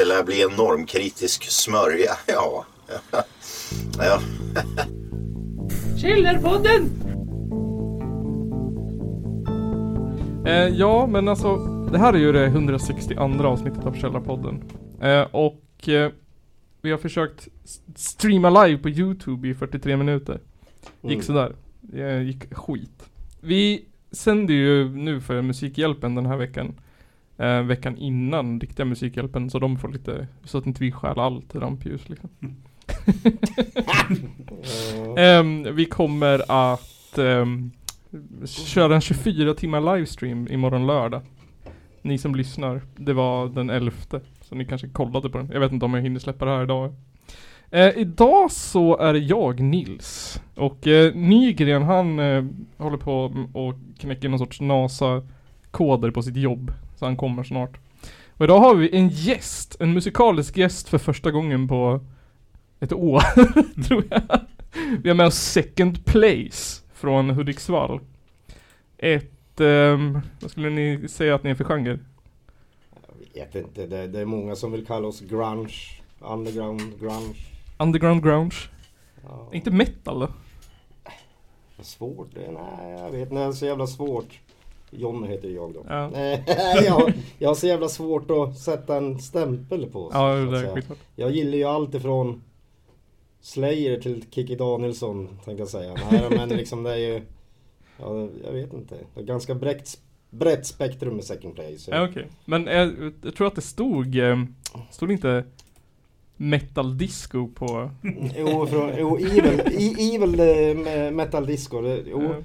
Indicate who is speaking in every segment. Speaker 1: här bli en normkritisk smörja? Ja. ja.
Speaker 2: Källarpodden!
Speaker 3: Eh, ja, men alltså det här är ju det 162 avsnittet av Källarpodden. Eh, och eh, vi har försökt s- streama live på Youtube i 43 minuter. Gick
Speaker 1: Mm.
Speaker 3: sådär. Eh, gick skit. Vi sänder ju nu för Musikhjälpen den här veckan. Eh, veckan innan riktiga Musikhjälpen så de får lite, så att inte vi stjäl allt rampljus liksom. Ehm, vi kommer att ehm, köra en 24 timmar livestream imorgon lördag. Ni som lyssnar, det var den 11. Så ni kanske kollade på den. Jag vet inte om jag hinner släppa det här idag. Eh, idag så är det jag, Nils. Och eh, Nygren han eh, håller på m- och knäcker någon sorts NASA-koder på sitt jobb. Så han kommer snart. Och idag har vi en gäst, en musikalisk gäst för första gången på ett år, tror jag. Vi har med oss Second Place från Hudiksvall. Ett, ehm, vad skulle ni säga att ni är för genre?
Speaker 4: Jag vet inte, det, det är många som vill kalla oss grunge, underground grunge.
Speaker 3: Underground grunge?
Speaker 4: Ja.
Speaker 3: Inte metal då?
Speaker 4: Svårt? Det, nej, jag vet inte. Det är så jävla svårt. John heter jag då.
Speaker 3: Ja.
Speaker 4: Nej, jag, jag har så jävla svårt att sätta en stämpel på. så
Speaker 3: Ja, det
Speaker 4: att
Speaker 3: där
Speaker 4: säga.
Speaker 3: är skitklart.
Speaker 4: Jag gillar ju allt ifrån Slayer till Kikki Danielsson tänkte jag säga. Nej, men liksom det är ju... Ja, jag vet inte. Det är ganska brett, brett spektrum med second place.
Speaker 3: Ja, okej. Men jag, jag tror att det stod, ehm, stod det inte metal disco på...
Speaker 4: Jo, från, jo evil, e- evil eh, me- metal disco. Det, jo,
Speaker 3: eh,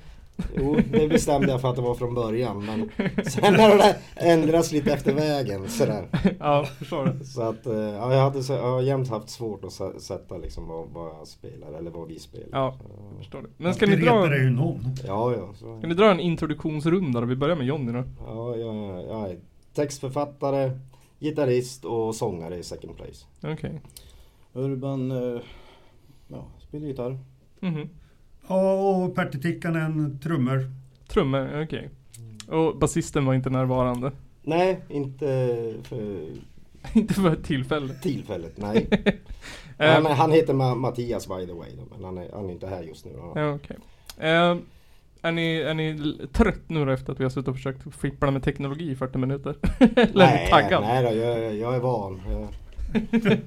Speaker 4: jo, det bestämde jag för att det var från början. Men sen har det ändrats lite efter vägen. Sådär.
Speaker 3: ja, förstår det.
Speaker 4: Så att eh, ja, jag, hade, så- jag har jämt haft svårt att sä- sätta liksom vad, vad jag spelar eller vad vi spelar.
Speaker 3: Ja, jag
Speaker 4: Så,
Speaker 3: förstår det. Men ska ni
Speaker 5: Det retar
Speaker 3: dra,
Speaker 5: ju någon.
Speaker 4: ja, ja, så,
Speaker 3: ska ni dra en introduktionsrunda då? Vi börjar med Johnny då.
Speaker 4: ja, ja, ja, jag är textförfattare, gitarrist och sångare i second place.
Speaker 3: Okej.
Speaker 6: Urban, eh, ja, spelar gitarr.
Speaker 3: Mhm.
Speaker 5: Ja, och Pertti Tikkanen, trummor.
Speaker 3: Trummor, okej. Och basisten var inte närvarande.
Speaker 4: Nej, inte för
Speaker 3: inte för tillfället.
Speaker 4: tillfället. Nej.
Speaker 3: Ehm,
Speaker 4: han, han heter Ma- Mattias by the way, då, men han är, han är inte här just nu. Han-
Speaker 3: Ja, okej. Ehm, är, ni, är ni l- trött nu då efter att vi har suttit och försökt fippla med teknologi i 40 minuter? Eller är ni taggad?
Speaker 4: Nej då, jag, jag- jag är van. Jag, jag,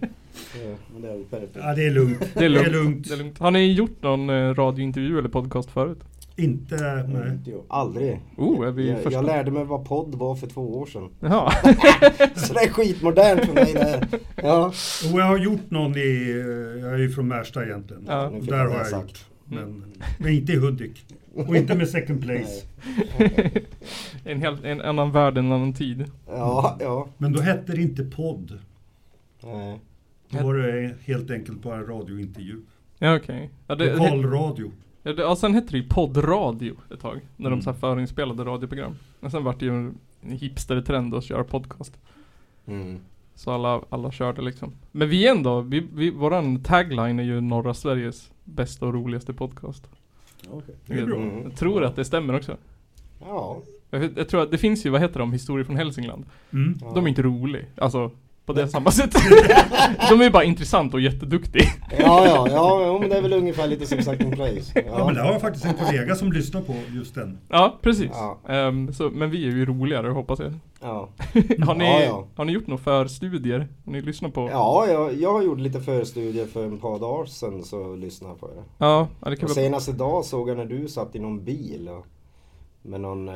Speaker 6: Men det är väl perfekt.
Speaker 5: Ja, det är lugnt.
Speaker 3: Det är lugnt. Det är lugnt. Har ni gjort någon eh, radiointervju eller podcast förut?
Speaker 5: Inte, nej.
Speaker 6: Inte jag.
Speaker 4: aldrig.
Speaker 3: Oh, är vi
Speaker 4: jag,
Speaker 3: första?
Speaker 4: jag lärde mig vad podd var för två år sedan.
Speaker 3: Jaha.
Speaker 4: Så det är skitmodernt för mig det här. Ja.
Speaker 5: Och jag har gjort någon i, eh, jag är ju från Märsta egentligen.
Speaker 3: Ja.
Speaker 4: Nu fick
Speaker 5: Där
Speaker 4: jag
Speaker 5: har
Speaker 4: det
Speaker 5: jag
Speaker 4: sagt.
Speaker 5: gjort. Men, men inte i Hudik. Och inte med second place.
Speaker 3: en, hel, en annan värld, en annan tid.
Speaker 4: Ja, ja.
Speaker 5: Men då hette det inte podd.
Speaker 4: Nej.
Speaker 5: Då var det helt enkelt bara en radiointervju.
Speaker 3: Ja okej. Ja, det- det-
Speaker 5: Lokalradio.
Speaker 3: Ja, det- ja, sen hette det ju poddradio ett tag. När de
Speaker 5: Mm.
Speaker 3: så här förinspelade radioprogram. Men sen vart det ju en hipster-trend att köra podcast.
Speaker 4: Mm.
Speaker 3: Så alla, alla körde liksom. Men vi ändå, vi, vi, våran tagline är ju norra Sveriges bästa och roligaste podcast.
Speaker 6: Ja, okej.
Speaker 5: Det är bra.
Speaker 4: Mm.
Speaker 3: Jag tror att det stämmer också.
Speaker 4: Ja.
Speaker 3: Jag, jag tror att det finns ju, vad heter de, Historier från Hälsingland.
Speaker 5: Mm.
Speaker 4: ja.
Speaker 3: De är inte roliga, alltså på det samma sätt. de är ju bara intressanta och jätteduktiga.
Speaker 4: Ja, ja, ja, jo, men det är väl ungefär lite som sagt en place.
Speaker 5: Ja, men det har jag faktiskt en kollega som lyssnar på just den.
Speaker 3: Ja, precis.
Speaker 4: Ja.
Speaker 3: Ehm, så, men vi är ju roligare hoppas jag.
Speaker 4: ja.
Speaker 3: Har ni,
Speaker 4: Ja, ja.
Speaker 3: Har ni gjort några förstudier? Har ni lyssnat på?
Speaker 4: ja jag, jag gjorde lite förstudier för en par dagar sedan så lyssnade jag på det.
Speaker 3: Ja, ja, det kan
Speaker 4: Och
Speaker 3: vara...
Speaker 4: senast idag såg jag när du satt i någon bil och, med någon eh,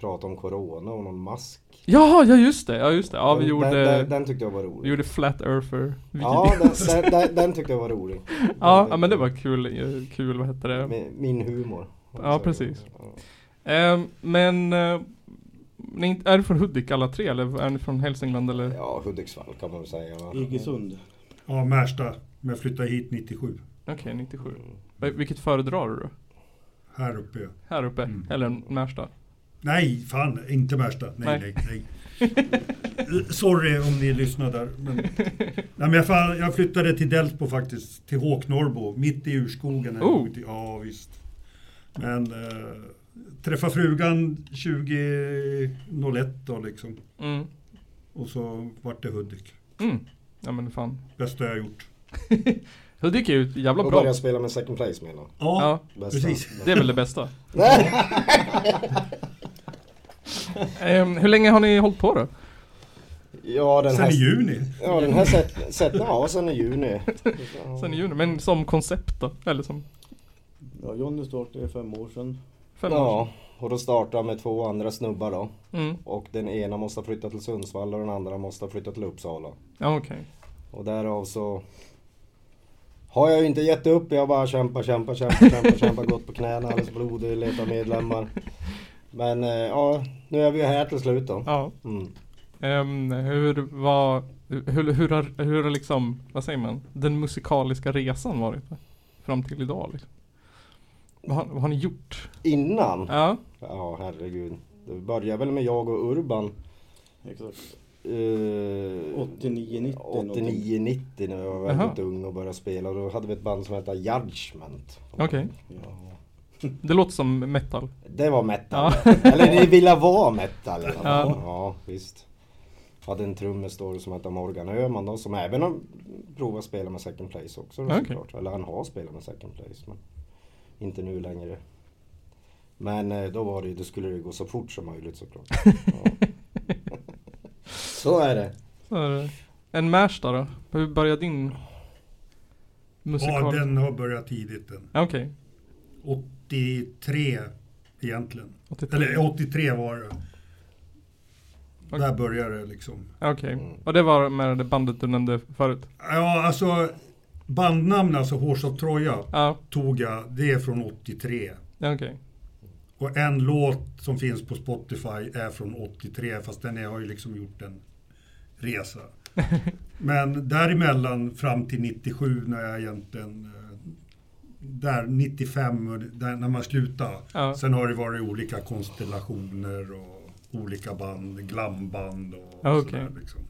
Speaker 4: prat om corona och någon mask.
Speaker 3: Ja, ja just det, ja just det. Ja, vi
Speaker 4: Den- den, den,
Speaker 3: gjorde,
Speaker 4: den tyckte jag var rolig.
Speaker 3: vi gjorde Flat Earther
Speaker 4: ja, den, den, den, den tyckte jag var rolig.
Speaker 3: Ja, ja men det var kul, eh, kul vad hette det?
Speaker 4: Min, min humor.
Speaker 3: Ja, precis. Ehm, men, eh, ni, är inte- är du från Hudik alla tre eller är ni från Hälsingland eller?
Speaker 4: Ja, Hudiksvall kan man väl säga. va?
Speaker 6: Iggesund.
Speaker 5: Ja, Märsta. Men jag flyttade hit 97.
Speaker 3: Okej, 97. Va- Vilket föredrar du då?
Speaker 5: Här uppe.
Speaker 3: Här uppe?
Speaker 5: Mm.
Speaker 3: Eller Märsta?
Speaker 5: Nej, fan, inte Märsta. Nej,
Speaker 3: Nej.
Speaker 5: nej, nej. Sorry om ni lyssnar där. Men, nej, men jag, fan, jag flyttade till Delsbo faktiskt, till Håknorbo, mitt i urskogen. här.
Speaker 3: Oh.
Speaker 5: Ja, visst. Men eh, träffa frugan 2001 då liksom.
Speaker 3: Mm.
Speaker 5: Och så vart det Hudik.
Speaker 3: Mm. Ja men fan.
Speaker 5: Bästa jag gjort.
Speaker 3: Hudik är ju ett jävla
Speaker 4: Och
Speaker 3: bra.
Speaker 4: börja spela med second place menar jag.
Speaker 5: Ja,
Speaker 3: Ja,
Speaker 4: Bästa.
Speaker 5: Precis.
Speaker 3: det är väl det bästa.
Speaker 4: Nej!
Speaker 3: Ehm, hur länge har ni hållit på då?
Speaker 4: Ja den
Speaker 5: sen i
Speaker 4: här,
Speaker 5: juni.
Speaker 4: ja, den här set, set, ja, sen i juni. Ja.
Speaker 3: Sen i juni? Men som koncept då? Eller som
Speaker 6: Ja, Jonny startade för fem år sedan.
Speaker 3: fem år
Speaker 4: Ja, och då startade jag med två andra snubbar då.
Speaker 3: sedan? Mm.
Speaker 4: Och den ena måste flytta till Sundsvall och den andra måste flytta till Uppsala.
Speaker 3: Ja okej.
Speaker 4: Och därav så har jag ju inte gett upp. Jag har bara kämpat, kämpat, kämpat, kämpat, kämpat, gått på knäna, alldeles blodig, letat medlemmar. Men eh, ja, nu är vi ju här till slut då.
Speaker 3: Ja.
Speaker 4: Mm.
Speaker 3: Ehm, hur var, hur, hur, har, hur har liksom, vad säger man, den musikaliska resan varit? Fram till idag liksom. Vad har, vad har ni gjort?
Speaker 4: Innan,
Speaker 3: Ja.
Speaker 4: ja herregud. Det började väl med jag och Urban.
Speaker 6: Exakt.
Speaker 4: Eh,
Speaker 6: 89, 90 någonting.
Speaker 4: 89-90 när jag var
Speaker 3: Jaha.
Speaker 4: väldigt ung och började spela. Då hade vi ett band som hette Judgment.
Speaker 3: Okej.
Speaker 6: Ja.
Speaker 3: Det låter som metal.
Speaker 4: Det var metal. Eller det ville vara metal. Ja,
Speaker 3: Ja.
Speaker 4: ja visst. Hade en trummis då som hette Morgan Öhman då, som även har provat att spela med second place också då,
Speaker 3: Okej.
Speaker 4: såklart. Eller han har spelat med second place men inte nu längre. Men eh, då var det ju, då skulle det gå så fort som möjligt såklart. Ja. så är det.
Speaker 3: Så är det. En Märsta då? Hur började din musikal?
Speaker 5: Ja, den har börjat tidigt den.
Speaker 3: Ja, Okej.
Speaker 5: 83 egentligen.
Speaker 3: 83.
Speaker 5: Eller 83 var det.
Speaker 3: Okej.
Speaker 5: Där började det liksom.
Speaker 3: Ja, Okej. Och det var med det bandet du nämnde förut?
Speaker 5: Ja, alltså bandnamn, alltså Horse of Troja,
Speaker 3: Ja.
Speaker 5: tog jag. Det är från 83.
Speaker 3: Ja, Okej.
Speaker 5: Och en låt som finns på Spotify är från 83, fast den är, har ju liksom gjort en resa. Men däremellan fram till 97 när jag egentligen... eh, Där 95, och där, när man slutade.
Speaker 3: Ja.
Speaker 5: Sen har det varit olika konstellationer och olika band, glamband och
Speaker 3: Ja,
Speaker 5: sådär
Speaker 3: okej.
Speaker 5: liksom.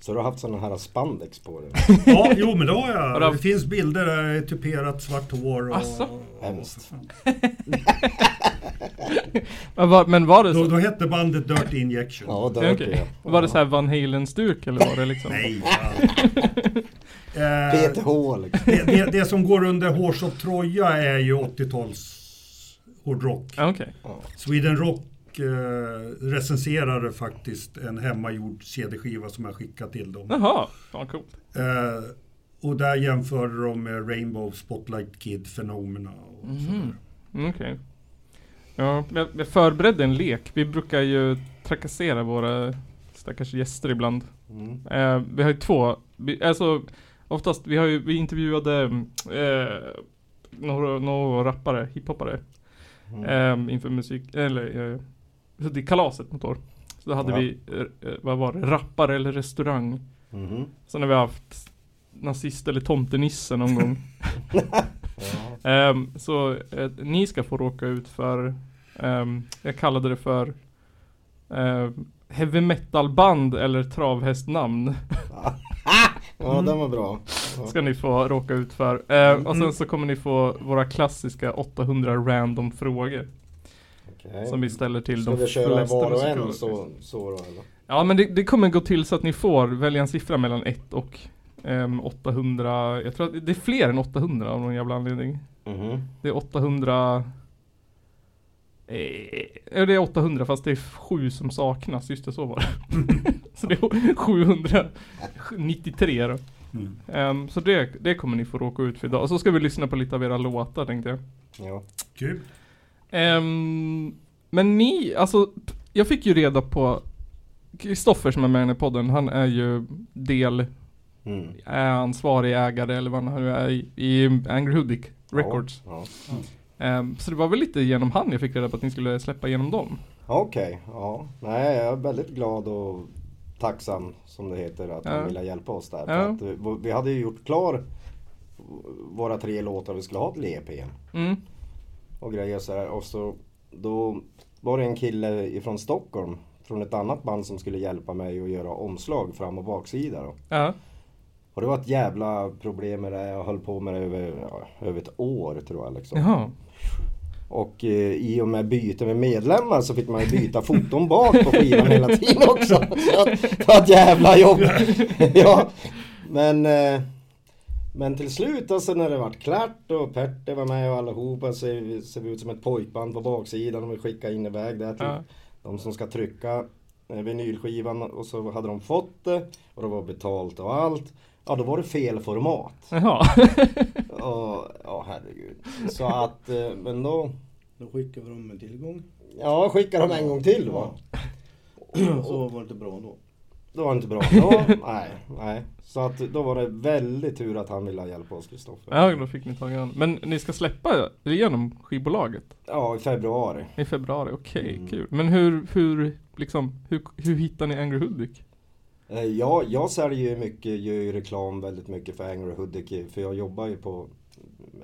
Speaker 4: Så du har haft sådana här spandex på dig?
Speaker 5: Ja, jo men det har
Speaker 3: Har du
Speaker 5: jag.
Speaker 3: haft-
Speaker 5: Det finns bilder där jag är tuperat svart hår och...
Speaker 3: Asså?
Speaker 5: och-
Speaker 4: Hemskt.
Speaker 5: för fan.
Speaker 3: Men var, men var det
Speaker 5: Då,
Speaker 3: så?
Speaker 5: då hette bandet Dirty Injection.
Speaker 4: Ja,
Speaker 3: Ja,
Speaker 4: dirty.
Speaker 3: okej.
Speaker 4: Okay.
Speaker 3: Var det så här Van Halen-stuk eller var det liksom?
Speaker 5: Nej, fan. Eh,
Speaker 4: PTH liksom.
Speaker 5: det, det, det som går under Horse of Troja är ju 80-tals hårdrock.
Speaker 3: Ja, Okej.
Speaker 5: Sweden Rock eh, recenserade faktiskt en hemmagjord CD-skiva som jag skickade till dem.
Speaker 3: Jaha. Fan coolt.
Speaker 5: Eh, och där jämförde de med Rainbow Spotlight Kid Phenomena. Och sådär.
Speaker 3: Mm, Okej. Ja, jag, jag förberedde en lek. Vi brukar ju trakassera våra stackars gäster ibland.
Speaker 4: Mm.
Speaker 3: Eh, vi har ju två, vi, alltså oftast, vi har ju, vi intervjuade mm, eh, några, några rappare, hiphoppare eh, inför musik, eller eh, så det är kalaset något år. Så då hade
Speaker 4: Ja.
Speaker 3: vi, eh, eh, vad var det, rappare eller restaurang.
Speaker 4: Mhm.
Speaker 3: Sen har vi haft nazist eller tomtenisse någon gång.
Speaker 4: Ja.
Speaker 3: Ehm, så eh, ni ska få råka ut för, ehm, jag kallade det för ehm, Heavy metal band eller travhästnamn
Speaker 4: ja, den var bra. Ja.
Speaker 3: ska ni få råka ut för. Ehm, och sen så kommer ni få våra klassiska 800 random frågor.
Speaker 4: Okej.
Speaker 3: Som vi ställer till
Speaker 4: Ska
Speaker 3: de
Speaker 4: vi köra
Speaker 3: flesta
Speaker 4: var och
Speaker 3: musikaler.
Speaker 4: en så, så då eller?
Speaker 3: Ja men det, det kommer gå till så att ni får välja en siffra mellan 1 och ehm, 800. Jag tror att det är fler än 800 av någon jävla anledning. Det är 800 eh, ja, det är 800 fast det är sju som saknas, just det så var det. så det är 793 då.
Speaker 5: Mm.
Speaker 3: Ehm, så det, det kommer ni få råka ut för idag. Och så ska vi lyssna på lite av era låtar tänkte jag.
Speaker 4: Ja.
Speaker 5: Kul.
Speaker 3: Ehm, men ni, alltså jag fick ju reda på Kristoffer som är med i den här podden, han är ju del
Speaker 4: Mm.
Speaker 3: är ansvarig ägare eller vad han nu är i, i Angry Hoodic Records.
Speaker 4: Ja.
Speaker 3: Ehm, så det var väl lite genom han jag fick reda på att ni skulle släppa genom dem.
Speaker 4: Ja. Okej, ja. Nej, jag är väldigt glad och tacksam som det heter att
Speaker 3: Ja.
Speaker 4: de ville hjälpa oss där. För
Speaker 3: Ja.
Speaker 4: Att, eh, vi hade ju gjort klar våra tre låtar vi skulle ha till EPn.
Speaker 3: Mm.
Speaker 4: och grejer så här. Och så då var det en kille ifrån Stockholm från ett annat band som skulle hjälpa mig att göra omslag fram och baksida då.
Speaker 3: Ja.
Speaker 4: Och det var ett jävla problem med det. Jag höll på med det över, ja, över ett år tror jag liksom.
Speaker 3: Jaha.
Speaker 4: Och eh, i och med byte med medlemmar så fick man ju byta foton bak på skivan hela tiden också. Så att, det var ett jävla jobb. ja. Men, eh, men till slut alltså när det vart klart och Pertte var med och allihopa så ser ser vi ut som ett pojkband på baksidan och vi skickade in iväg det till
Speaker 3: Ja.
Speaker 4: de som ska trycka eh, vinylskivan och så hade de fått det och det var betalt och allt. Ja, då var det fel format.
Speaker 3: Jaha.
Speaker 4: Ja, ja herregud. Så att, eh, men då...
Speaker 6: Då skickar vi dem en tillgång.
Speaker 4: Ja, skicka dem en gång till va?
Speaker 6: Så var det inte bra då.
Speaker 4: Det var inte bra då. nej, nej. Så att då var det väldigt tur att han ville ha hjälp av oss, Kristoffer.
Speaker 3: Ja, då fick ni tag i honom. Men ni ska släppa igenom skivbolaget
Speaker 4: Ja, i februari.
Speaker 3: i februari, okej,
Speaker 4: Mm.
Speaker 3: kul. Men hur, hur, liksom, hur, hur hittar ni Angry Hudik?
Speaker 4: Eh, Jag, jag säljer ju mycket, gör ju reklam väldigt mycket för Angry Hudik, för jag jobbar ju på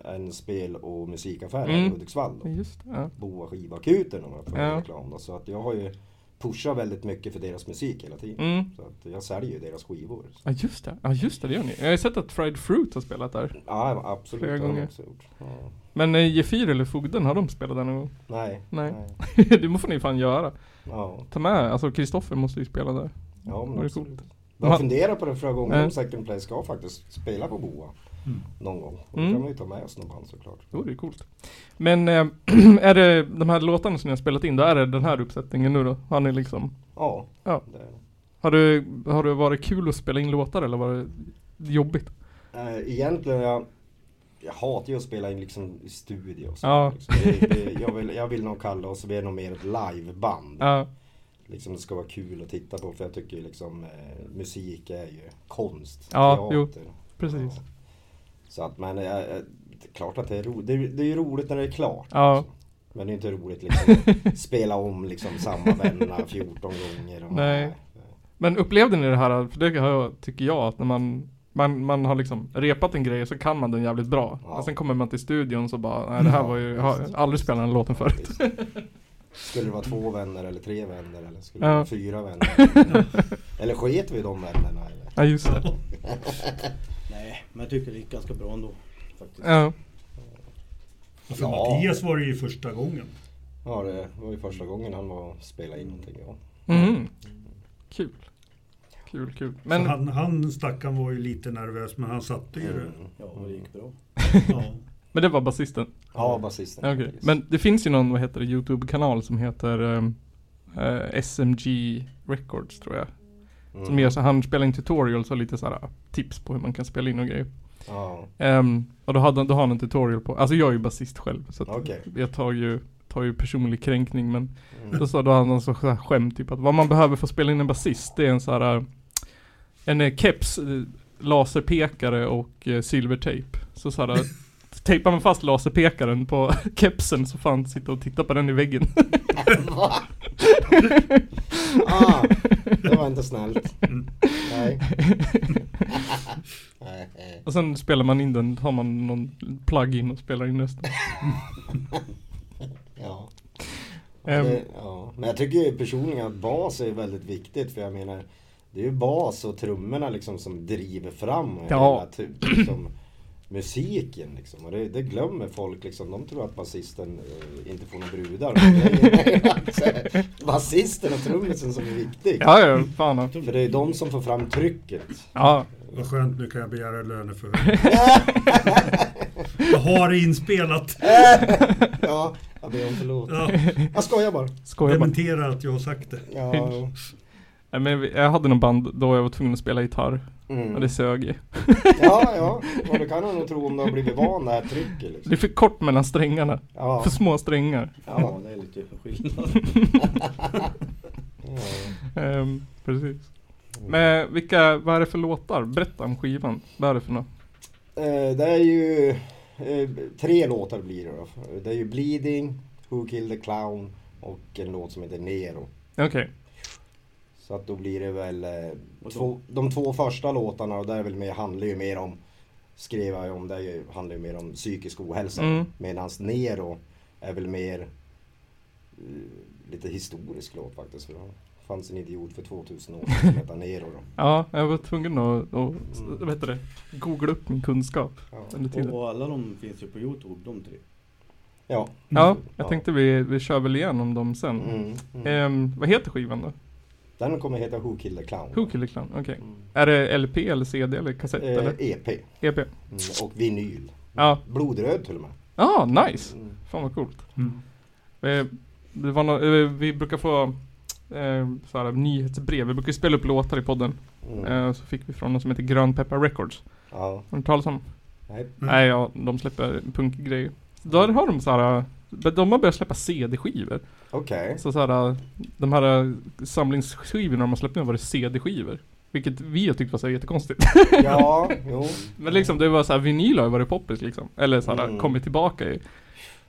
Speaker 4: en spel och musikaffär här i
Speaker 3: Mm.
Speaker 4: Hudiksvall. Då.
Speaker 3: Just det, ja.
Speaker 4: Boa skivakuten om jag får
Speaker 3: Ja.
Speaker 4: reklam då. Så att jag har ju pushat väldigt mycket för deras musik hela tiden.
Speaker 3: Mm.
Speaker 4: Så att jag säljer ju deras skivor.
Speaker 3: Ja just det, ja just det, det gör ni. Jag har ju sett att Fried Fruit har spelat där.
Speaker 4: Ja, absolut.
Speaker 3: Flera
Speaker 4: det har de
Speaker 3: gånger.
Speaker 4: också gjort. Ja.
Speaker 3: Men eh, Gefyr eller Fogden, har de spelat där någon gång?
Speaker 4: Nej.
Speaker 3: Nej.
Speaker 4: nej.
Speaker 3: det får ni fan göra.
Speaker 4: Ja,
Speaker 3: Ta med, alltså Kristoffer måste ju spela där.
Speaker 4: ja
Speaker 3: Var
Speaker 4: men
Speaker 3: det
Speaker 4: absolut.
Speaker 3: coolt?
Speaker 4: Jag
Speaker 3: Ma-
Speaker 4: funderar på det flera gånger
Speaker 3: Ja.
Speaker 4: om Second Place ska faktiskt spela på Boa.
Speaker 5: Mm.
Speaker 4: Någon gång. Och
Speaker 3: Mm.
Speaker 4: Då kan man ju ta med oss någon band såklart.
Speaker 3: Jo, det är coolt. Men eh, är det de här låtarna som ni har spelat in, då är det den här uppsättningen nu då? Har ni liksom
Speaker 4: Ja.
Speaker 3: Ja.
Speaker 4: Det, är det.
Speaker 3: Har det, har det varit kul att spela in låtar eller var det jobbigt?
Speaker 4: Eh, egentligen, jag, jag hatar ju att spela in liksom i studio. och så.
Speaker 3: Ja.
Speaker 4: Liksom. Det, det, jag, vill, jag vill nog kalla oss, vi är nog mer ett liveband.
Speaker 3: Ja,
Speaker 4: Liksom, det ska vara kul att titta på för jag tycker ju liksom eh, musik är ju konst.
Speaker 3: Ja, jo. precis.
Speaker 4: Ja. Så att men eh, eh, det är klart att det är roligt. Det, är- det är ju roligt när det är klart.
Speaker 3: Ja.
Speaker 4: Men det är inte roligt liksom att spela om liksom samma vänner 14 gånger. Och,
Speaker 3: Nej. Men upplevde ni det här, för det har jag, tycker jag, att när man, man, man har liksom repat en grej så kan man den jävligt bra.
Speaker 4: Ja.
Speaker 3: Och sen kommer man till studion så bara, nej det här
Speaker 4: Ja,
Speaker 3: var ju, jag har
Speaker 4: visst.
Speaker 3: aldrig spelat den låten förut.
Speaker 4: Visst. Skulle det vara två vänner eller tre vänner eller skulle
Speaker 3: Ja.
Speaker 4: det vara fyra vänner? eller sket vi i de vännerna? Eller?
Speaker 3: Ja just det.
Speaker 6: Nej, men jag tycker det gick ganska bra ändå. Faktiskt.
Speaker 3: Ja.
Speaker 5: Och för
Speaker 4: Ja.
Speaker 5: Alltså, Mattias var det ju första gången.
Speaker 4: Ja, det var ju första gången han var och spelade in någonting. Ja.
Speaker 3: Mhm. Kul. Kul, kul.
Speaker 5: Men...
Speaker 3: Men,
Speaker 5: Han, han stackaren var ju lite nervös men han satte ju det.
Speaker 4: Mm.
Speaker 6: Ja, och det gick bra.
Speaker 5: Ja.
Speaker 3: men det var basisten?
Speaker 4: Ja, basisten.
Speaker 3: Okej,
Speaker 4: precis.
Speaker 3: men det finns ju någon, vad heter det, YouTube-kanal som heter ehm, eh, SMG Records tror jag.
Speaker 4: Mm.
Speaker 3: Som gör så, han spelar in tutorials och lite så här ah, tips på hur man kan spela in och grejer.
Speaker 4: Ja,
Speaker 3: Ehm, och då, hade, han- då har han en tutorial på, alltså jag är ju basist själv så att
Speaker 4: Okej.
Speaker 3: jag tar ju, tar ju personlig kränkning men
Speaker 4: Mm.
Speaker 3: då sa då hade han så här skämt typ att vad man behöver för att spela in en basist det är en så här eh, en eh, keps, eh, laserpekare och eh, silvertejp. Så så här eh, tejpar man fast laserpekaren på kepsen så får han sitta och titta på den i väggen.
Speaker 4: Va? ah, det var inte snällt.
Speaker 6: Mm.
Speaker 4: Nej. Nej. eh.
Speaker 3: Och sen spelar man in den, har man någon plug-in och spelar in resten.
Speaker 4: Ja.
Speaker 3: Ehm,
Speaker 4: Det, ja. Men jag tycker ju personligen att bas är väldigt viktigt för jag menar Det är ju bas och trummorna liksom som driver fram
Speaker 3: Ja.
Speaker 4: hela tu- liksom, musiken liksom. Och det, det glömmer folk liksom. De tror att basisten eh, inte får några brudar. Men det är ju basisten och trummisen som är viktig.
Speaker 3: ja, ja, fan ja.
Speaker 4: För det är de som får fram trycket.
Speaker 3: ja.
Speaker 5: Vad skönt, nu kan jag begära löneförhöjning. jag har det inspelat.
Speaker 4: Ja, jag ber om förlåt.
Speaker 5: Ja,
Speaker 4: Jag skojar bara.
Speaker 3: Skojar bara.
Speaker 5: dementera att jag har sagt det.
Speaker 4: Ja.
Speaker 3: Nej, men vi- jag hade någon band då jag var tvungen att spela gitarr. Och
Speaker 4: Mm.
Speaker 3: det sög ju.
Speaker 4: ja, ja. Och det kan man nog tro om du har blivit van det här trycket
Speaker 3: Det är
Speaker 4: liksom.
Speaker 3: för kort mellan strängarna.
Speaker 4: Ja.
Speaker 3: För små strängar.
Speaker 6: Ja, det är lite skillnad.
Speaker 4: ja.
Speaker 3: Ehm, precis.
Speaker 4: Mm.
Speaker 3: Men vilka, vad är det för låtar? Berätta om skivan. Vad är det för något?
Speaker 4: Eh, det är ju eh, tre låtar blir det då. Det är ju Bleeding, Who Killed the Clown och en låt som heter Nero.
Speaker 3: Okej.
Speaker 4: Så att då blir det väl eh,
Speaker 6: Och
Speaker 4: två, de två första låtarna och där är väl mer, handlar ju mer om skrev jag ju om det är ju, handlar ju mer om psykisk ohälsa.
Speaker 3: Mm.
Speaker 4: Medan Nero är väl mer eh, lite historisk låt faktiskt. För det fanns en idiot för 2000 år sedan som hette Nero då.
Speaker 3: Ja, jag var tvungen att, att s- vad heter det? Googla upp min kunskap
Speaker 4: Ja.
Speaker 3: under tiden.
Speaker 6: Och alla de finns ju på Youtube, de tre.
Speaker 4: Ja.
Speaker 3: Ja, jag
Speaker 4: Ja.
Speaker 3: tänkte vi, vi kör väl igenom dem sen.
Speaker 4: Mm. Mm.
Speaker 3: Ehm, vad heter skivan då?
Speaker 4: Den kommer heta Who Killed the Clown.
Speaker 3: Who Killed the Clown? Okej.
Speaker 4: Mm.
Speaker 3: Är det LP eller CD eller kassett eller? E
Speaker 4: Eh, EP. Mm.
Speaker 3: EP? Ja.
Speaker 4: Och vinyl.
Speaker 3: Ja,
Speaker 4: Blodröd till och med.
Speaker 3: ah, nice!
Speaker 4: Mm.
Speaker 3: Fan vad coolt.
Speaker 5: Mm.
Speaker 3: Eh, det var nå- eh, vi brukar få eh, så här, nyhetsbrev. Vi brukar ju spela upp låtar i podden.
Speaker 4: Mm.
Speaker 3: Eh, så fick vi från någon som heter Grönpeppar Records.
Speaker 4: Ja.
Speaker 3: Har du talat om?
Speaker 4: Nej.
Speaker 5: Mm.
Speaker 3: Nej, ja, de släpper punkgrejer. Så Där har de så här, eh, de har börjat släppa CD-skivor.
Speaker 4: Okej.
Speaker 3: Så, så här, eh, de här eh, samlingsskivorna de har släppt nu har varit CD-skivor. Vilket vi tyckte var så här jättekonstigt.
Speaker 4: Ja, jo.
Speaker 3: Men liksom det var så här, vinyl har ju varit poppis liksom. Eller så här,
Speaker 4: Mm.
Speaker 3: kommit tillbaka i.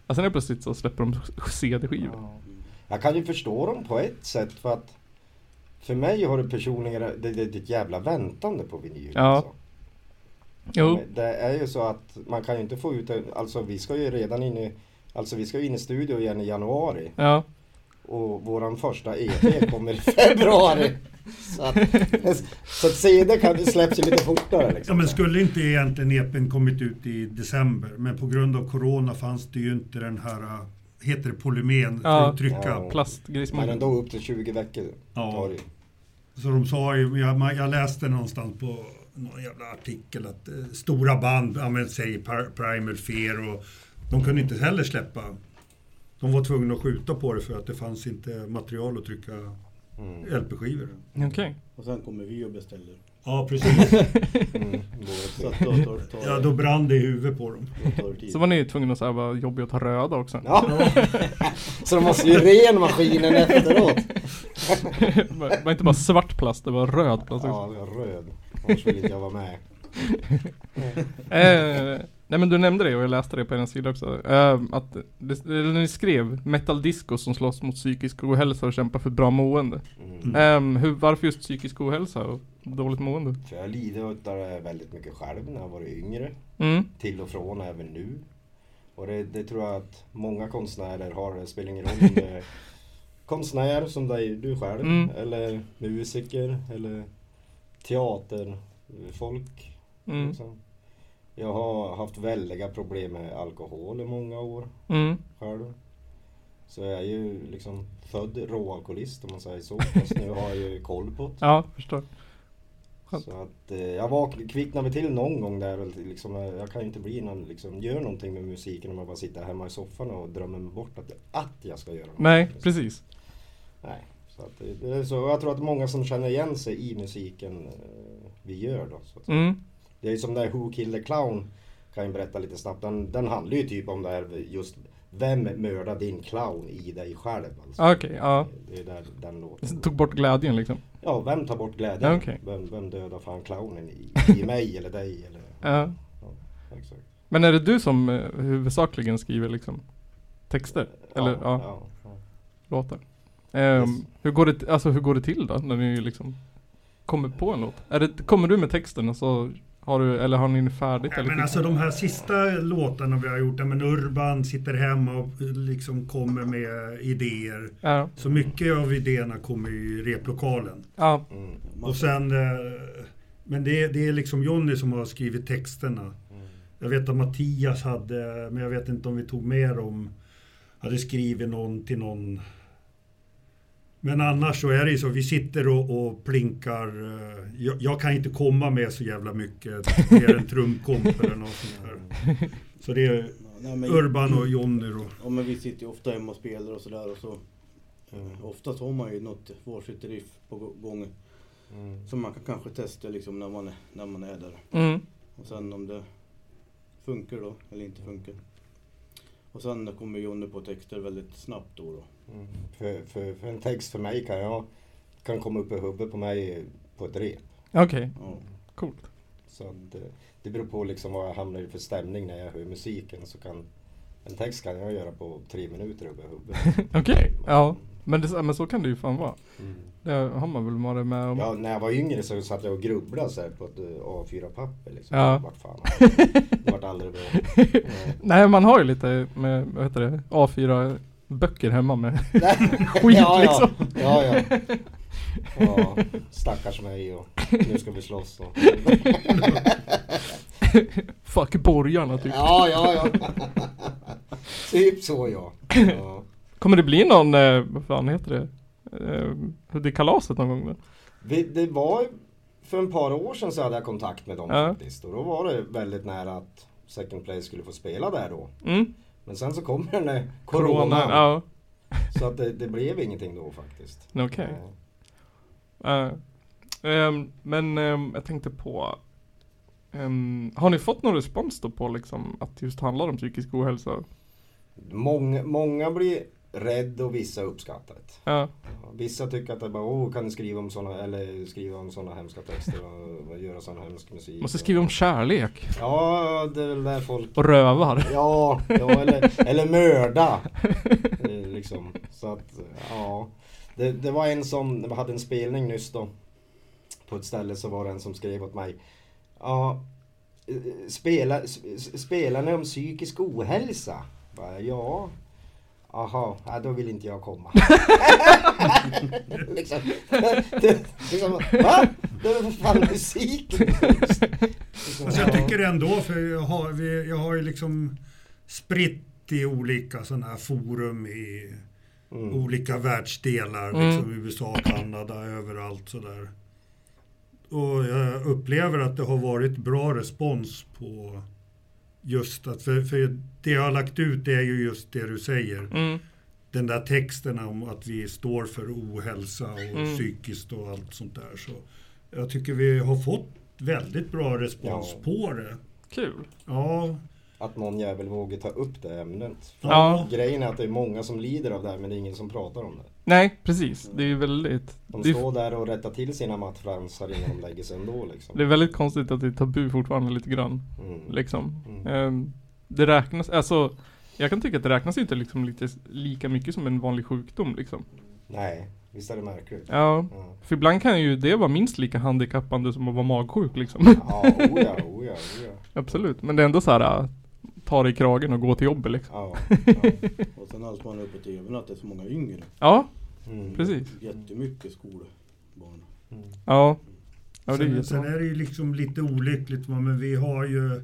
Speaker 3: Och sen är plötsligt så släpper de CD-skivor.
Speaker 4: Ja. Jag kan ju förstå dem på ett sätt för att för mig har det personligen, det, det, det är ett jävla väntande på vinyl.
Speaker 3: Ja.
Speaker 4: Alltså.
Speaker 3: Jo.
Speaker 4: Men Det är ju så att man kan ju inte få ut en- alltså vi ska ju redan in i, alltså vi ska ju in i studio igen i januari
Speaker 3: Ja.
Speaker 4: och våran första EP kommer i februari. Så att, så att CD kan, det släpps ju lite fortare
Speaker 5: Ja,
Speaker 4: liksom.
Speaker 5: men skulle inte egentligen EPn kommit ut i december, men på grund av corona fanns det ju inte den här, äh, heter det polymen, för
Speaker 3: Ja.
Speaker 5: att trycka.
Speaker 4: Ja. Men
Speaker 3: Plastgrismagen.
Speaker 4: ändå upp till 20 veckor tar det ju.
Speaker 5: Så de sa ju, jag, man- jag läste någonstans på någon jävla artikel att eh, stora band använde sig i Par- Primal Fear och de kunde inte heller släppa. De var tvungna att skjuta på det för att det fanns inte material att trycka
Speaker 4: Mm.
Speaker 5: LP-skivor.
Speaker 3: Okej.
Speaker 6: Och sen kommer vi och beställer.
Speaker 5: Ja, precis.
Speaker 4: Mm.
Speaker 6: Så att då tar, tar,
Speaker 5: Ja, då brann det i huvudet på dem.
Speaker 6: då tar det tid.
Speaker 3: Så var ni ju tvungna att säga vara jobbiga att ta röda också.
Speaker 4: Ja. Så de måste ju ren maskinen efteråt.
Speaker 3: det var var inte bara svart plast, det var röd plast också.
Speaker 4: Ja, jag är röd. Annars vill inte jag vara med.
Speaker 3: Eh, nej men du nämnde det och jag läste det på er sida också. Eh, att det, eller ni skrev metal disco som slåss mot psykisk ohälsa och kämpar för ett bra mående.
Speaker 4: Mm.
Speaker 3: Eh, hur, varför just psykisk ohälsa och dåligt mående?
Speaker 4: För jag lider av det väldigt mycket själv när jag var yngre.
Speaker 3: Mm.
Speaker 4: Till och från även nu. Och det, det tror jag att många konstnärer har. Det spelar ingen roll om det är konstnär som dig, du själv.
Speaker 3: Mm.
Speaker 4: Eller musiker. Eller teaterfolk.
Speaker 3: Mm.
Speaker 4: Liksom. Jag har haft väldiga problem med alkohol i många år.
Speaker 3: Mm.
Speaker 4: själv. Så jag är ju liksom född råalkoholist om man säger så. Fast nu har jag ju koll på det.
Speaker 3: Ja, förstår. skönt.
Speaker 4: Så att eh, jag vakn- kvicknar väl till någon gång där. väl, Liksom, eh, jag kan ju inte bli någon, liksom, gör någonting med musiken om jag bara sitter hemma i soffan och drömmer mig bort att, att jag ska göra någonting.
Speaker 3: Nej,
Speaker 4: liksom.
Speaker 3: precis.
Speaker 4: Nej. Så att, det- det är så, Och jag tror att många som känner igen sig i musiken eh, vi gör då. Så att, säga.
Speaker 3: Mm.
Speaker 4: Det är ju som där Who Killed the Clown. Kan jag berätta lite snabbt. Den, den handlar ju typ om det här just Vem mördar din clown i dig själv? Alltså.
Speaker 3: Ah, Okej, ja.
Speaker 4: Det är där den låten.
Speaker 3: Tog bort glädjen liksom.
Speaker 4: Ja, vem tar bort glädjen?
Speaker 3: Ja, okej.
Speaker 4: Vem, vem dödar fan clownen i, i mig eller dig? Eller...
Speaker 3: Ja.
Speaker 4: exakt.
Speaker 3: Eh, Men är det du som eh, huvudsakligen skriver liksom texter? Eller ja,
Speaker 4: ja, ja.
Speaker 3: låtar? Ehm,
Speaker 4: Yes.
Speaker 3: hur, går det, alltså, hur går det till då? När ni liksom kommer på en låt? Är det, kommer du med texten och så har du, eller har ni färdigt?
Speaker 5: Ja,
Speaker 3: eller
Speaker 5: men
Speaker 3: skick-
Speaker 5: alltså de här sista låtarna vi har gjort, ja, men Urban sitter hemma och eh, liksom kommer med idéer.
Speaker 3: ja,
Speaker 5: Så mycket av idéerna kommer i replokalen.
Speaker 3: ja,
Speaker 4: Mm.
Speaker 5: Och sen, eh, men det, det är liksom Jonny som har skrivit texterna.
Speaker 4: Mm.
Speaker 5: Jag vet att Mattias hade, men jag vet inte om vi tog med dem, hade skrivit någon till någon. Men annars så är det ju så, vi sitter och, och plinkar. eh, Jag, jag kan inte komma med så jävla mycket, mer än trumkomp eller något sånt där. Så det är
Speaker 6: Nej, men,
Speaker 5: Urban och Jonny då.
Speaker 6: ja, men vi sitter ju ofta hemma och spelar och sådär och så. Eh, oftast har man ju något varsitt riff på gå- gång
Speaker 4: Mm.
Speaker 6: som man kan kanske testa liksom när man är, när man är där.
Speaker 3: mm,
Speaker 6: Och sen om det funkar då, eller inte funkar. Och sen kommer Jonny på texter väldigt snabbt då. då.
Speaker 4: Mm. För, för, för en text för mig kan jag kan komma upp i huvudet på mig på ett rep.
Speaker 3: okej,
Speaker 6: Ja.
Speaker 3: coolt.
Speaker 4: Så att, eh, det beror på liksom vad jag hamnar i för stämning när jag hör musiken. Så kan, en text kan jag göra på tre minuter uppe i huvudet.
Speaker 3: Okej, ja. Men, det, men så kan det ju fan vara.
Speaker 4: Mm.
Speaker 3: Det har man väl varit med om.
Speaker 4: Ja, när jag var yngre så satt jag och grubblade så här på ett eh, A4-papper. Liksom.
Speaker 3: Ja.
Speaker 4: Vart fan. Det vart aldrig bra. Nej.
Speaker 3: Nej, man har ju lite med, vad heter det, A4 böcker hemma med. Skit
Speaker 4: ja, ja.
Speaker 3: liksom.
Speaker 4: Ja, ja. ja, stackars mig och nu ska vi slåss. Och.
Speaker 3: Fuck borgarna typ.
Speaker 4: Ja, ja, ja. Typ så ja. ja.
Speaker 3: Kommer det bli någon, eh, vad fan heter det? Eh, Hoodie-kalaset någon gång? då?
Speaker 4: Vi, det var för en par år sedan så hade jag kontakt med dem
Speaker 3: Ja.
Speaker 4: faktiskt. Och då var det väldigt nära att Second Place skulle få spela där då.
Speaker 3: Mm?
Speaker 4: Men sen så kom den där coronan.
Speaker 3: Ja,
Speaker 4: Så att det, det blev ingenting då faktiskt.
Speaker 3: nej, okej.
Speaker 4: Ja.
Speaker 3: Eh, ehm, men ehm, jag tänkte på ehm, Har ni fått någon respons då på liksom att det just handlar om psykisk ohälsa?
Speaker 4: Många, många blir rädd och vissa uppskattar det.
Speaker 3: Ja,
Speaker 4: Ja, Vissa tycker att det är bara, oh, kan ni skriva om såna, eller skriva om såna hemska texter och, och göra sån hemsk musik.
Speaker 3: måste skriva om kärlek
Speaker 4: Ja, det är väl där folk
Speaker 3: och rövar.
Speaker 4: Ja, ja eller, eller mörda. Eh, Liksom. Så att, ja. Det, det var en som vi hade en spelning nyss då. På ett ställe så var det en som skrev åt mig. Ja, eh, spela, s- s- spelar ni om psykisk ohälsa? Bara, ja. Aha, ja, då vill inte jag komma. liksom, det, liksom, va? Det är för fan musik! Liksom,
Speaker 5: Alltså jag tycker ändå, för jag har, vi, jag har ju liksom spritt i olika sådana här forum i
Speaker 4: Mm.
Speaker 5: olika världsdelar,
Speaker 3: Mm.
Speaker 5: liksom USA, Kanada, överallt sådär. Och jag upplever att det har varit bra respons på just att, för, för det jag har lagt ut det är ju just det du säger.
Speaker 3: Mm,
Speaker 5: Den där texten om att vi står för ohälsa och
Speaker 3: Mm.
Speaker 5: psykiskt och allt sånt där. Så jag tycker vi har fått väldigt bra respons
Speaker 4: Ja.
Speaker 5: på det.
Speaker 3: kul.
Speaker 5: Ja.
Speaker 4: att någon jävel vågar ta upp det ämnet.
Speaker 3: Ja.
Speaker 4: Grejen är att det är många som lider av det här men det är ingen som pratar om det.
Speaker 3: Nej, precis. Det är ju väldigt
Speaker 4: De
Speaker 3: det är,
Speaker 4: står där och rättar till sina mattfransar innan de lägger sig ändå
Speaker 3: det
Speaker 4: liksom.
Speaker 3: är väldigt konstigt att det är tabu fortfarande lite grann.
Speaker 4: Mm.
Speaker 3: Liksom.
Speaker 4: Mm.
Speaker 3: Ehm, det räknas, alltså jag kan tycka att det räknas inte liksom lite s- lika mycket som en vanlig sjukdom liksom.
Speaker 4: Nej, visst är det märkligt?
Speaker 3: Ja,
Speaker 4: Ja,
Speaker 3: för ibland kan ju det vara minst lika handikappande som att vara magsjuk liksom.
Speaker 4: ja oja, oja, oja.
Speaker 3: Absolut, men det är ändå så här äh, ta dig i kragen och gå till jobbet liksom.
Speaker 4: Ja, ja.
Speaker 6: Och sen alls man uppe på tvn E att det är så många yngre.
Speaker 3: Ja,
Speaker 4: Mm.
Speaker 3: precis.
Speaker 6: Jättemycket skolbarn.
Speaker 4: Mm.
Speaker 3: Ja. Ja, det är
Speaker 5: Sen, sen
Speaker 3: jättebra.
Speaker 5: är det ju liksom lite olyckligt, va, men vi har ju...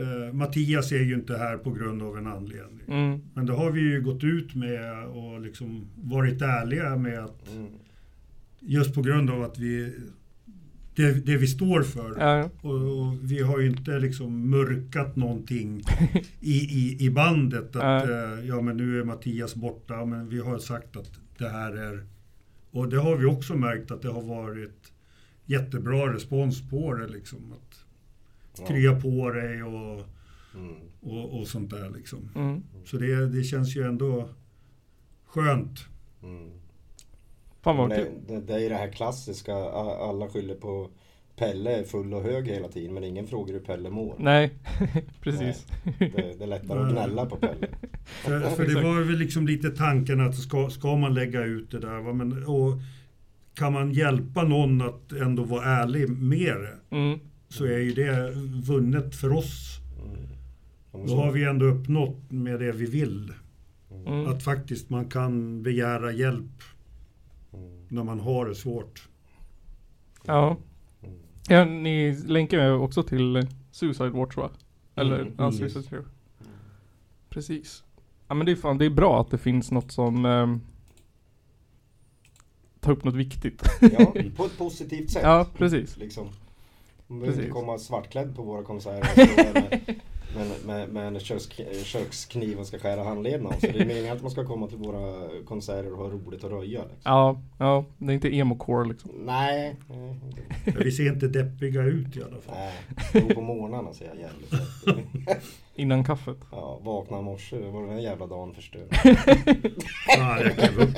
Speaker 5: Eh, Mattias är ju inte här på grund av en anledning.
Speaker 3: Mm,
Speaker 5: Men det har vi ju gått ut med och liksom varit ärliga med att
Speaker 4: Mm.
Speaker 5: just på grund av att vi... Det, det vi står för.
Speaker 3: ja, ja.
Speaker 5: Och, och vi har ju inte liksom mörkat någonting i, i, i bandet. Att eh, ja, men nu är Mattias borta, men vi har sagt att det här är... Och det har vi också märkt att det har varit jättebra respons på det. Liksom, att
Speaker 4: Ja.
Speaker 5: krya på dig och,
Speaker 4: Mm.
Speaker 5: och, och sånt där. Liksom.
Speaker 3: Mm.
Speaker 5: Så det, det känns ju ändå skönt.
Speaker 4: Mm.
Speaker 3: Fan vad
Speaker 4: Det,
Speaker 3: kul.
Speaker 4: det, det är ju det här klassiska, a- alla skyller på Pelle är full och hög hela tiden men ingen frågar hur Pelle mår.
Speaker 3: Nej, precis.
Speaker 4: Det, det är lättare att gnälla på Pelle.
Speaker 5: För, för det var väl liksom lite tanken att ska, ska man lägga ut det där? Va? Men, och kan man hjälpa någon att ändå vara ärlig med det
Speaker 3: Mm.
Speaker 5: så är ju det vunnet för oss. Då har vi ändå uppnått med det vi vill.
Speaker 3: Mm.
Speaker 5: Att faktiskt man kan begära hjälp när man har det svårt.
Speaker 3: Ja. ja. Ni länkar ju också till eh, Suicide Watch va? Eller
Speaker 4: Mm,
Speaker 3: ja,
Speaker 5: mm.
Speaker 3: Suicide Hero. Precis. Ja men det är fan, det är bra att det finns något som ehm, tar upp något viktigt.
Speaker 4: Ja, på ett positivt sätt.
Speaker 3: Ja, precis.
Speaker 4: Liksom. Man behöver inte
Speaker 3: Precis.
Speaker 4: komma svartklädd på våra konserter och stå där med, med, med, med en köks, kökskniv och ska skära handleden av. Så det är meningen att man ska komma till våra konserter och ha roligt och röja. Liksom.
Speaker 3: Ja, ja. Det är inte emo-core liksom.
Speaker 4: Nej, nej, inte-
Speaker 5: Men vi ser inte deppiga ut i alla fall.
Speaker 4: nej. Jo, på morgnarna ser jag jävligt trött.
Speaker 3: Innan kaffet.
Speaker 4: Ja, vakna i morse, det var den här jävla dagen förstörd.
Speaker 5: Ja, jag klev upp.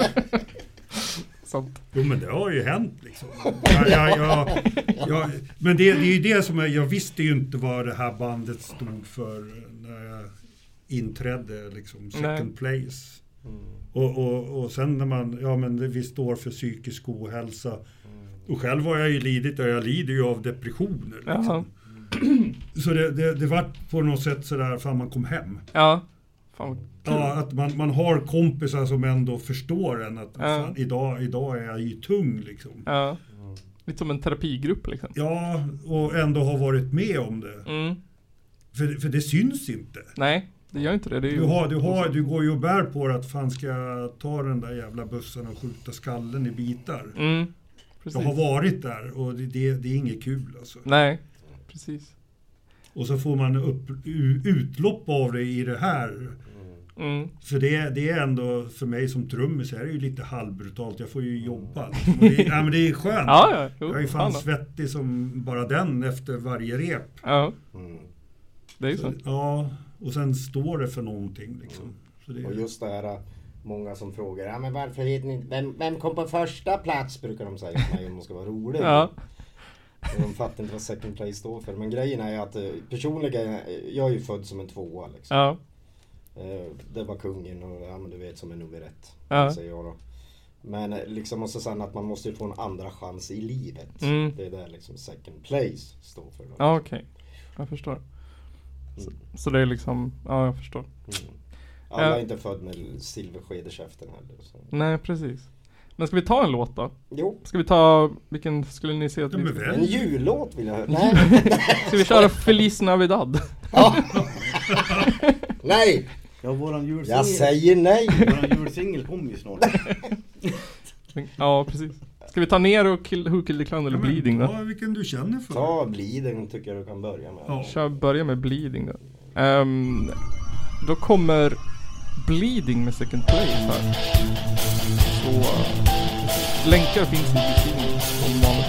Speaker 3: Sant.
Speaker 5: Jo men det har ju hänt liksom. Ja, ja, ja, ja. Men det, det är ju det som jag, jag visste ju inte vad det här bandet stod för när jag inträdde liksom second place. Och, och, och sen när man, ja men det, vi står för psykisk ohälsa. Och själv har jag ju lidit, och jag lider ju av depressioner.
Speaker 3: Jaha.
Speaker 5: Liksom. Så det, det, det var på något sätt sådär, fan man kom hem.
Speaker 3: Ja. Fan vad
Speaker 5: Ja, att man, man har kompisar som ändå förstår en att
Speaker 3: Ja.
Speaker 5: fan, idag, idag är jag ju tung liksom.
Speaker 3: Ja. Lite som en terapigrupp liksom.
Speaker 5: Ja, och ändå har varit med om det.
Speaker 3: Mm.
Speaker 5: För, för det syns inte.
Speaker 3: Nej. Det gör inte det. det är ju...
Speaker 5: Du, har, du, har, du går ju och bär på det att fan ska jag ta den där jävla bussen och skjuta skallen i bitar.
Speaker 3: Mm,
Speaker 5: Jag
Speaker 3: precis.
Speaker 5: har varit där och det, det, det är inget kul alltså.
Speaker 3: Nej, precis.
Speaker 5: Och så får man upp, u- utlopp av det i det här.
Speaker 3: Mm.
Speaker 5: Så det, det är ändå, för mig som trummis, är det ju lite halvbrutalt. Jag får ju jobba. Liksom. Och det, ja, men det är skönt.
Speaker 3: Ja, ja. Jo,
Speaker 5: Jag är ju
Speaker 3: fan
Speaker 5: fan
Speaker 3: då.
Speaker 5: svettig som bara den efter varje rep.
Speaker 3: Ja,
Speaker 4: Mm.
Speaker 3: det är ju så.
Speaker 5: Ja, och sen står det för någonting liksom. Så det,
Speaker 4: Och just det här, många som frågar, ja, men varför är ni, vem, vem kom på första plats? Brukar de säga till mig om de ska vara roliga.
Speaker 3: Ja.
Speaker 4: Och de fattar inte vad second place står för. Men grejen är ju att eh, personligen, eh, jag är ju född som en tvåa liksom.
Speaker 3: Ja,
Speaker 4: Eh, Det var kungen och ja men du vet som är nummer ett.
Speaker 3: ja.
Speaker 4: Säger jag då. Men eh, liksom också sen att man måste ju få en andra chans i livet.
Speaker 3: Mm.
Speaker 4: Det är där liksom second place står för. Då.
Speaker 3: Ja, okej. Jag förstår. Så,
Speaker 5: Mm.
Speaker 3: så det är liksom, ja jag förstår.
Speaker 4: Mm. Alla
Speaker 3: Ja.
Speaker 4: är inte född med silversked i käften heller. Så.
Speaker 3: Nej, precis. Men ska vi ta en låt då?
Speaker 4: Jo,
Speaker 3: Ska vi ta, vilken skulle ni se att
Speaker 5: ja,
Speaker 3: vi...
Speaker 5: men
Speaker 4: en
Speaker 5: väl.
Speaker 4: jullåt vill jag höra. Nej,
Speaker 3: Ska vi köra Feliz Navidad?
Speaker 4: nej!
Speaker 6: Ja, våran
Speaker 4: Jag
Speaker 6: julsingel.
Speaker 4: säger nej!
Speaker 6: Våran julsingel kommer ju snart.
Speaker 3: Ja, precis. Ska vi ta ner och kill, Who Killed the Clown eller
Speaker 5: Ja, men,
Speaker 3: Bleeding då?
Speaker 5: Ja, vilken du känner för.
Speaker 4: Ta Bliden tycker jag du kan börja med.
Speaker 5: Ja.
Speaker 3: Kör, börja med Bleeding då. Ehm, då kommer Bleeding med Second Place här. Så eh, länkar finns i beskrivningen som vanligt.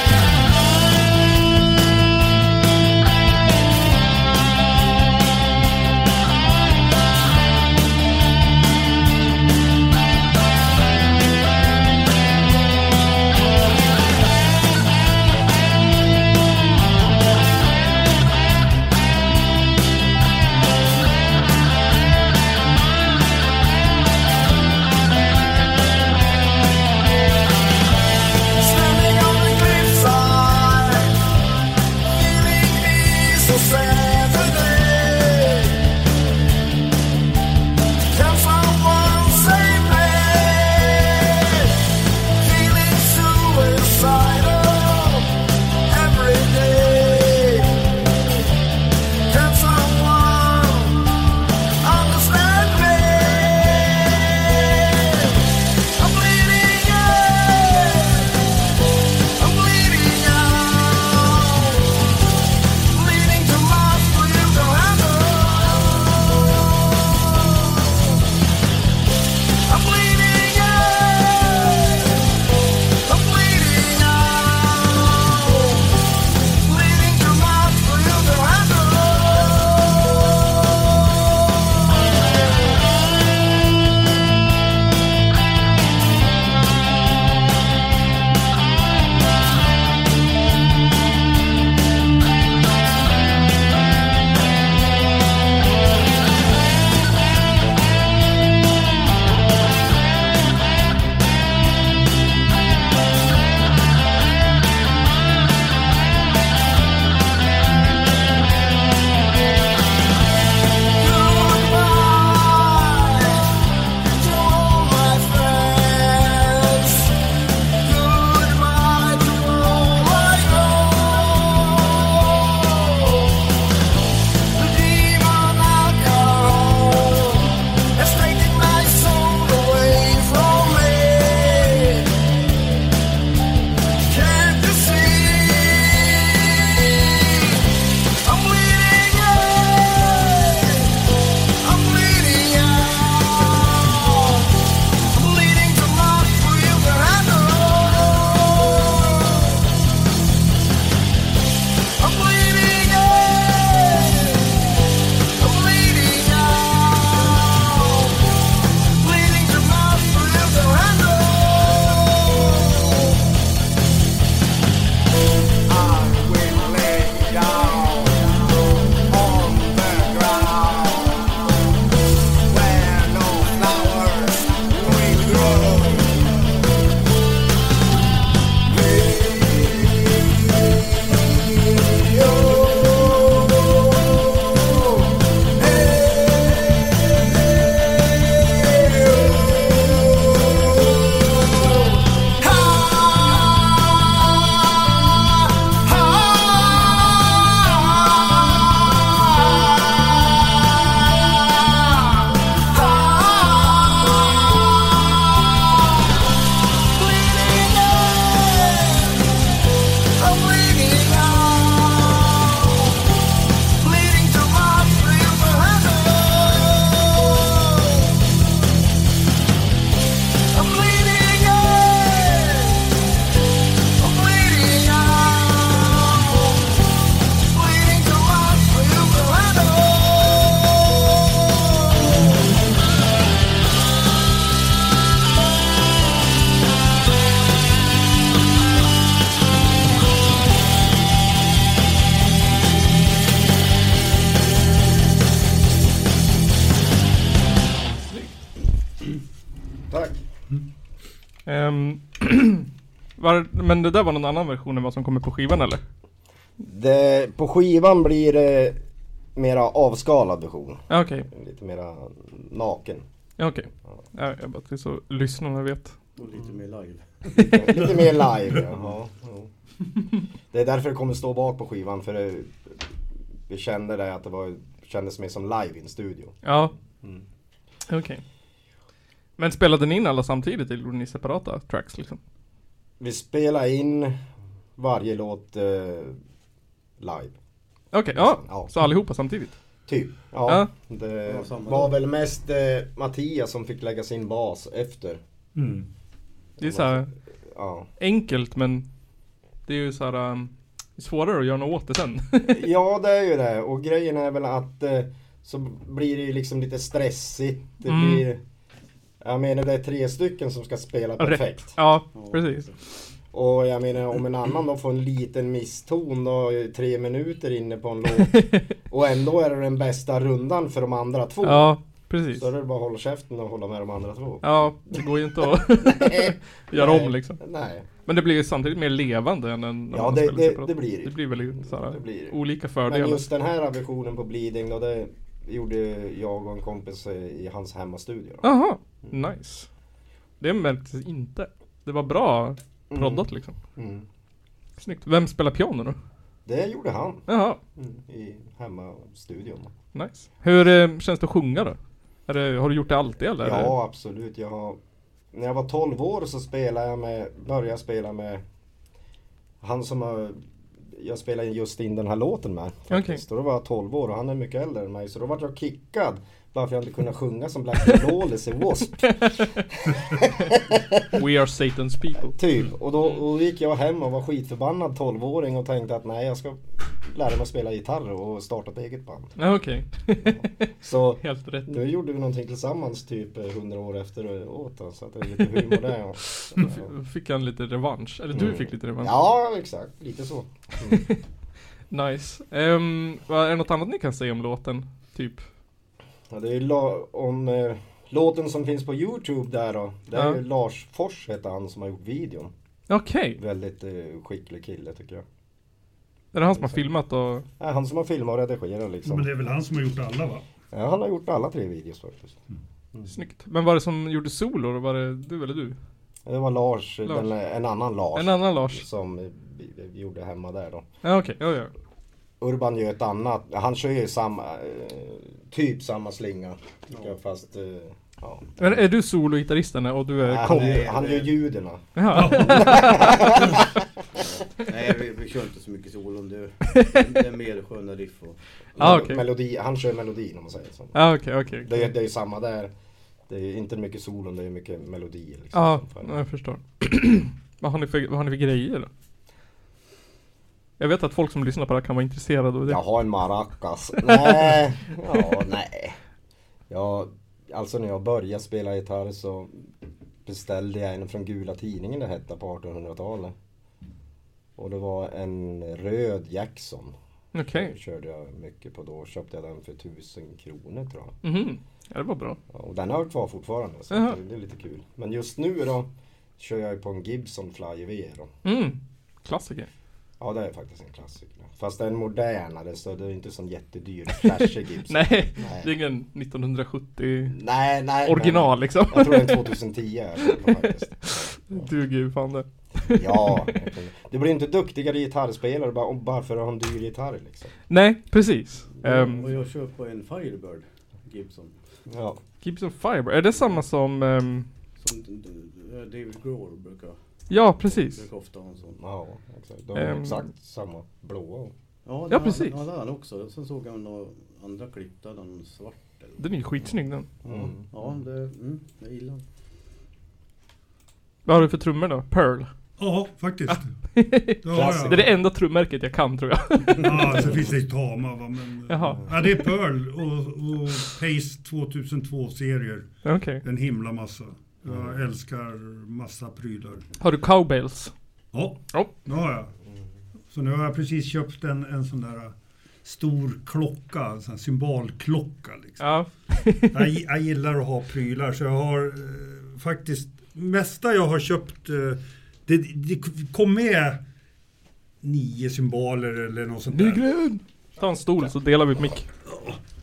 Speaker 2: Thank
Speaker 4: Tack.
Speaker 3: Ehm, var, men det där var någon annan version än vad som kommer på skivan eller?
Speaker 4: Det, på skivan blir det mera avskalad version.
Speaker 3: Ja okej,
Speaker 4: Lite mera naken.
Speaker 3: ja okej. Ja, jag bara till så lyssnarna vet.
Speaker 6: Och lite mer live.
Speaker 4: Lite mer live. Ja. ja. Det är därför det kommer stå bak på skivan. För det, vi kände det att det var, kändes mer som live i en studio.
Speaker 3: Ja, okej. Men spelade ni in alla samtidigt eller gjorde ni separata tracks liksom?
Speaker 4: Vi spelar in varje låt eh, live.
Speaker 3: Okej, ja.
Speaker 4: Ja.
Speaker 3: Så allihopa samtidigt?
Speaker 4: Typ. Ja.
Speaker 3: Ja.
Speaker 4: Det
Speaker 6: Ja, samma
Speaker 4: var
Speaker 6: dag.
Speaker 4: väl mest eh, Mattias som fick lägga sin bas efter.
Speaker 5: Mm.
Speaker 3: Det är så här
Speaker 4: Ja,
Speaker 3: enkelt men det är ju så här um, svårare att göra något åt det sen.
Speaker 4: ja det är ju det. Och grejen är väl att eh, så blir det ju liksom lite stressigt. Det
Speaker 3: Mm.
Speaker 4: blir... Jag menar det är tre stycken som ska spela perfekt.
Speaker 3: Ja,
Speaker 6: Ja.
Speaker 3: precis.
Speaker 4: Och jag menar om en annan då får en liten miston då i tre minuter inne på en låt. Och ändå är det den bästa rundan för de andra två.
Speaker 3: Ja, precis.
Speaker 4: Så är det bara att hålla käften och hålla med de andra två.
Speaker 3: Ja, det går ju inte att göra om liksom.
Speaker 4: Eh, Nej,
Speaker 3: Men det blir ju samtidigt mer levande än en
Speaker 4: Ja, det- det-
Speaker 3: separat.
Speaker 4: det blir det.
Speaker 3: Det blir väl så här,
Speaker 4: Det blir det.
Speaker 3: olika
Speaker 4: men
Speaker 3: fördelar.
Speaker 4: just den här versionen på Bleeding då det gjorde jag och en kompis eh, i hans hemmastudio. Då.
Speaker 3: Jaha,
Speaker 4: Mm.
Speaker 3: nice. Det märktes inte. Det var bra proddat liksom.
Speaker 4: Mm.
Speaker 3: Snyggt. Vem spelar piano då?
Speaker 4: Det gjorde han
Speaker 3: Jaha,
Speaker 4: mm. i hemmastudion.
Speaker 3: nice. Hur eh, känns det att sjunga då? Är det, har du gjort det alltid eller?
Speaker 4: Ja absolut, jag har... När jag var 12 år så spelade jag med, började jag spela med han som har, jag spelade just in den här låten med. faktiskt. Och då var jag 12 år och han är mycket äldre än mig så då var jag kickad. Bara för jag inte kunde sjunga som Black Lawless i W.A.S.P.
Speaker 3: We are Satan's people.
Speaker 4: Typ. Och då, och då gick jag hem och var skitförbannad 12-åring och tänkte att nej jag ska lära mig att spela gitarr och starta ett eget band.
Speaker 3: Ja, Okej,
Speaker 4: Så
Speaker 3: helt rätt.
Speaker 4: nu gjorde vi någonting tillsammans typ eh, 100 år efteråt. då, Så att det är lite humor där. ja.
Speaker 3: Då f- fick han lite revansch. Eller du
Speaker 4: Mm.
Speaker 3: fick lite revansch.
Speaker 4: Ja exakt, lite så.
Speaker 3: Nice. Ehm, vad är det något annat ni kan säga om låten? Typ?
Speaker 4: Ja, det är ju la- om eh, låten som finns på Youtube där då. Det är
Speaker 3: Ja.
Speaker 4: ju Lars Fors heter han som har gjort videon.
Speaker 3: Okej.
Speaker 4: Väldigt eh, skicklig kille tycker jag.
Speaker 3: Är det han som har filmat och...
Speaker 4: Ja, han som har filmat och redigerat liksom.
Speaker 3: Mm.
Speaker 5: Men det är väl han som har gjort alla va?
Speaker 4: Ja, han har gjort alla tre videos faktiskt.
Speaker 3: Snyggt. Men var det som gjorde solo? Var det du eller du?
Speaker 4: Ja, Det var Lars,
Speaker 3: Lars.
Speaker 4: Den, en annan Lars.
Speaker 3: En annan Lars?
Speaker 4: Som eh, vi, vi gjorde hemma där då.
Speaker 3: Ja okej, ja ja.
Speaker 4: Urban gör ett annat. Han kör ju samma, eh, typ samma slinga. tycker jag, Fast, eh, ja.
Speaker 3: Men är du sologitarristen och du är
Speaker 4: han,
Speaker 3: kom?
Speaker 4: är- han gör ljuderna.
Speaker 3: Jaha.
Speaker 6: Nej, vi, vi kör inte så mycket solon. Det, det är mer sköna riff och...
Speaker 3: Ja Ah, okej.
Speaker 4: Melodi, han kör melodin om man säger så.
Speaker 3: Ja okej, okej.
Speaker 4: Det är, det är ju samma där. Det är inte mycket solon, det är mycket melodier. Liksom,
Speaker 3: Ja,
Speaker 4: som för-
Speaker 3: jag förstår. vad, har ni för, vad har ni för grejer då? Jag vet att folk som lyssnar på det här kan vara intresserade av det.
Speaker 4: Jag har en maracas. nej, ja, nej. Ja, alltså när jag började spela gitarr så beställde jag en från Gula Tidningen det hette på 1800-talet. Och det var en röd Jackson.
Speaker 3: Okej.
Speaker 4: Den körde jag mycket på då. Köpte jag den för 1000 kronor tror jag.
Speaker 3: Mhm. Ja det var bra.
Speaker 4: Ja, Och den har jag kvar fortfarande så
Speaker 3: Jaha.
Speaker 4: det, det är lite kul. Men just nu då kör jag ju på en Gibson Fly V då.
Speaker 3: Mm. Klassiker.
Speaker 4: Ja det är faktiskt en klassiker. Fast det är en modernare så det är inte sån jättedyr flashig Gibson.
Speaker 3: Nej,
Speaker 4: Nej.
Speaker 3: det är ingen 1970
Speaker 4: Nej, nej.
Speaker 3: original liksom.
Speaker 4: Men, jag tror det är en 2010 jag köper faktiskt.
Speaker 3: Duger ju fan det.
Speaker 4: Ja. jag tror det. Du blir inte duktigare gitarrspelare bara, bara för att ha en dyr gitarr liksom.
Speaker 3: Nej, precis. Ehm,
Speaker 6: och jag kör på en Firebird Gibson.
Speaker 4: Ja.
Speaker 3: Gibson Firebird, är det samma som... ehm,
Speaker 6: Som d- d- David Grohl brukar,
Speaker 3: ja, precis.
Speaker 6: brukar ofta ha en sån.
Speaker 4: Ja, exakt. De är
Speaker 3: Ehm.
Speaker 4: exakt samma blåa.
Speaker 6: Ja,
Speaker 3: Ja,
Speaker 6: den-
Speaker 3: precis.
Speaker 6: Ja, det har han också. Sen såg jag några andra klipp där den svart. Eller.
Speaker 3: Den är ju skitsnygg den.
Speaker 4: Mm.
Speaker 6: Ja, det, mm, jag gillar den.
Speaker 3: Vad har du för trummor då? Pearl?
Speaker 5: Ja, faktiskt. Det har
Speaker 4: Klassiker.
Speaker 3: Det är
Speaker 5: jag.
Speaker 3: det enda trummärket jag kan tror jag.
Speaker 5: Ja, sen finns det ju tama va. Men,
Speaker 3: Jaha.
Speaker 5: ja, det är Pearl och, och Pace 2002-serier.
Speaker 3: Okej.
Speaker 5: En himla massa.
Speaker 3: Mm.
Speaker 5: Jag älskar massa prylar.
Speaker 3: Har du cowbells?
Speaker 5: Ja,
Speaker 3: Ja.
Speaker 5: det har jag. Så nu har jag precis köpt en, en sån där stor klocka, en sån här symbolklocka. Liksom.
Speaker 3: Ja.
Speaker 5: Jag, gi- jag gillar att ha prylar så jag har eh, faktiskt, mesta jag har köpt, eh, det, det kom med nio symboler eller något sånt där.
Speaker 3: Nygren! Ta en stol så delar vi på mick.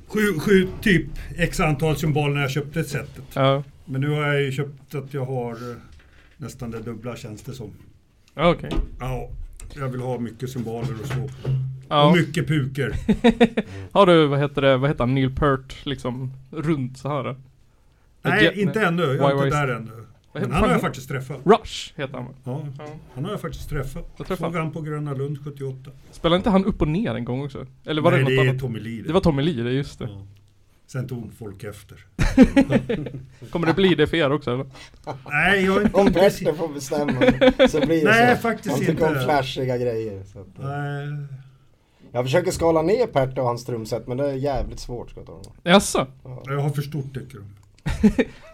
Speaker 5: Sju, sju typ x antal symboler när jag köpte setet.
Speaker 3: Ja,
Speaker 5: Men nu har jag ju köpt att jag har eh, nästan det dubbla känns det som.
Speaker 3: Ja, okej.
Speaker 5: Ja, jag vill ha mycket symboler och så.
Speaker 3: Ja.
Speaker 5: Och mycket puker.
Speaker 3: Har du, vad heter det, vad heter han, Neil Peart liksom runt så här? då? Ja,
Speaker 5: Nej, inte ännu. Jag är
Speaker 3: Why
Speaker 5: inte
Speaker 3: waste?
Speaker 5: där ännu. Men
Speaker 3: fan
Speaker 5: han har jag
Speaker 3: heter-
Speaker 5: faktiskt träffat.
Speaker 3: Rush heter han va?
Speaker 5: Ja,
Speaker 3: Ja.
Speaker 5: han har jag faktiskt träffat.
Speaker 3: Jag träffade
Speaker 5: Såg han på Gröna Lund 78.
Speaker 3: Spelade inte han upp och ner en gång också? Eller var
Speaker 5: Nej,
Speaker 3: det
Speaker 5: det,
Speaker 3: något
Speaker 5: är
Speaker 3: annat?
Speaker 5: Tommy Lee.
Speaker 3: Det var Tommy Lee, det är just det.
Speaker 5: Ja. Sen tog folk efter.
Speaker 3: Kommer det bli det för er också eller?
Speaker 5: Nej, jag är inte...
Speaker 4: Om prästen får bestämma så blir det
Speaker 5: Nej,
Speaker 4: så.
Speaker 5: faktiskt
Speaker 4: Han tycker
Speaker 5: inte.
Speaker 4: om flashiga grejer. Så att, eh.
Speaker 5: Nej,
Speaker 4: jag försöker skala ner Pert och hans trumset men det är jävligt svårt. Ska jag tala om.
Speaker 3: Jaså?
Speaker 5: jag har för stort tycker de.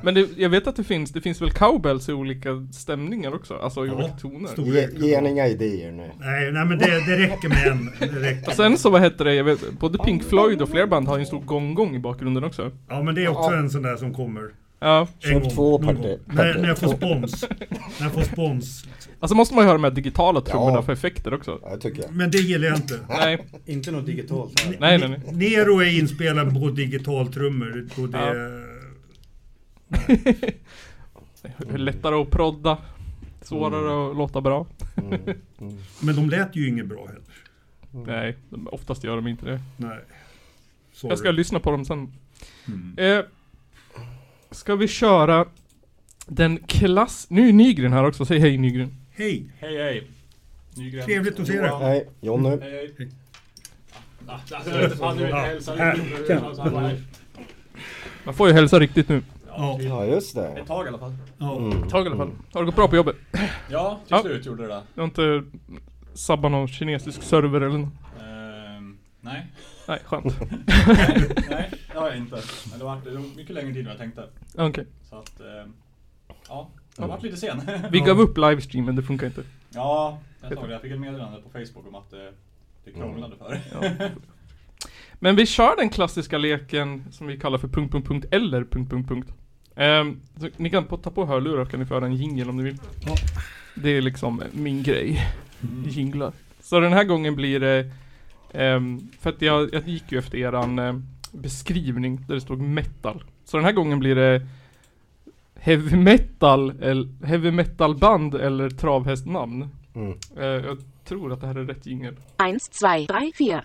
Speaker 3: Men det, jag vet att det finns, det finns väl cowbells i olika stämningar också? Alltså i
Speaker 5: Ja,
Speaker 3: olika toner?
Speaker 5: stor.
Speaker 4: Ge, ge han inga idéer nu.
Speaker 5: Nej, nej men det, det räcker med en. Det räcker.
Speaker 3: Och sen så, vad heter det, jag vet, både Pink Floyd och fler band har ju en stor gong-gong i bakgrunden också.
Speaker 5: Ja, men det är också en sån där som kommer.
Speaker 3: Ja,
Speaker 4: Köp två
Speaker 5: någon
Speaker 4: parti-
Speaker 5: gång. När,
Speaker 4: parti-
Speaker 5: när jag får spons. när jag får spons. liksom.
Speaker 3: alltså måste man ju höra de här digitala trummorna
Speaker 4: Ja.
Speaker 3: för effekter också.
Speaker 4: Ja, det tycker jag.
Speaker 5: Men det gillar jag inte.
Speaker 3: Nej,
Speaker 6: Inte något digitalt här.
Speaker 3: nej, nej. nej.
Speaker 5: Nero är inspelad på digitaltrummor. Och det,
Speaker 3: Det är Lättare att prodda,
Speaker 5: Mm.
Speaker 3: svårare att låta bra.
Speaker 5: Men de lät ju inget bra heller. Mm.
Speaker 3: Nej, de- oftast gör de inte det.
Speaker 5: Nej. Sorry.
Speaker 3: Jag ska lyssna på dem sen. Eh, ska vi köra den klass... Nu är Nygren här också, säg hej Nygren.
Speaker 5: Hej!
Speaker 2: Hej hej! Nygren.
Speaker 5: Trevligt att se dig.
Speaker 4: Hej, Jonny.
Speaker 2: Hej hej! Ah, alltså, jag vet inte fan, du
Speaker 5: Ja.
Speaker 2: hälsade
Speaker 5: Här.
Speaker 2: inte. Alltså, han var här.
Speaker 3: Man får ju hälsa riktigt nu.
Speaker 5: Ja,
Speaker 4: Ja, just
Speaker 2: Ett
Speaker 4: det.
Speaker 2: tag i alla fall.
Speaker 5: ja.
Speaker 3: Ett tag i alla fall. Har det gått bra på jobbet?
Speaker 2: Ja, till
Speaker 3: Ja.
Speaker 2: slut gjorde det det.
Speaker 3: Jag har inte sabbat någon kinesisk server eller något.
Speaker 2: Ehm, nej.
Speaker 3: Nej, skönt.
Speaker 2: nej, det har jag inte. Men det var, det var mycket längre tid än vad jag tänkte.
Speaker 3: Okej.
Speaker 2: Så att, ehm, ja. Jag varit lite sen.
Speaker 3: Vi gav upp livestreamen, det funkar inte.
Speaker 2: ja, jag såg det. Jag fick ett meddelande på Facebook om att eh, det krånglade för
Speaker 3: Men vi kör den klassiska leken som vi kallar för punkt, punkt, punkt eller punkt, punkt, punkt. Ehm, så ni kan på, ta på hörlurar kan ni föra en jingel om ni vill.
Speaker 5: Ja.
Speaker 3: Det är liksom min grej. Mm.
Speaker 2: Mm.
Speaker 3: Jinglar. Så den här gången blir det ehm, För att jag, jag gick ju efter eran eh, beskrivning där det stod metal. Så den här gången blir det Heavy metal, eller heavy metal band eller travhästnamn.
Speaker 4: Mm.
Speaker 3: Eh, jag tror att det här är rätt jingel.
Speaker 7: 1, 2, 3, 4.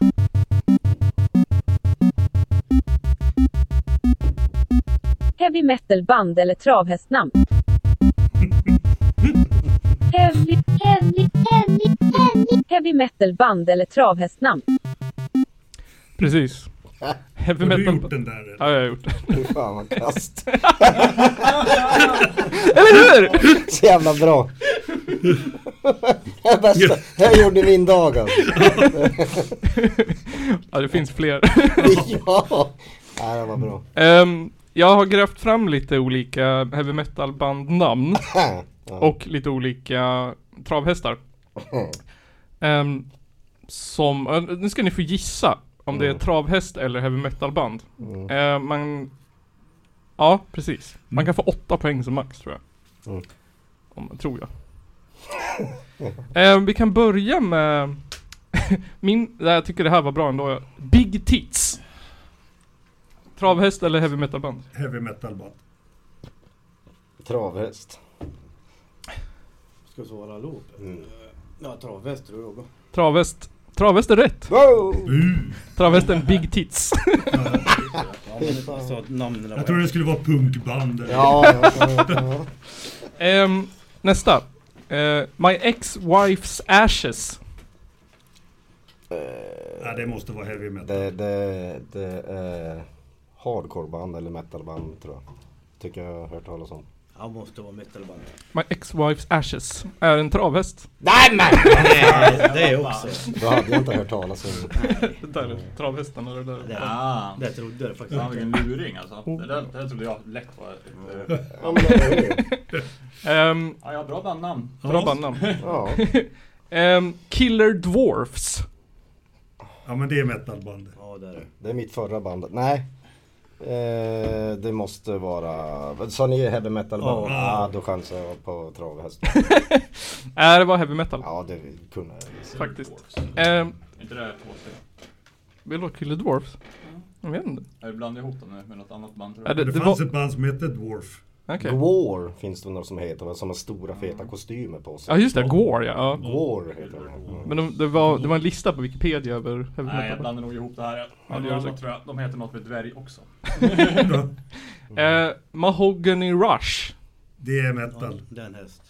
Speaker 8: Heavy metal band eller travhästnamn. heavy, heavy, heavy, heavy. Heavy metal band eller travhästnamn.
Speaker 3: Precis. Heavy
Speaker 5: Har du
Speaker 3: metal
Speaker 5: gjort
Speaker 3: band.
Speaker 5: den där? eller?
Speaker 3: Ja, jag har gjort det.
Speaker 4: Fy fan vad kast.
Speaker 3: Eller hur?
Speaker 4: Så jävla bra. Det är bästa. Det här gjorde min dag alltså.
Speaker 3: Ja, det finns fler.
Speaker 4: Ja. Nej, det var bra.
Speaker 3: Ehm, jag har grävt fram lite olika heavy metal bandnamn
Speaker 4: Ja.
Speaker 3: och lite olika travhästar. Ehm, som, eh, nu ska ni få gissa om det är travhäst eller heavy metal band.
Speaker 4: Mm.
Speaker 3: Ehm, man, ja, precis. Man kan få åtta poäng som max tror jag.
Speaker 4: Mm.
Speaker 3: Om, tror jag. Ehm, vi kan börja med min, nej, jag tycker det här var bra ändå. Big Tits. Travhäst eller heavy metal band?
Speaker 5: Heavy metal band.
Speaker 4: Travhäst.
Speaker 6: Ska svara låt? Ja, travhäst tror jag. då.
Speaker 3: Travhäst. Travhäst är rätt.
Speaker 4: Wow!
Speaker 3: Travhästen Big Tits.
Speaker 6: Ja, men jag sa att namnen
Speaker 5: Jag trodde det skulle vara punkband. eller-
Speaker 4: Ja, ja, ja, ja.
Speaker 3: Ehm, nästa. Eh, my ex-wife's ashes.
Speaker 5: Ja, det måste vara heavy metal.
Speaker 4: Det, det, det är hardcoreband eller metalband tror jag. Tycker jag har hört talas om.
Speaker 6: Han måste vara metalband.
Speaker 3: My ex-wife's ashes. Är en travhäst.
Speaker 6: Det är också.
Speaker 4: Då hade jag inte hört talas om.
Speaker 3: Det där är travhästen eller det där.
Speaker 2: Ja,
Speaker 6: Det trodde jag faktiskt.
Speaker 2: fan vilken luring alltså.
Speaker 3: Oh.
Speaker 2: Det där, det där trodde jag lätt var
Speaker 3: Mm.
Speaker 2: ett... eh,
Speaker 4: Ja, men det är ju-
Speaker 3: Ehm,
Speaker 2: Ja, jag har bra bandnamn.
Speaker 3: bra bandnamn.
Speaker 4: ja.
Speaker 3: Ehm, Killer Dwarfs.
Speaker 5: Ja, men det är metalband.
Speaker 6: Ja, det är det.
Speaker 4: Det är mitt förra band. Nej. Eh, det måste vara... Sa ni heavy metal?
Speaker 5: Ja.
Speaker 4: Ja. Ah, då chansar jag på travhäst.
Speaker 3: Äh, det var heavy metal.
Speaker 4: Ja, det kunde jag.
Speaker 3: Faktiskt.
Speaker 2: Dwarfs. Är
Speaker 3: Ehm,
Speaker 2: inte det två stycken?
Speaker 3: vill du ha Killer Dwarfs? Jag vet inte.
Speaker 2: Jag blandar ihop dem nu med något annat band tror
Speaker 3: Är
Speaker 2: jag.
Speaker 3: det,
Speaker 5: Det
Speaker 3: det
Speaker 5: fanns
Speaker 3: var...
Speaker 5: ett band som hette Dwarf.
Speaker 3: Okej. Mm.
Speaker 4: Gwar finns det något som heter, va, som har stora feta kostymer på sig.
Speaker 3: Ja just det, Gore ja. ja.
Speaker 4: Gwar heter det. Mm.
Speaker 3: Men de, det, var, det var en lista på Wikipedia över heavy
Speaker 2: Nej, jag
Speaker 3: metal.
Speaker 2: blandar nog ihop det här.
Speaker 3: Ja,
Speaker 2: Jag ja,
Speaker 3: det
Speaker 2: det
Speaker 3: gör det
Speaker 2: annat, tror jag. De heter något med dvärg också.
Speaker 3: Eh, Mahogany Rush.
Speaker 5: Det är
Speaker 6: Ja,
Speaker 5: metal.
Speaker 6: det är en häst.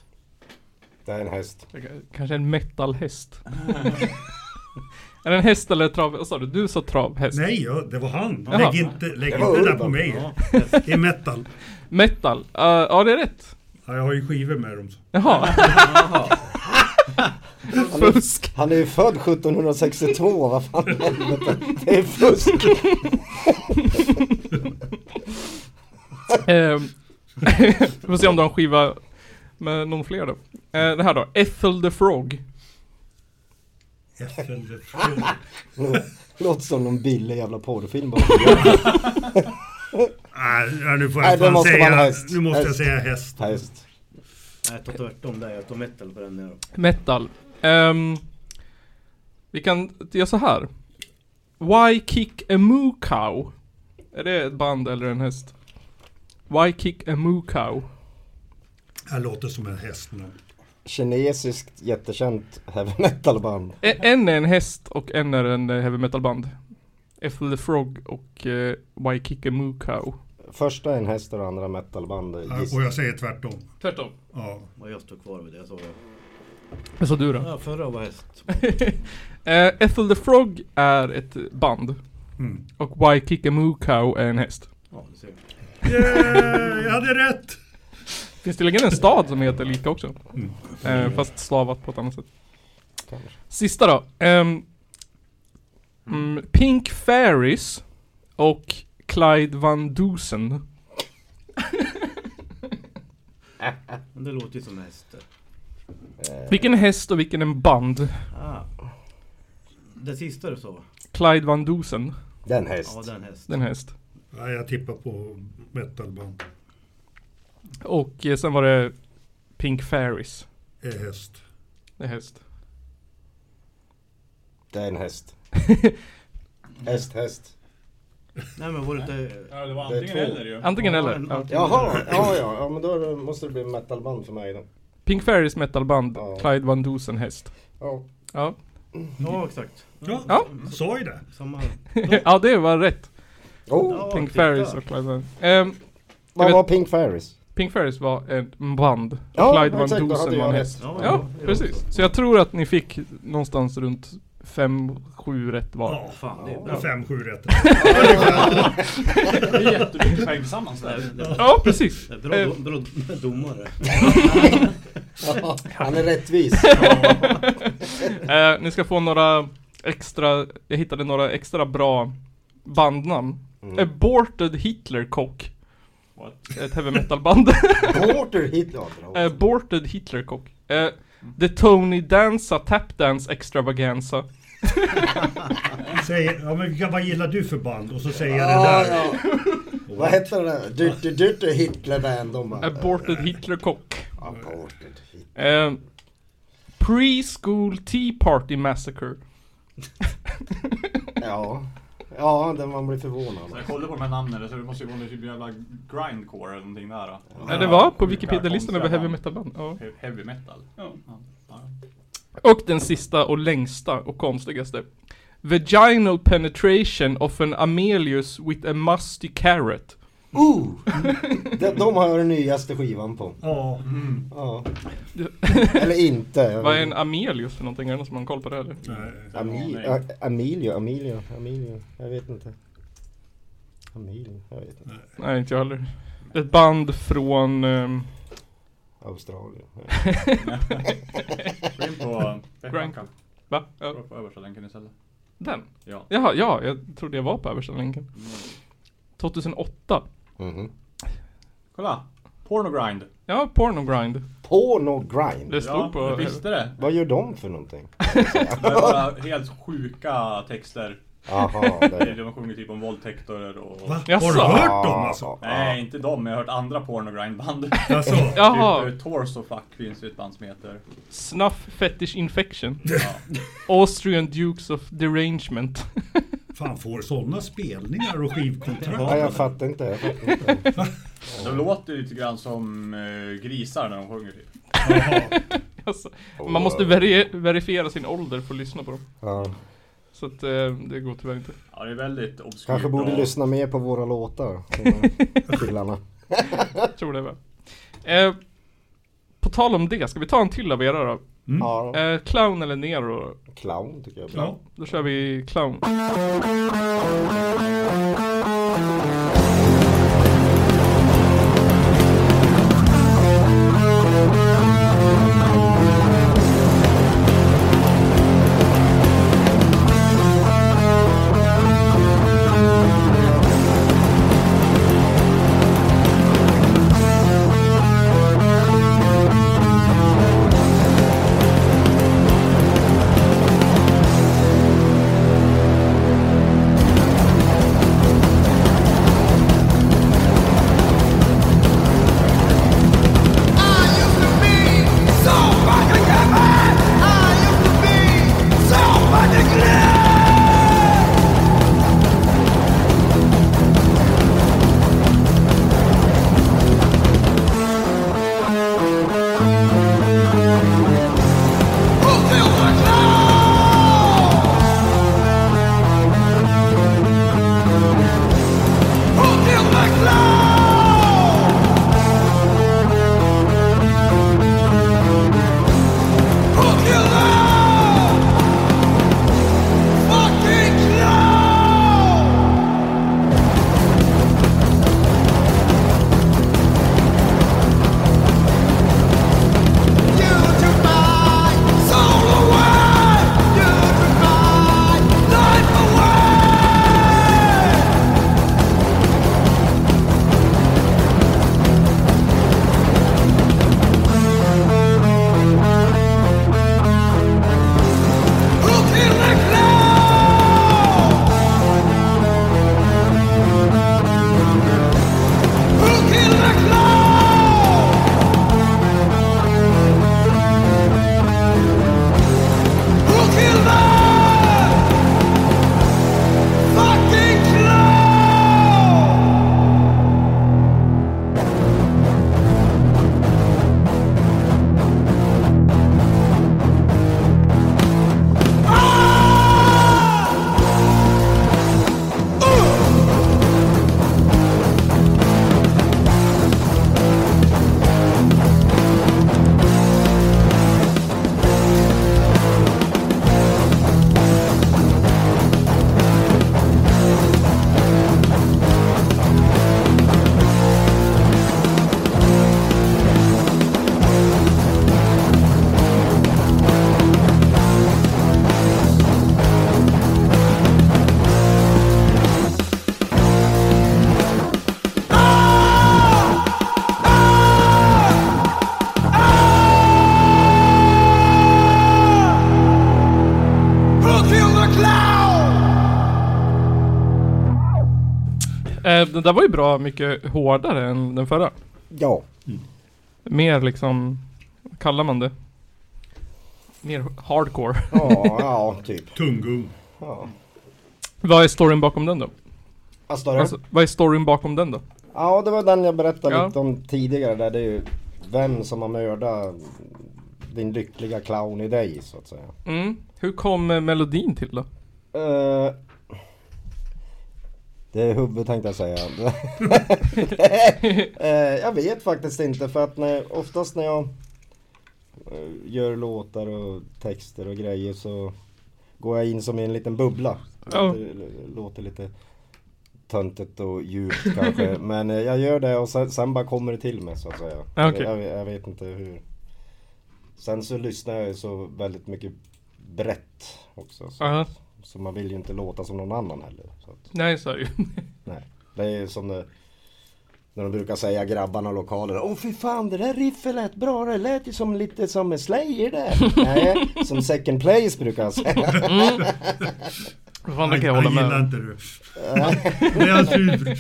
Speaker 4: Det är en häst.
Speaker 3: Kanske en metalhäst. är det en häst eller trav... Vad sa du? Du sa travhäst.
Speaker 5: Nej, ja, det var han.
Speaker 3: Jaha.
Speaker 5: Lägg inte, lägg
Speaker 4: Det var
Speaker 5: inte det där
Speaker 4: Urban.
Speaker 5: på mig.
Speaker 6: Ja,
Speaker 5: Det är metal.
Speaker 3: Metal. Eh, ja det är rätt.
Speaker 5: Ja, jag har ju skivor med dem. så.
Speaker 3: Jaha. Fusk.
Speaker 4: Han är ju född 1762, vad fan helvete. Det är fusk.
Speaker 3: Ehm, Vi får se om du har en skiva med någon fler då. Eh, det här då. Ethel the Frog.
Speaker 5: FL The Frog.
Speaker 4: Lå- Låter som någon billig jävla porrfilm. bara.
Speaker 5: Nej, ja, nu får
Speaker 4: Nej,
Speaker 5: jag
Speaker 4: det
Speaker 5: fan
Speaker 4: måste vara en
Speaker 5: säga...
Speaker 4: häst.
Speaker 5: Nu måste jag
Speaker 4: Häst.
Speaker 5: säga häst.
Speaker 4: Häst.
Speaker 6: jag tar tvärtom där. Jag tar metal på den där.
Speaker 3: Metal. Ehm, vi kan göra så här. Why kick a moo cow? Är det ett band eller en häst? Why kick a moo cow?
Speaker 5: Det här låter som en häst nu.
Speaker 4: Kinesiskt jättekänt heavy metal band.
Speaker 3: E- En är en häst och en är en eh, heavy metal band. Ethel the Frog och eh, Why kick a moo cow.
Speaker 4: Första är en häst och det andra metalband.
Speaker 5: Ja,
Speaker 4: Giss-
Speaker 5: Och jag säger tvärtom.
Speaker 3: Tvärtom.
Speaker 5: Ja.
Speaker 6: Och jag står kvar vid det jag sa. det.
Speaker 3: Vad sa du då?
Speaker 6: Ja, förra var häst.
Speaker 3: Eh, Ethel the Frog är ett band.
Speaker 5: Mm.
Speaker 3: Och Why kick a moo cow är en häst.
Speaker 6: Ja, du ser.
Speaker 5: Yeah, jag hade rätt!
Speaker 3: Finns tydligen en stad som heter lika också. Eh, fast stavat på ett annat sätt.
Speaker 4: Kanske.
Speaker 3: Sista då. Ehm, mm, Pink Fairies och Clyde Van Dusen.
Speaker 6: Men det låter ju som häster.
Speaker 3: Vilken är häst och vilken är en band?
Speaker 6: Ah. Det sista du sa?
Speaker 3: Clyde Van Dusen.
Speaker 4: Det är en häst.
Speaker 6: Ja, det är en häst.
Speaker 3: Den häst.
Speaker 5: Ja, jag tippar på metalband.
Speaker 3: Och eh, sen var det Pink Fairies.
Speaker 5: Det är häst.
Speaker 3: Det är häst.
Speaker 4: Det är en häst. häst, häst.
Speaker 6: Nej men var det inte...
Speaker 2: Ja, det var
Speaker 4: Det är
Speaker 2: antingen
Speaker 4: två.
Speaker 2: eller ju.
Speaker 3: Antingen
Speaker 6: Ja,
Speaker 3: eller.
Speaker 6: en-
Speaker 3: Ja.
Speaker 4: Jaha, ja, ja, ja men då är det- måste det bli metalband för mig då.
Speaker 3: Pink Fairies metalband.
Speaker 4: Ja.
Speaker 3: Clyde Van Dusen häst.
Speaker 4: Ja.
Speaker 3: Ja.
Speaker 6: Ja, exakt.
Speaker 5: Ja,
Speaker 3: Ja.
Speaker 5: jag sa ju det.
Speaker 6: Samma...
Speaker 3: ja, det var rätt.
Speaker 4: Oh,
Speaker 6: Ja,
Speaker 3: Pink
Speaker 6: titta.
Speaker 3: Fairies och Clyde Van... Ehm, jag
Speaker 4: vad
Speaker 3: vet-
Speaker 4: var Pink Fairies?
Speaker 3: Pink Fairies var en band.
Speaker 4: Ja,
Speaker 3: Clyde Van
Speaker 4: exakt, då hade
Speaker 3: Dusen var
Speaker 4: jag
Speaker 3: en
Speaker 4: rätt.
Speaker 3: häst.
Speaker 6: Ja,
Speaker 3: Ja,
Speaker 6: det var
Speaker 3: precis.
Speaker 6: också.
Speaker 3: Så jag tror att ni fick någonstans runt 5-7 rätt var.
Speaker 5: Ja,
Speaker 6: Fan, det är
Speaker 5: det är
Speaker 6: bra.
Speaker 5: fem, sju rätt.
Speaker 2: Det är jättemycket poäng tillsammans
Speaker 6: Det
Speaker 2: där.
Speaker 6: är- det är-
Speaker 3: Ja, precis.
Speaker 6: det är Bra,
Speaker 3: Eh.
Speaker 6: do- bra domare.
Speaker 4: Ja, han är rättvis.
Speaker 3: Eh, ni ska få några extra, jag hittade några extra bra bandnamn.
Speaker 4: Mm.
Speaker 3: Aborted Hitler Cock.
Speaker 2: What?
Speaker 3: Ett heavy metal band.
Speaker 4: Porter hit. Ja, bra.
Speaker 3: Aborted Hitler Cock. Eh, The Tony Danza Tap Dance Extravaganza.
Speaker 5: Säger, ja, men vilka- vad gillar du för band? Och så säger jag det
Speaker 4: Ja,
Speaker 5: där.
Speaker 4: ja. Vad hette den där? Dutte Dutte Hitler Band. De bara,
Speaker 3: Aborted Hitler Cock.
Speaker 4: Ja, Porter hit.
Speaker 3: Eh, Preschool Tea Party Massacre.
Speaker 4: Ja. Ja, den man blir
Speaker 2: Så
Speaker 4: förvånad.
Speaker 2: jag kollar på de här namnen så det måste ju vara någon typ av jävla grindcore eller någonting där. då.
Speaker 3: Ja, det var på Wikipedia-listan över heavy metal-band. Ja.
Speaker 2: He- Heavy metal. Ja.
Speaker 3: Och den sista och längsta och konstigaste. Vaginal penetration of an Amelius with a musty carrot.
Speaker 4: Ooh! De, de har jag den nyaste skivan på.
Speaker 5: Ja,
Speaker 3: Mm.
Speaker 4: Ja. Eller inte. Jag
Speaker 3: Vad är
Speaker 4: vet
Speaker 3: en Amelius för någonting? Är det någon som har koll på det eller?
Speaker 5: nej.
Speaker 4: Amil- A- Emilio, Emilio, Emilio. Jag vet inte. Emilio, jag vet inte.
Speaker 3: Nej, inte jag heller. Ett band från... ehm,
Speaker 4: Australien.
Speaker 2: Gå in på
Speaker 3: Grindcore.
Speaker 2: Grindcore.
Speaker 3: va? Ja,
Speaker 2: På översta länken istället.
Speaker 3: den?
Speaker 2: Ja.
Speaker 3: Jaha, ja, jag trodde jag var på översta länken. 2008.
Speaker 4: Mhm.
Speaker 2: Kolla! Pornogrind.
Speaker 3: Ja, Pornogrind.
Speaker 4: Porno grind.
Speaker 3: Det stod
Speaker 2: Ja,
Speaker 3: på...
Speaker 2: jag visste det.
Speaker 4: Vad gör de för någonting?
Speaker 2: Det var bara helt sjuka texter.
Speaker 4: Jaha,
Speaker 2: Det är-
Speaker 4: det...
Speaker 2: De sjunger typ om våldtäkter och...
Speaker 5: Va?
Speaker 3: Jaså?
Speaker 5: Har du hört dem alltså?
Speaker 2: Nej, inte dem, men jag har hört andra pornogrindband.
Speaker 5: Alltså,
Speaker 3: Jaha,
Speaker 2: Typ, eh, Torso Fuck finns ju ett band som heter.
Speaker 3: Snuff Fetish Infection.
Speaker 2: Ja.
Speaker 3: Austrian Dukes of Derangement.
Speaker 5: fan får sådana spelningar och skivkontrakt?
Speaker 4: Ja, jag fattar inte. Jag fattar inte.
Speaker 2: De låter ju lite grann som eh, grisar när de sjunger typ.
Speaker 5: Jaha.
Speaker 3: alltså, man måste veri- verifiera sin ålder för att lyssna på dem.
Speaker 4: Ja.
Speaker 3: Så att eh, det går tyvärr inte.
Speaker 2: Ja, det är väldigt obskyrt.
Speaker 4: Kanske borde
Speaker 2: och-
Speaker 4: lyssna mer på våra låtar. de här Killarna.
Speaker 3: Jag tror det väl. Eh, på tal om det, ska vi ta en till av era då?
Speaker 4: Ja,
Speaker 3: Eh, clown eller Nero?
Speaker 4: clown tycker jag. är bra.
Speaker 5: Ja.
Speaker 3: Då kör vi clown. Eh, den där var ju bra mycket hårdare än den förra.
Speaker 4: Ja.
Speaker 3: Mer liksom, vad kallar man det? Mer hardcore.
Speaker 4: Ja, ja, typ.
Speaker 5: Tunggung.
Speaker 4: Ja.
Speaker 3: vad är storyn bakom den då?
Speaker 4: Vad står det?
Speaker 3: Alltså, vad är storyn bakom den då?
Speaker 4: Ja, det var den jag berättade
Speaker 3: Ja.
Speaker 4: lite om tidigare. Där det är ju vem som har mördat din lyckliga clown i dig, så att säga.
Speaker 3: Mm. Hur kom eh, melodin till då?
Speaker 4: Eh, det är huvudet tänkte jag säga. Eh, jag vet faktiskt inte för att när, oftast när jag eh, gör låtar och texter och grejer så går jag in som i en liten bubbla.
Speaker 3: Ja.
Speaker 4: Det låter lite töntigt och djupt kanske men eh, jag gör det och sen, sen bara kommer det till mig så att säga.
Speaker 3: Ja, Ah, okej.
Speaker 4: Jag, jag vet inte hur. Sen så lyssnar jag ju så väldigt mycket brett också. Så.
Speaker 3: Aha.
Speaker 4: Så man vill ju inte låta som någon annan heller. Så att,
Speaker 3: Nej, så är det ju.
Speaker 4: nej. Det är ju som det, när de brukar säga grabbarna i lokalen. Åh fy fan det där riffet lät bra. Det lät ju som lite som en Slayer där. nej, som second place brukar jag säga.
Speaker 3: Fan, det kan jag hålla
Speaker 5: Nej, jag
Speaker 3: med
Speaker 5: gillar
Speaker 3: om.
Speaker 5: inte det. Det är en sur,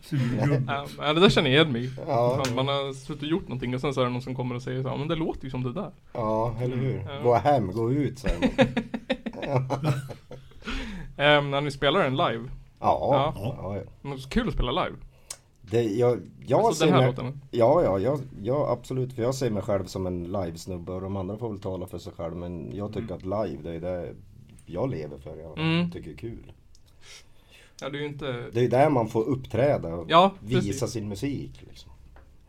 Speaker 5: surgubbe.
Speaker 3: Ja, men det där känner jag igen mig i.
Speaker 4: Ja,
Speaker 3: Fan, Man har suttit och gjort någonting och sen så är det någon som kommer och säger så här, men det låter ju som det där.
Speaker 4: ja, eller
Speaker 3: Ja.
Speaker 4: hur? Gå hem, gå ut säger man.
Speaker 3: Ehm, när ni spelar den live.
Speaker 4: Ja,
Speaker 3: Ja.
Speaker 4: ja. ja.
Speaker 3: Men så kul att spela live.
Speaker 4: Det, jag, jag
Speaker 3: Alltså
Speaker 4: ser
Speaker 3: den här
Speaker 4: mig-
Speaker 3: låten.
Speaker 4: Ja, ja, jag, jag absolut. För jag ser mig själv som en livesnubbe och de andra får väl tala för sig själv. Men jag tycker att live, det är det jag lever för. Jag
Speaker 3: Mm.
Speaker 4: tycker det är kul.
Speaker 3: Ja, det är ju inte...
Speaker 4: Det är där man får uppträda och
Speaker 3: Ja,
Speaker 4: visa
Speaker 3: precis.
Speaker 4: sin musik. Liksom.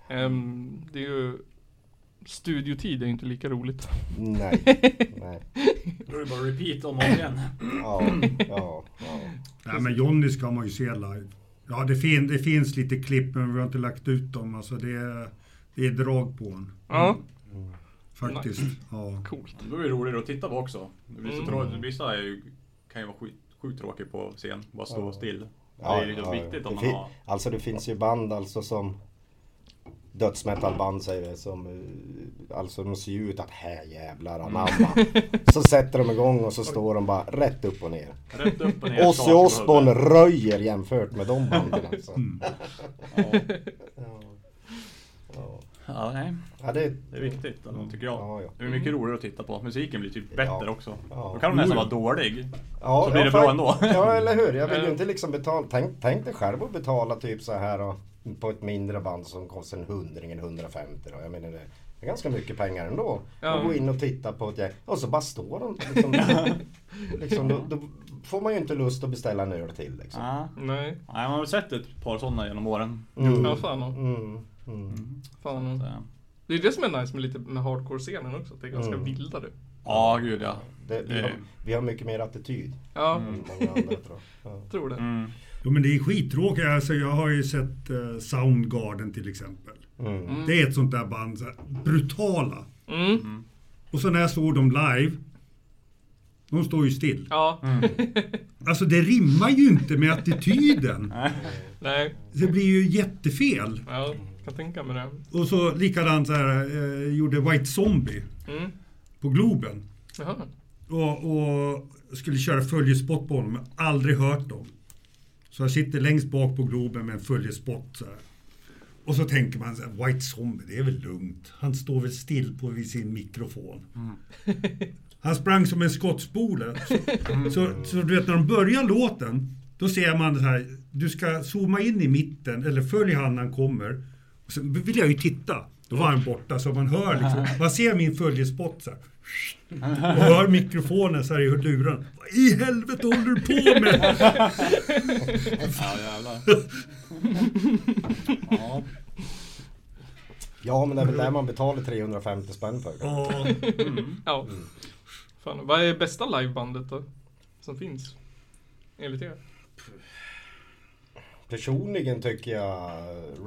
Speaker 3: Ehm, det är ju... Studiotid är ju inte lika roligt.
Speaker 4: Nej, nej.
Speaker 7: Då är det bara repeat om och om igen.
Speaker 4: Ja, ja, ja.
Speaker 5: Nej, men Johnny ska man ju se live. Ja, det, fin, det finns lite klipp, men vi har inte lagt ut dem. Alltså, det, är, det är drag på en.
Speaker 3: Ja,
Speaker 5: Faktiskt. Ja.
Speaker 3: Mm, coolt.
Speaker 2: Då är det roligare att titta på också. Det blir så
Speaker 3: Mm.
Speaker 2: tråkigt. Vissa är ju, kan ju vara skit, sjukt tråkigt på scen. Bara stå
Speaker 4: Ja.
Speaker 2: still.
Speaker 4: ja,
Speaker 2: det är ju
Speaker 4: ja,
Speaker 2: viktigt
Speaker 4: ja. Det
Speaker 2: om man
Speaker 4: fin-
Speaker 2: har...
Speaker 4: Alltså det finns ju band alltså som dödsmetalband säger det som eh, alltså de ser ju ut att här jävlar
Speaker 3: Mm.
Speaker 4: anamma. Så sätter de igång och så står de bara rätt upp och ner.
Speaker 2: Rätt upp och Mm. ner. tak
Speaker 4: Ozzy
Speaker 2: över
Speaker 4: Osbourne
Speaker 2: huvudet.
Speaker 4: röjer jämfört med de banden alltså.
Speaker 2: Ja.
Speaker 4: Ja. Ja.
Speaker 2: ja, nej.
Speaker 4: Ja, det,
Speaker 2: Det är viktigt, eller, tycker jag.
Speaker 4: Mm. Ja, ja.
Speaker 2: Det är mycket roligare att titta på. Musiken blir typ bättre
Speaker 4: Ja.
Speaker 2: också.
Speaker 4: Ja. Mm.
Speaker 2: Då kan de nästan vara dålig.
Speaker 4: ja,
Speaker 2: Så blir
Speaker 4: ja,
Speaker 2: det bra
Speaker 4: fan.
Speaker 2: ändå.
Speaker 4: Ja, eller hur? Jag vill
Speaker 3: Ja.
Speaker 4: ju inte liksom betala. Tänk, tänk dig själv att betala typ så här och, på ett mindre band som kostar en hundring, en 150 då. Jag menar det är ganska mycket pengar ändå.
Speaker 3: Ja.
Speaker 4: Och gå in och titta på ett gäng och så bara står de liksom. liksom då, då får man ju inte lust att beställa en öl till liksom.
Speaker 2: Ja.
Speaker 3: Nej.
Speaker 2: Nej, man har väl sett ett par sådana genom åren.
Speaker 3: Ja, fan. ja.
Speaker 4: Mm. Mm.
Speaker 3: fan. ja.
Speaker 2: Så, eh,
Speaker 3: Det är det som är nice med lite med hardcore-scenen också, att det är ganska
Speaker 4: Mm.
Speaker 3: vildare.
Speaker 2: Ja, gud ja.
Speaker 4: Det, vi,
Speaker 2: Eh.
Speaker 4: har, vi har mycket mer attityd
Speaker 3: Ja,
Speaker 4: än många andra tror jag. Ja.
Speaker 3: jag tror det.
Speaker 2: Mm.
Speaker 5: Jo, men det är skittråkigt. Alltså, jag har ju sett eh, Soundgarden till exempel.
Speaker 4: Mm.
Speaker 5: Det är ett sånt där band. Så här, brutala.
Speaker 3: Mm.
Speaker 5: Och så när jag såg dem live. De står ju still.
Speaker 3: Ja,
Speaker 5: Alltså det rimmar ju inte med attityden.
Speaker 3: nej.
Speaker 5: Det blir ju jättefel.
Speaker 3: Ja, kan tänka mig det.
Speaker 5: Och så likadant så här, eh, gjorde White Zombie
Speaker 3: Mm.
Speaker 5: på Globen.
Speaker 3: Jaha.
Speaker 5: Och, och skulle köra följespott på honom, men aldrig hört dem. Så jag sitter längst bak på Globen med en följespott så här. Och så tänker man så här, White Zombie, det är väl lugnt. Han står väl still på vid sin mikrofon. Han sprang som en skottspole. Så, så, så du vet när de börjar låten, då ser man så här, du ska zooma in i mitten eller följ han när han kommer. Och sen vill jag ju titta. Då var han borta så man hör liksom, man ser min följespott så här. Och hör mikrofonen så här i luren. Vad i helvete håller du på med?
Speaker 2: Ja, jävlar. ja.
Speaker 4: ja men det är väl där man betalar 350 spänn för. kanske.
Speaker 5: Ja,
Speaker 3: Ja. Fan, vad är bästa livebandet då? Som finns? Enligt er?
Speaker 4: Personligen tycker jag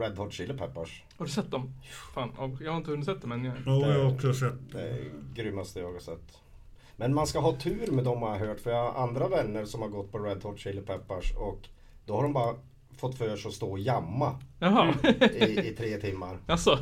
Speaker 4: Red Hot Chili Peppers.
Speaker 3: Har du sett dem? Fan, ja, jag har inte hunnit sett dem än. Jag.
Speaker 5: ja, jag har också sett.
Speaker 4: Det är det Eh, grymmaste jag har sett. Men man ska ha tur med dem har jag hört. För jag har andra vänner som har gått på Red Hot Chili Peppers och då har de bara fått för sig att stå och jamma
Speaker 3: Jaha,
Speaker 4: i, i tre timmar.
Speaker 3: alltså.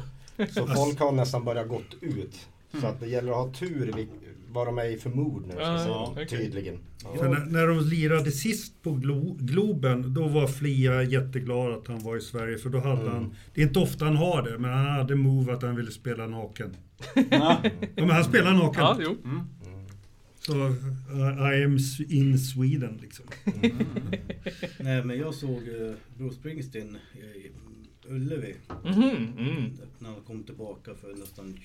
Speaker 4: Så folk har nästan börjat gått ut. Så att det gäller att ha tur i vil- vad de är i för mood nu. Ska jag
Speaker 3: Ja,
Speaker 4: säga.
Speaker 3: okej.
Speaker 4: Tydligen.
Speaker 5: För när, när de lirade sist på Glo Globen, då var Flia jätteglad att han var i Sverige. För då hade han, det är inte ofta han har det, men han hade move att han ville spela naken. Ja, men han spelar naken.
Speaker 3: Ja, jo.
Speaker 5: Så eh, I am s- in Sweden liksom.
Speaker 6: Nej men jag såg eh, Bruce Springsteen i i Ullevi
Speaker 3: Mhm, mm.
Speaker 6: när han kom tillbaka för nästan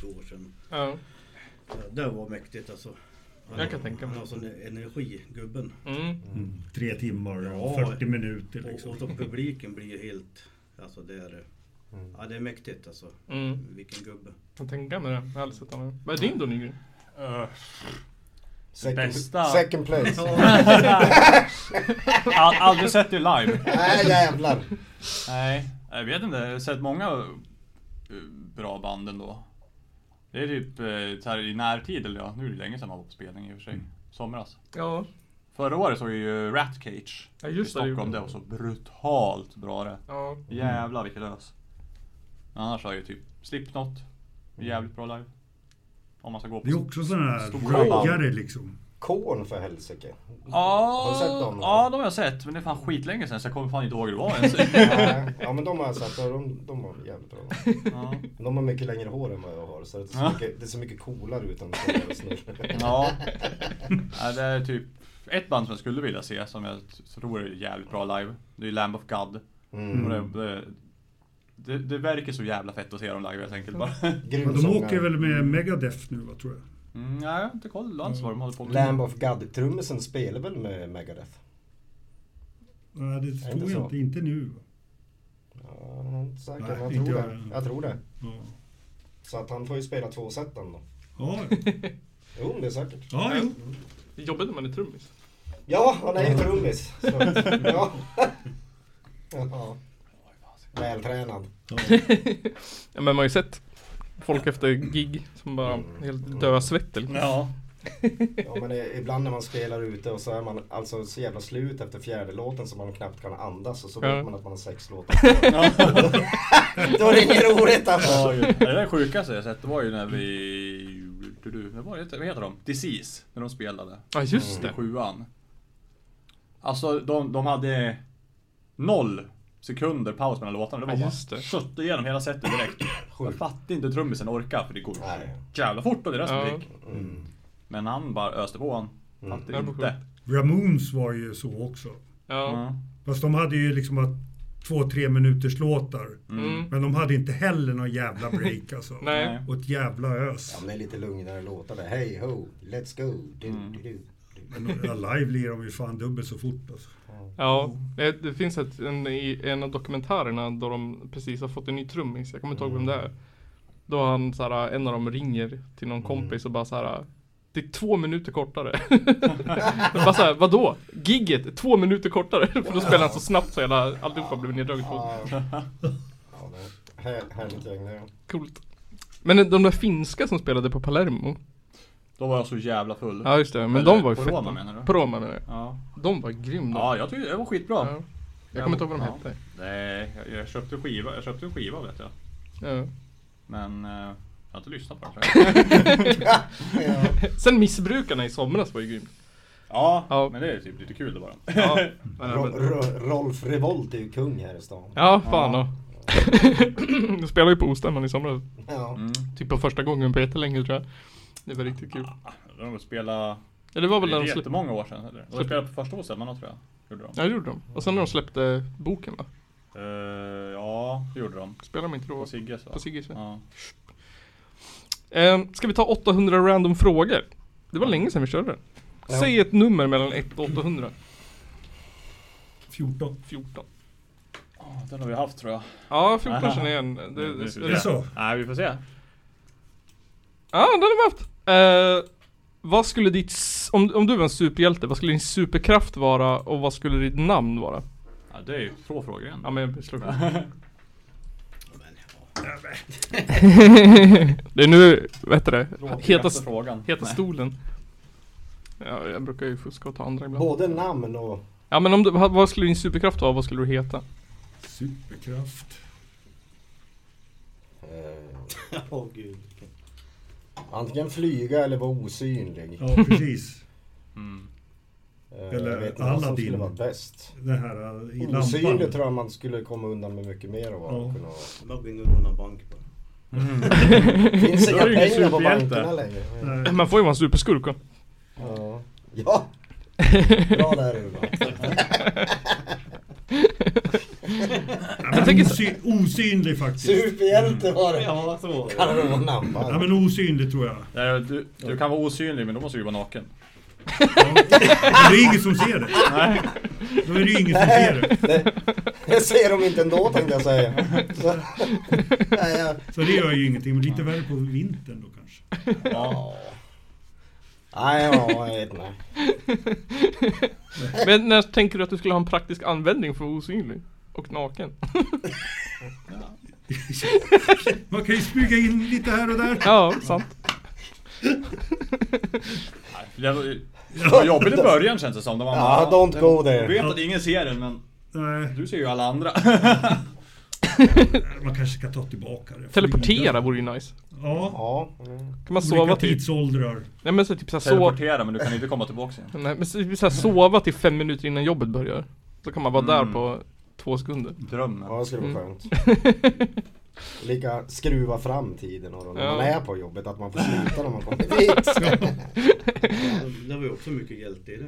Speaker 6: 20 år sedan.
Speaker 3: Ja.
Speaker 6: Ja, Det var mäktigt alltså. Han-
Speaker 3: Jag kan tänka mig.
Speaker 6: Han har sån energi, gubben.
Speaker 3: Mm.
Speaker 5: Tre timmar och
Speaker 6: Ja.
Speaker 5: 40 minuter
Speaker 6: Och,
Speaker 5: liksom.
Speaker 6: och så publiken blir helt... Alltså det är... Ja det är mäktigt alltså.
Speaker 3: Mm.
Speaker 6: Vilken gubbe.
Speaker 3: Jag tänker med det. Jag har aldrig sett dem. Vad är din då Nygren? Äh.
Speaker 2: Eh,
Speaker 4: Second,
Speaker 2: Bästa.
Speaker 4: second place.
Speaker 2: Al- aldrig sett det live.
Speaker 4: Nej jävlar.
Speaker 2: Nej. Jag vet inte, jag har sett många eh, bra band ändå. Det är typ eh, så här i närtid, eller ja, nu är det länge sedan man var på spelning i och för sig. Somras.
Speaker 3: Ja,
Speaker 2: Förra året såg jag ju Rat Cage
Speaker 3: Ja, just
Speaker 2: i
Speaker 3: det, det
Speaker 2: Stockholm.
Speaker 3: gjorde
Speaker 2: Det var så brutalt bra
Speaker 4: Mm.
Speaker 2: det.
Speaker 3: ja.
Speaker 2: Jävlar vilket ös. Men annars har jag ju typ Slipknot. Jävligt bra live. Om man ska gå på
Speaker 5: Det är också sådana här
Speaker 2: Stora band.
Speaker 5: raggare liksom.
Speaker 4: Korn för helsike.
Speaker 2: Ja,
Speaker 4: Har du sett dem?
Speaker 2: Ja, de har jag sett. Men det är fan skitlänge sedan så jag kommer fan inte ihåg hur det var ens.
Speaker 4: Nej, ja men de har jag sett och de, de var jävligt bra.
Speaker 2: ja.
Speaker 4: Men de har mycket längre hår än vad jag har så det ser,
Speaker 2: Ja.
Speaker 4: mycket, det ser mycket coolare ut än vad jag snurrar.
Speaker 2: ja. Nej, Det är typ ett band som jag skulle vilja se som jag tror är jävligt bra live. Det är Lamb of God.
Speaker 4: Mm.
Speaker 2: Och det, det, det, det verkar så jävla fett att se dem live helt enkelt bara.
Speaker 4: Grym
Speaker 5: Men de
Speaker 4: sångare.
Speaker 5: åker väl med Megadeth nu va, tror jag.
Speaker 2: Mm, nej, jag har inte koll alls vad de håller på med.
Speaker 4: Lamb of God. Trummisen spelar väl med Megadeth?
Speaker 5: Nej, det
Speaker 4: inte
Speaker 5: tror
Speaker 4: så.
Speaker 5: jag inte. Inte nu. Va?
Speaker 4: Ja, jag är inte säker,
Speaker 5: Nej,
Speaker 4: men jag
Speaker 5: inte
Speaker 4: tror
Speaker 5: jag.
Speaker 4: det. Jag tror det.
Speaker 5: Ja.
Speaker 4: Så att han får ju spela två set ändå.
Speaker 5: Ja,
Speaker 4: Jo, men det är säkert.
Speaker 5: ja, jo.
Speaker 3: Det är jobbigt när man är trummis.
Speaker 4: Ja, han är ju trummis. Så att- Ja. ja. Vältränad.
Speaker 3: Ja, men man har ju sett folk efter gig som bara helt döda svett eller
Speaker 2: Ja.
Speaker 4: Ja, men i- ibland när man spelar ute och så är man alltså så jävla slut efter fjärde låten så man knappt kan andas och så
Speaker 3: Ja.
Speaker 4: vet man att man har sex låtar kvar. Då är det inget roligt alltså.
Speaker 2: Ja, det där sjukaste jag sett, det var ju när vi... Du, du, vad, var det, vad heter de? Disease, när de spelade.
Speaker 3: Ja just
Speaker 2: Mm.
Speaker 3: det.
Speaker 2: Sjuan. Alltså de, de hade noll sekunder paus mellan låtarna. Det var
Speaker 3: Ja, just
Speaker 2: bara
Speaker 3: det.
Speaker 2: köttade igenom hela setet direkt. Jag fattar inte hur trummisen orkar för det går
Speaker 4: Nej.
Speaker 2: jävla fort och det är deras
Speaker 3: Ja.
Speaker 2: musik. Men han bara öste på han. Fattar
Speaker 3: Ja, det var
Speaker 2: inte.
Speaker 5: Ramones var ju så också.
Speaker 3: Ja.
Speaker 5: Fast de hade ju liksom att två, tre minuters låtar.
Speaker 3: Mm.
Speaker 5: Men de hade inte heller någon jävla break alltså.
Speaker 3: Nej.
Speaker 5: Och ett jävla
Speaker 4: Ja,
Speaker 5: ös.
Speaker 4: men det är lite lugnare låtar där. Hey ho, let's go. Du, du, du.
Speaker 5: Men ja, live lirar de ju fan dubbelt så fort alltså.
Speaker 3: Ja.
Speaker 2: Mm.
Speaker 3: Det, det finns ett, en, i en av dokumentärerna då de precis har fått en ny trummis. Jag kommer inte ihåg vem det
Speaker 2: Mm.
Speaker 3: är. Då han så här, eh, en av dem ringer till någon
Speaker 2: Mm.
Speaker 3: kompis och bara så här. eh, Det är två minuter kortare. bara så här, vadå? Gigget är två minuter kortare. För då spelar han så snabbt så hela alltihopa blev neddraget på.
Speaker 4: Ja, ja det är här- härligt gäng det. ja.
Speaker 3: Coolt. Men eh, de där finska som spelade på Palermo.
Speaker 2: Då var jag så jävla full.
Speaker 3: Ja just det, men
Speaker 2: Eller
Speaker 3: de var ju
Speaker 2: på
Speaker 3: feta.
Speaker 2: Roma, menar du?
Speaker 3: På Roma menar jag.
Speaker 2: Ja.
Speaker 3: De var grymda.
Speaker 2: ja, jag tyckte det var skitbra.
Speaker 3: Ja. Jag kommer inte ihåg vad de
Speaker 2: Ja.
Speaker 3: hette.
Speaker 2: Nej, jag, jag köpte skiva, jag köpte en skiva vet jag.
Speaker 3: Ja.
Speaker 2: Men eh, jag har inte lyssnat på den. tror jag.
Speaker 3: Sen Missbrukarna i somras var ju grym.
Speaker 2: Ja,
Speaker 3: Ja.
Speaker 2: men det är typ lite kul det bara.
Speaker 3: Ja, ja,
Speaker 4: Ro-
Speaker 3: men,
Speaker 4: Ro- Rolf Revolt är ju kung här i stan.
Speaker 3: ja fan ja. De spelade ju på Ostämman i somras.
Speaker 4: Ja.
Speaker 2: Mm.
Speaker 3: Typ på första gången på jättelänge tror jag. Det var riktigt kul.
Speaker 2: Då har de spelat,
Speaker 3: Ja, det var
Speaker 2: det
Speaker 3: väl när
Speaker 2: är
Speaker 3: de släppte...
Speaker 2: jättemånga år sedan. Eller? De har spelat på första årsstämman tror jag. Gjorde de.
Speaker 3: Ja det gjorde de. Och sen när de släppte boken va?
Speaker 2: Eh, ja, det gjorde de.
Speaker 3: Spelade de inte då?
Speaker 2: På Sigges va?
Speaker 3: På Sigges, ja.
Speaker 2: ja.
Speaker 3: Ehm, Ska vi ta 800 random frågor? Det var länge sedan vi körde den.
Speaker 4: Ja.
Speaker 3: Säg ett nummer mellan 1 och 800.
Speaker 5: 14.
Speaker 3: 14.
Speaker 2: Ja, Den har vi haft tror jag.
Speaker 3: Ja, 14 känner jag igen. Det, det,
Speaker 2: vi
Speaker 3: det,
Speaker 2: får
Speaker 5: Är det
Speaker 2: se.
Speaker 5: så?
Speaker 2: Nej, vi får se.
Speaker 3: Ja, den har vi haft. Eh, vad skulle ditt, s- om, om du var en superhjälte, vad skulle din superkraft vara och vad skulle ditt namn vara?
Speaker 2: Ja, det är ju två frågor igen.
Speaker 3: Ja men jag slår på.
Speaker 5: Ja, men,
Speaker 3: Det är nu, vad heter det?
Speaker 2: Tråkigaste
Speaker 3: Heta,
Speaker 2: frågan.
Speaker 3: heta
Speaker 2: Nej.
Speaker 3: stolen. Ja, jag brukar ju fuska och ta andra ibland.
Speaker 4: Både namn och...
Speaker 3: Ja men om du, vad vad skulle din superkraft vara, vad skulle du heta?
Speaker 5: Superkraft.
Speaker 4: Eh,
Speaker 6: Åh gud.
Speaker 4: antingen flyga eller vara osynlig.
Speaker 5: Ja, precis.
Speaker 2: Mm.
Speaker 4: Eh,
Speaker 5: Eller
Speaker 4: jag vet inte vad som
Speaker 5: Aladdin.
Speaker 4: skulle vara bäst.
Speaker 5: Den här eh, i
Speaker 4: Osynlig
Speaker 5: lampan.
Speaker 4: tror jag man skulle komma undan med mycket mer av.
Speaker 5: Ja.
Speaker 4: att kunna vara.
Speaker 6: Jag går in och rånar bank bara.
Speaker 4: Finns
Speaker 2: Då
Speaker 4: inga
Speaker 2: är du ingen
Speaker 4: pengar på
Speaker 2: superhjälte.
Speaker 4: bankerna längre. Ja.
Speaker 5: Nej.
Speaker 3: Man får ju vara en superskurk va?
Speaker 4: Ja. ja. Bra där Urban.
Speaker 5: Ja, men osy- osynlig faktiskt.
Speaker 4: Superhjälte var det.
Speaker 7: Ja, så.
Speaker 4: Kallar du honom namn va?
Speaker 5: Ja, men osynlig tror jag.
Speaker 2: Nej, du, du kan vara osynlig men då måste du ju vara naken.
Speaker 5: Men Det är ingen som ser det. Då är det ju ingen som ser det.
Speaker 4: det, det ser de inte ändå tänkte jag säga. Så, nej, jag,
Speaker 5: Så det gör ju ingenting. Men lite värre på vintern då kanske.
Speaker 2: Ja.
Speaker 4: nej, ja, jag vet inte.
Speaker 3: Men när tänker du att du skulle ha en praktisk användning för att vara osynlig? Och naken?
Speaker 5: Man kan ju smyga in lite här och där.
Speaker 3: Ja, sant.
Speaker 2: Nej, Det var, det var jobbigt i början känns det som. Det var
Speaker 4: Ja, don't go there.
Speaker 2: Jag vet att ingen ser den men
Speaker 5: Nej.
Speaker 2: du ser ju alla andra.
Speaker 5: Man kanske ska ta tillbaka det.
Speaker 3: Teleportera vore ju nice.
Speaker 5: Ja.
Speaker 4: Ja.
Speaker 3: Kan man
Speaker 5: Olika
Speaker 3: sova till...
Speaker 5: tidsåldrar.
Speaker 3: Nej men så typ såhär sova...
Speaker 2: Teleportera men du kan inte komma tillbaka igen.
Speaker 3: Nej men så, typ såhär sova till fem minuter innan jobbet börjar. Då kan man vara där
Speaker 2: Mm.
Speaker 3: på två sekunder.
Speaker 2: Drömmen.
Speaker 4: Ja, det skulle vara
Speaker 3: Mm.
Speaker 4: skönt. Lika skruva fram tiden och då när
Speaker 3: Ja.
Speaker 4: man är på jobbet att man får sluta när man kommer dit.
Speaker 6: Det var ju också mycket hjälte i det.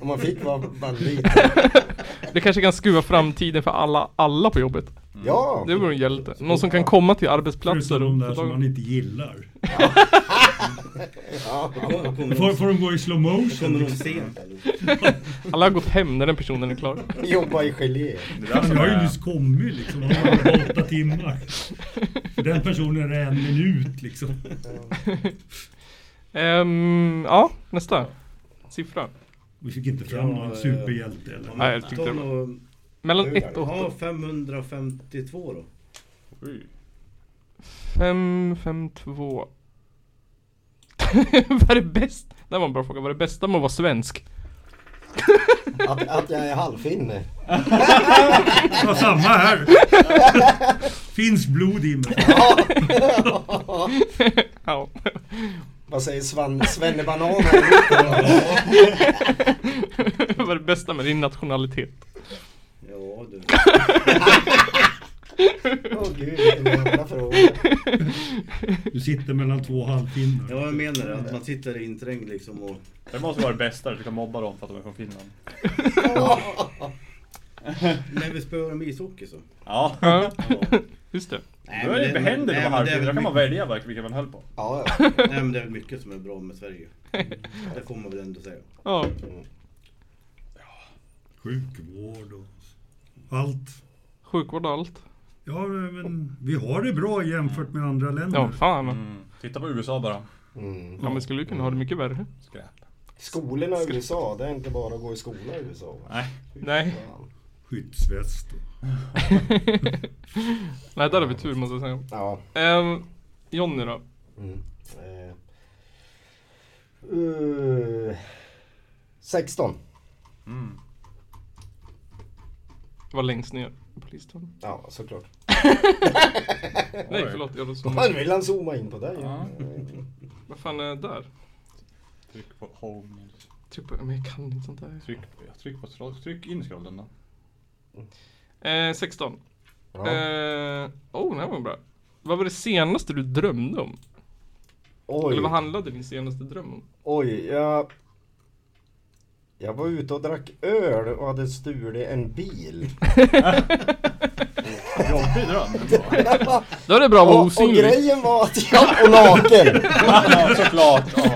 Speaker 4: Om man fick vara bandit.
Speaker 3: Du kanske kan skruva framtiden för alla, alla på jobbet.
Speaker 4: Ja!
Speaker 3: Det vore en hjälte. Någon som kan komma till
Speaker 5: Förutom
Speaker 3: arbetsplatser
Speaker 5: de
Speaker 3: och...
Speaker 5: där som man inte gillar.
Speaker 4: ja.
Speaker 6: Då kommer
Speaker 5: Får,
Speaker 6: de,
Speaker 5: får de gå i slow
Speaker 6: då kommer
Speaker 5: motion? liksom?
Speaker 6: de sent. eller?
Speaker 3: Alla har gått hem när den personen är klar.
Speaker 4: Jobba i gelé.
Speaker 2: Det där
Speaker 5: Jag
Speaker 2: som
Speaker 5: har ju
Speaker 2: är...
Speaker 5: nyss kommit liksom. De har varit åtta timmar. För den personen är det en minut liksom.
Speaker 3: Ehm, ja, nästa. Siffra.
Speaker 5: Vi fick inte fram någon
Speaker 6: Ja, eh,
Speaker 5: superhjälte eller
Speaker 3: Nej, jag tyckte det var-
Speaker 6: Ta nå-
Speaker 3: Mellan 1 och
Speaker 6: Ja, 552 då.
Speaker 2: Oj.
Speaker 3: 5, 5, 2. Vad är det bäst? Det här var en bra fråga. Vad är det bästa med att vara svensk?
Speaker 4: Att, att jag är halvfinne.
Speaker 5: Det var samma här. Finns blod i mig.
Speaker 3: Ja.
Speaker 4: Vad säger Svan, Svennebanan här ute?
Speaker 3: Vad är det bästa med din nationalitet?
Speaker 6: Ja du.
Speaker 4: Åh gud, vilken jävla fråga.
Speaker 5: Du sitter mellan två halvtimmar.
Speaker 6: Ja, jag menar det. Att man sitter inträngd liksom och...
Speaker 2: Det måste vara det bästa, du kan mobba dem för att de är från Finland.
Speaker 6: När vi spöar om ishockey så.
Speaker 2: Ja.
Speaker 3: Ja,
Speaker 6: Ja.
Speaker 3: just det.
Speaker 6: Nej,
Speaker 2: Då
Speaker 6: men
Speaker 2: är det händer det
Speaker 6: nej, men
Speaker 2: på
Speaker 6: det är
Speaker 2: halvtid,
Speaker 6: väl
Speaker 2: då kan man
Speaker 6: mycket-
Speaker 2: välja verkligen vilken man höll på.
Speaker 4: Ja, ja.
Speaker 6: Nej men det är väl mycket som är bra med Sverige. Det får man väl ändå säga.
Speaker 3: Ja.
Speaker 5: Sjukvård och allt.
Speaker 3: Sjukvård och allt.
Speaker 5: Ja, men vi har det bra jämfört med andra länder.
Speaker 3: Ja, fan.
Speaker 2: Mm. Titta på USA bara.
Speaker 4: Mm.
Speaker 3: Ja men skulle ju kunna ha det mycket värre.
Speaker 2: Skräp.
Speaker 4: Skolorna i USA, det är inte bara att gå i skola i USA. va?
Speaker 2: Nej.
Speaker 3: Nej.
Speaker 4: Fan.
Speaker 5: Skyddsväst och...
Speaker 3: Nej, där har vi tur måste jag säga.
Speaker 4: Ja.
Speaker 3: Ehm, Jonny då?
Speaker 4: Mm. Eh. Eh, 16.
Speaker 2: Mm.
Speaker 3: Var längst ner på listan.
Speaker 4: Ja, såklart.
Speaker 3: Nej, förlåt. Jag
Speaker 4: Man
Speaker 3: zoomade.
Speaker 4: vill han zooma in på dig.
Speaker 2: Ja.
Speaker 3: Vad fan är det där?
Speaker 2: Tryck på home.
Speaker 3: Tryck på... Men jag kan inte sånt där.
Speaker 2: Tryck, på- tryck på scroll. Tryck in scrollen då.
Speaker 3: Eh, 16.
Speaker 4: Ja.
Speaker 3: Eh, oh, den här var bra. Vad var det senaste du drömde om?
Speaker 4: Oj,
Speaker 3: Eller vad handlade din senaste dröm om?
Speaker 4: oj, jag... Jag var ute och drack öl och hade stulit en bil.
Speaker 2: Jobbig dröm. men bra.
Speaker 3: Då är det bra att vara
Speaker 4: Och, och
Speaker 3: osynlig.
Speaker 4: grejen var att jag... Och naken!
Speaker 2: Ja, såklart. Ja.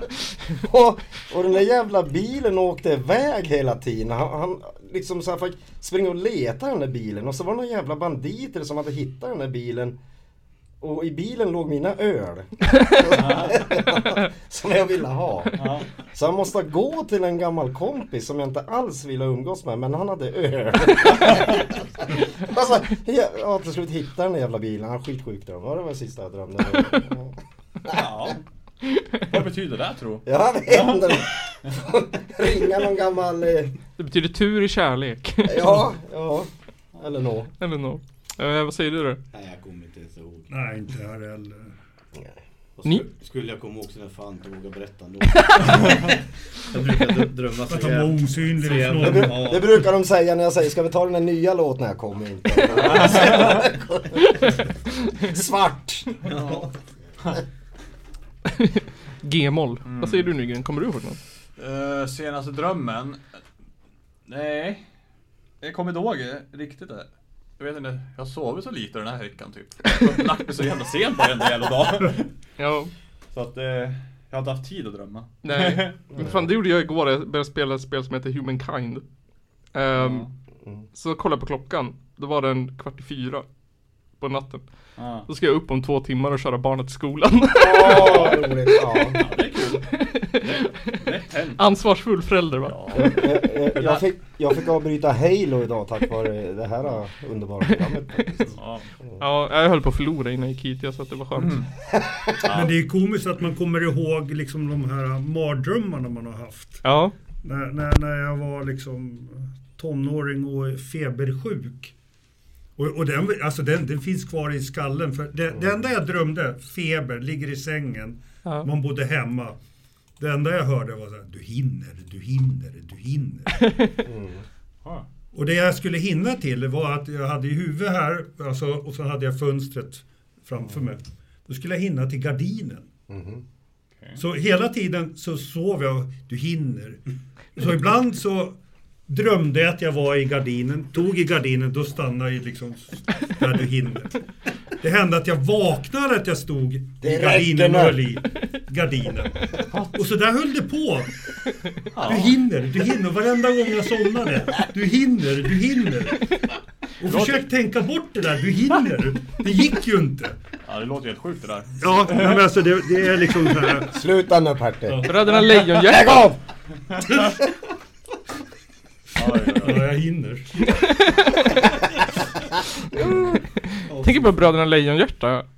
Speaker 4: Och, och den där jävla bilen åkte iväg hela tiden. Han, han liksom så här fick springa och leta den där bilen och så var det några jävla banditer som hade hittat den där bilen. Och i bilen låg mina öl. som jag ville ha.
Speaker 2: Ja.
Speaker 4: Så han måste gå till en gammal kompis som jag inte alls ville umgås med men han hade öl. alltså, ja, ja, till slut hittade den där jävla bilen. Han skitsjuk dröm. Ja, det var det sista jag drömde.
Speaker 2: ja. Vad betyder det tro?
Speaker 4: Ja, det händer. Ringa någon gammal... Eh,
Speaker 3: Det betyder tur i kärlek.
Speaker 4: ja, ja. Eller nå.
Speaker 3: Eller nå. Eh, vad säger du då?
Speaker 6: Nej jag kommer inte ens ihåg.
Speaker 5: Nej, inte här heller.
Speaker 6: Och
Speaker 3: Ni-
Speaker 6: sku- Skulle jag komma ihåg så när fan inte vågar berätta ändå. jag brukar dr- drömma så
Speaker 5: Att han var
Speaker 6: jävla...
Speaker 5: osynlig
Speaker 6: Så jävla
Speaker 5: och
Speaker 4: Det,
Speaker 5: snål.
Speaker 6: Ja.
Speaker 4: bru- det brukar de säga när jag säger ska vi ta den här nya låten? när Jag kommer inte. Svart!
Speaker 3: G-moll.
Speaker 4: Mm.
Speaker 3: Vad säger du Nygren? Kommer du ihåg något?
Speaker 2: Eh, senaste drömmen? Nej. Jag kommer inte ihåg det riktigt det. Jag vet inte, jag har sovit så lite den här veckan typ. Jag har lagt mig så jävla sent varenda jävla dag.
Speaker 3: Ja.
Speaker 2: Så att eh, jag har inte haft tid att drömma.
Speaker 3: Nej. Men fan, det gjorde jag igår. Jag började spela ett spel som heter Humankind. Ehm, Så kollade jag på klockan. Då var den kvart i fyra. På natten.
Speaker 2: Ja.
Speaker 3: Då ska jag upp om två timmar och köra barnet till skolan.
Speaker 4: Åh, vad roligt. Ja.
Speaker 2: Det är kul. Det är hänt.
Speaker 3: Ansvarsfull förälder va?
Speaker 2: Ja.
Speaker 4: Jag, jag, Eh, jag, fick, jag fick avbryta Halo idag tack vare det här eh, underbara programmet. faktiskt.
Speaker 2: Ja.
Speaker 3: Ja, jag höll på att förlora innan jag gick hit. Jag sa att det var skönt.
Speaker 5: Men det är komiskt att man kommer ihåg liksom de här mardrömmarna man har haft.
Speaker 3: Ja.
Speaker 5: När, när, när jag var liksom tonåring och är febersjuk. Och, och den, alltså den, den finns kvar i skallen. För det, det enda jag drömde, feber, ligger i sängen.
Speaker 3: Ja.
Speaker 5: Man bodde hemma. Det enda jag hörde var så här, du hinner, du hinner, du hinner.
Speaker 2: Ja.
Speaker 5: Och det jag skulle hinna till var att jag hade i huvudet här alltså, och så hade jag fönstret framför mig. Då skulle jag hinna till gardinen. Så hela tiden så sov jag, du hinner. Så ibland så drömde jag att jag var i gardinen, tog i gardinen, då stannade jag liksom där du hinner. Det hände att jag vaknade att jag stod i
Speaker 4: Det
Speaker 5: gardinen och
Speaker 4: räcker
Speaker 5: höll
Speaker 4: nu.
Speaker 5: i gardinen. Och så där höll det på. Du hinner, du hinner. Varenda gång jag somnade. Du hinner, du hinner. Och försök tänka bort det där, du hinner. Det gick ju inte.
Speaker 2: ja, det låter helt sjukt det där.
Speaker 5: Ja, nej, men alltså det, det är liksom så här.
Speaker 4: Sluta nu Pertti!
Speaker 3: Bröderna Lejonhjärta!
Speaker 4: Lägg av!
Speaker 2: Ja, ja, ja.
Speaker 5: Ja, jag hinner.
Speaker 3: Tänk på Bröderna Lejonhjärta.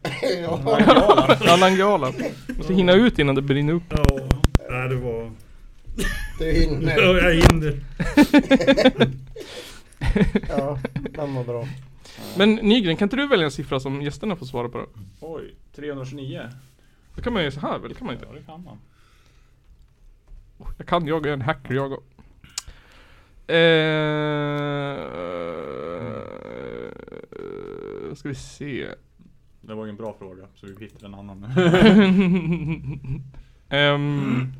Speaker 3: Ja, Nangijala. Måste hinna ut innan det brinner upp.
Speaker 5: Ja, nej, det var...
Speaker 4: Du hinner!
Speaker 5: Ja, jag hinner.
Speaker 4: Ja, den var bra.
Speaker 3: Men Nygren, kan inte du välja en siffra som gästerna får svara på då?
Speaker 7: Oj, 329.
Speaker 3: Då kan man ju så här väl? kan man inte?
Speaker 2: Ja, det kan man.
Speaker 3: Jag kan, jag är en hacker jag och. Eh, ska vi se.
Speaker 2: Det var ingen bra fråga, så vi hittade en annan.
Speaker 3: Ehm,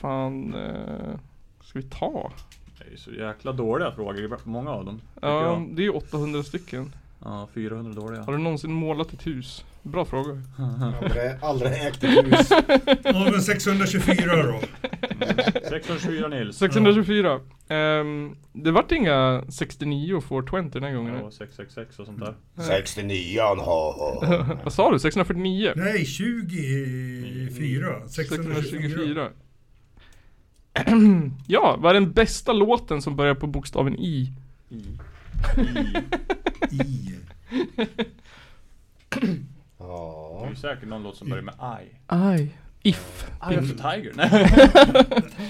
Speaker 3: fan, eh, ska vi ta?
Speaker 2: Det är ju så jäkla dåliga frågor, många av dem. tycker
Speaker 3: Ja,
Speaker 2: jag.
Speaker 3: det är ju 800 stycken.
Speaker 2: ja 400 dåliga.
Speaker 3: Har du någonsin målat ett hus? Bra fråga.
Speaker 4: Aldrig, aldrig ägt ett hus.
Speaker 5: Ja, men 624 då.
Speaker 2: 624 Nils. Mm.
Speaker 3: 624. Ehm, det vart inga 69 och 420 den här gången.
Speaker 2: Ja, 666 och sånt där.
Speaker 1: 69 ha, ha.
Speaker 3: Vad sa du? 649?
Speaker 5: Nej, 24. 624.
Speaker 3: 624. ja, vad är den bästa låten som börjar på bokstaven I?
Speaker 5: I.
Speaker 2: Det är
Speaker 4: Ja.
Speaker 2: ju säkert någon låt som börjar med I.
Speaker 3: Aj. If.
Speaker 2: I of the tiger. Nej.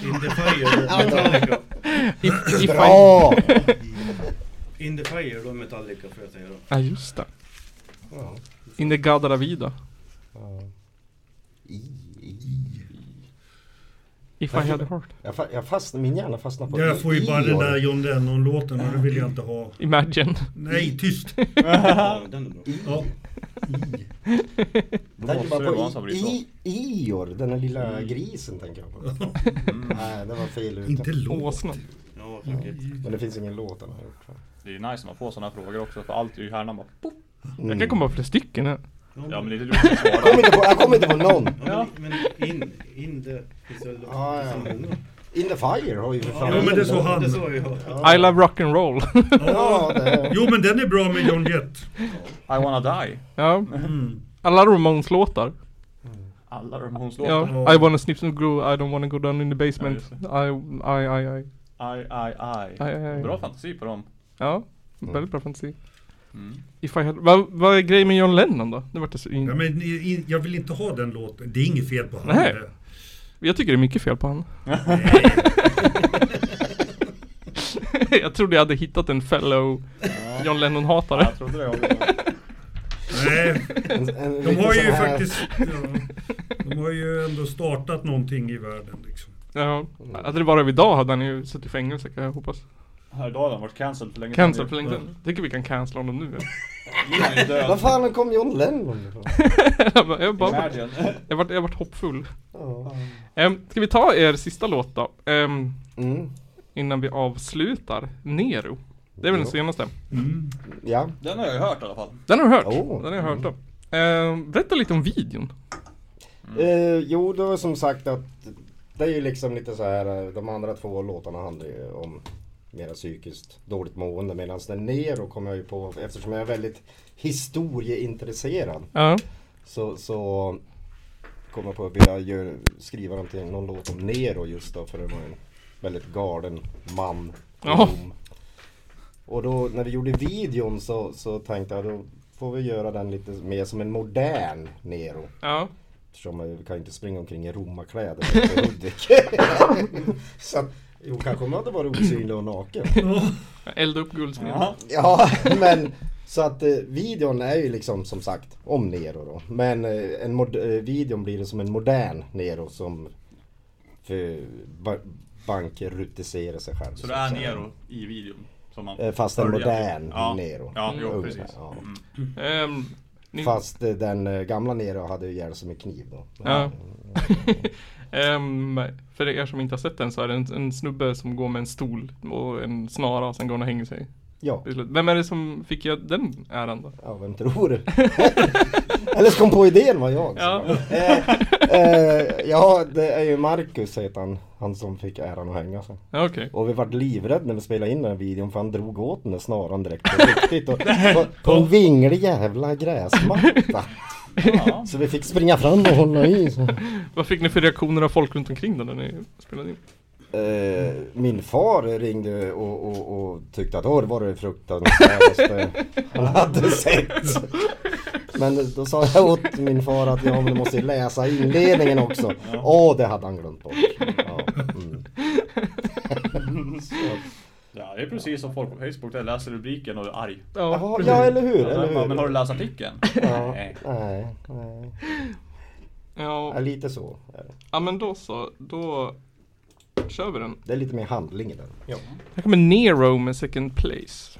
Speaker 6: In the fire, Metallica.
Speaker 3: If, if I...
Speaker 4: Bra!
Speaker 6: In the fire då, Metallica får jag säga då.
Speaker 3: Ja, just det. In the Gada la Vida. If I had a heart.
Speaker 4: Jag, fa- jag fastnar, min hjärna fastnar på
Speaker 5: Jag får ju bara den
Speaker 4: Ior.
Speaker 5: där John Lennon-låten och det vill jag inte ha.
Speaker 3: Imagine.
Speaker 5: Nej, tyst.
Speaker 6: Ja, den är bra.
Speaker 5: Ja.
Speaker 4: Tänker
Speaker 2: måste det vara
Speaker 4: bara på
Speaker 2: hans favoritlåt.
Speaker 4: i, i, Ior, den där
Speaker 5: Mm.
Speaker 4: lilla grisen tänker jag på. Nej, det var fel
Speaker 5: Inte
Speaker 4: ute.
Speaker 5: låt.
Speaker 3: Åsnan.
Speaker 6: Ja, säkert.
Speaker 4: Men det finns ingen låt han har gjort. va?
Speaker 2: Det är ju nice när man får såna här frågor också, för allt är ju hjärnan bara pop.
Speaker 3: Jag kan komma på flera stycken. här.
Speaker 2: Ja men det är lite roligt att svara.
Speaker 4: Mm. Jag kommer inte på, jag kommer inte på någon.
Speaker 6: Ja, men, men in, in the... Finns det väl
Speaker 4: Ja, ja.
Speaker 6: finns det många?
Speaker 4: In the fire har ju för fan
Speaker 5: Ja, men det är så
Speaker 4: den.
Speaker 5: han-
Speaker 6: Det sa jag.
Speaker 3: I love rock'n'roll.
Speaker 4: Ja,
Speaker 5: Ja.
Speaker 4: det är...
Speaker 5: Jo, men den är bra med John Jett.
Speaker 2: I wanna die.
Speaker 3: ja. Alla Ramones-låtar.
Speaker 2: Alla Ramones-låtar.
Speaker 3: Ja. I wanna snip some glue, I don't wanna go down in the basement.
Speaker 2: Ja, just
Speaker 3: I, I, I, I.
Speaker 2: I, I, I.
Speaker 3: Aj, aj, aj.
Speaker 2: Bra fantasi på dem.
Speaker 3: Ja, väldigt bra fantasi. If I had, vad, vad är grejen med John Lennon då? Det vart det så in...
Speaker 5: Ja, men i- i- jag vill inte ha den låten. Det är inget fel på han.
Speaker 3: Nej. Jag tycker det är mycket fel på han. jag trodde jag hade hittat en fellow John Lennon-hatare.
Speaker 2: Jag trodde det också.
Speaker 5: Nej.
Speaker 4: En, en
Speaker 5: De
Speaker 4: riktig
Speaker 5: har ju
Speaker 4: sån här-
Speaker 5: faktiskt... Ja, de har ju ändå startat någonting i världen liksom.
Speaker 3: Ja. Hade det varit idag hade han ju suttit i fängelse kan jag hoppas.
Speaker 2: Här idag har han varit cancelled för länge
Speaker 3: Cancel för länge sedan. Tycker vi kan cancella honom nu.
Speaker 2: sedan.
Speaker 4: Vad fan kom John Lennon ifrån?
Speaker 3: jag bara, jag bara,
Speaker 2: Imagine.
Speaker 3: jag vart, jag vart hoppfull.
Speaker 4: Ja.
Speaker 3: Um, ska vi ta er sista låt då? Ehm,
Speaker 4: Mm.
Speaker 3: innan vi avslutar. Nero. Det är väl den
Speaker 4: Ja.
Speaker 3: senaste?
Speaker 4: Ja.
Speaker 2: Den har jag ju hört i alla fall.
Speaker 3: Den har du hört.
Speaker 4: Oh.
Speaker 3: Den har jag hört om. Ehm, berätta lite om videon.
Speaker 4: Eh, jo, det var som sagt att det är ju liksom lite så här. eh, De andra två låtarna handlar ju om mera psykiskt dåligt mående. Medan den Nero kom jag ju på eftersom jag är väldigt historieintresserad.
Speaker 3: Ja.
Speaker 4: Så, så kom jag på att vilja gör, skriva någonting, någon låt om Nero just då. För det var en väldigt galen man. i
Speaker 3: Ja.
Speaker 4: Rom. Och då när vi gjorde videon så, så tänkte jag då får vi göra den lite mer som en modern Nero.
Speaker 3: Ja.
Speaker 4: Eftersom vi kan ju inte springa omkring i romarkläder efter Hudik. så att Jo, kanske om jag hade varit osynlig och naken.
Speaker 9: Elda upp guldsmeden.
Speaker 2: Ja.
Speaker 4: Ja, men så att eh, videon är ju liksom som sagt om Nero då. Men eh, en mod- eh, videon blir det som en modern Nero som för ba- bankrutiserar sig själv.
Speaker 2: Så det är Nero i videon. Som man
Speaker 4: Eh, fast en
Speaker 2: följer.
Speaker 4: modern
Speaker 2: ja.
Speaker 4: Nero.
Speaker 2: Ja, jo,
Speaker 4: Ungefär,
Speaker 2: precis.
Speaker 4: ja.
Speaker 2: Mm.
Speaker 9: Ehm, ni,
Speaker 4: Fast eh, den eh, gamla Nero hade ju ihjäl sig med kniv då.
Speaker 9: Ja. Ehm, för er som inte har sett den så är det en, en snubbe som går med en stol och en snara och sen går han och hänger sig.
Speaker 4: Ja,
Speaker 9: Till slut. Vem är det som fick jag den äran då?
Speaker 4: ja vem tror du? Eller som kom på idén var jag.
Speaker 9: Ja.
Speaker 4: Eh, eh, ja, det är ju Marcus heter han. Han som fick äran att hänga sig.
Speaker 9: Ja, Okej.
Speaker 4: Och vi vart livrädda när vi spelade in den här videon för han drog åt den där snaran direkt på riktigt. Och på, på en vinglig jävla gräsmatta.
Speaker 2: Ja.
Speaker 4: Så vi fick springa fram och hålla i. Så.
Speaker 9: Vad fick ni för reaktioner av folk runt omkring då när ni spelade in?
Speaker 4: Eh, min far ringde och, och, och tyckte att åh det var det fruktansvärdaste han hade sett. Men då sa jag åt min far att ja men du måste ju läsa inledningen också. Åh det hade han glömt bort. Ja, mm.
Speaker 2: ja, det är precis som folk på Facebook. Där läser rubriken och är arg.
Speaker 4: ja, ja eller hur,
Speaker 2: Ja,
Speaker 4: eller
Speaker 2: men- men har
Speaker 4: hur.
Speaker 2: du läst artikeln?
Speaker 4: Ja,
Speaker 2: Nej.
Speaker 4: nej, nej. Ja,
Speaker 9: Ja,
Speaker 4: lite så är det.
Speaker 9: ja men då så. Då kör vi den.
Speaker 4: Det är lite mer handling i den.
Speaker 9: Här kommer Nero med second place.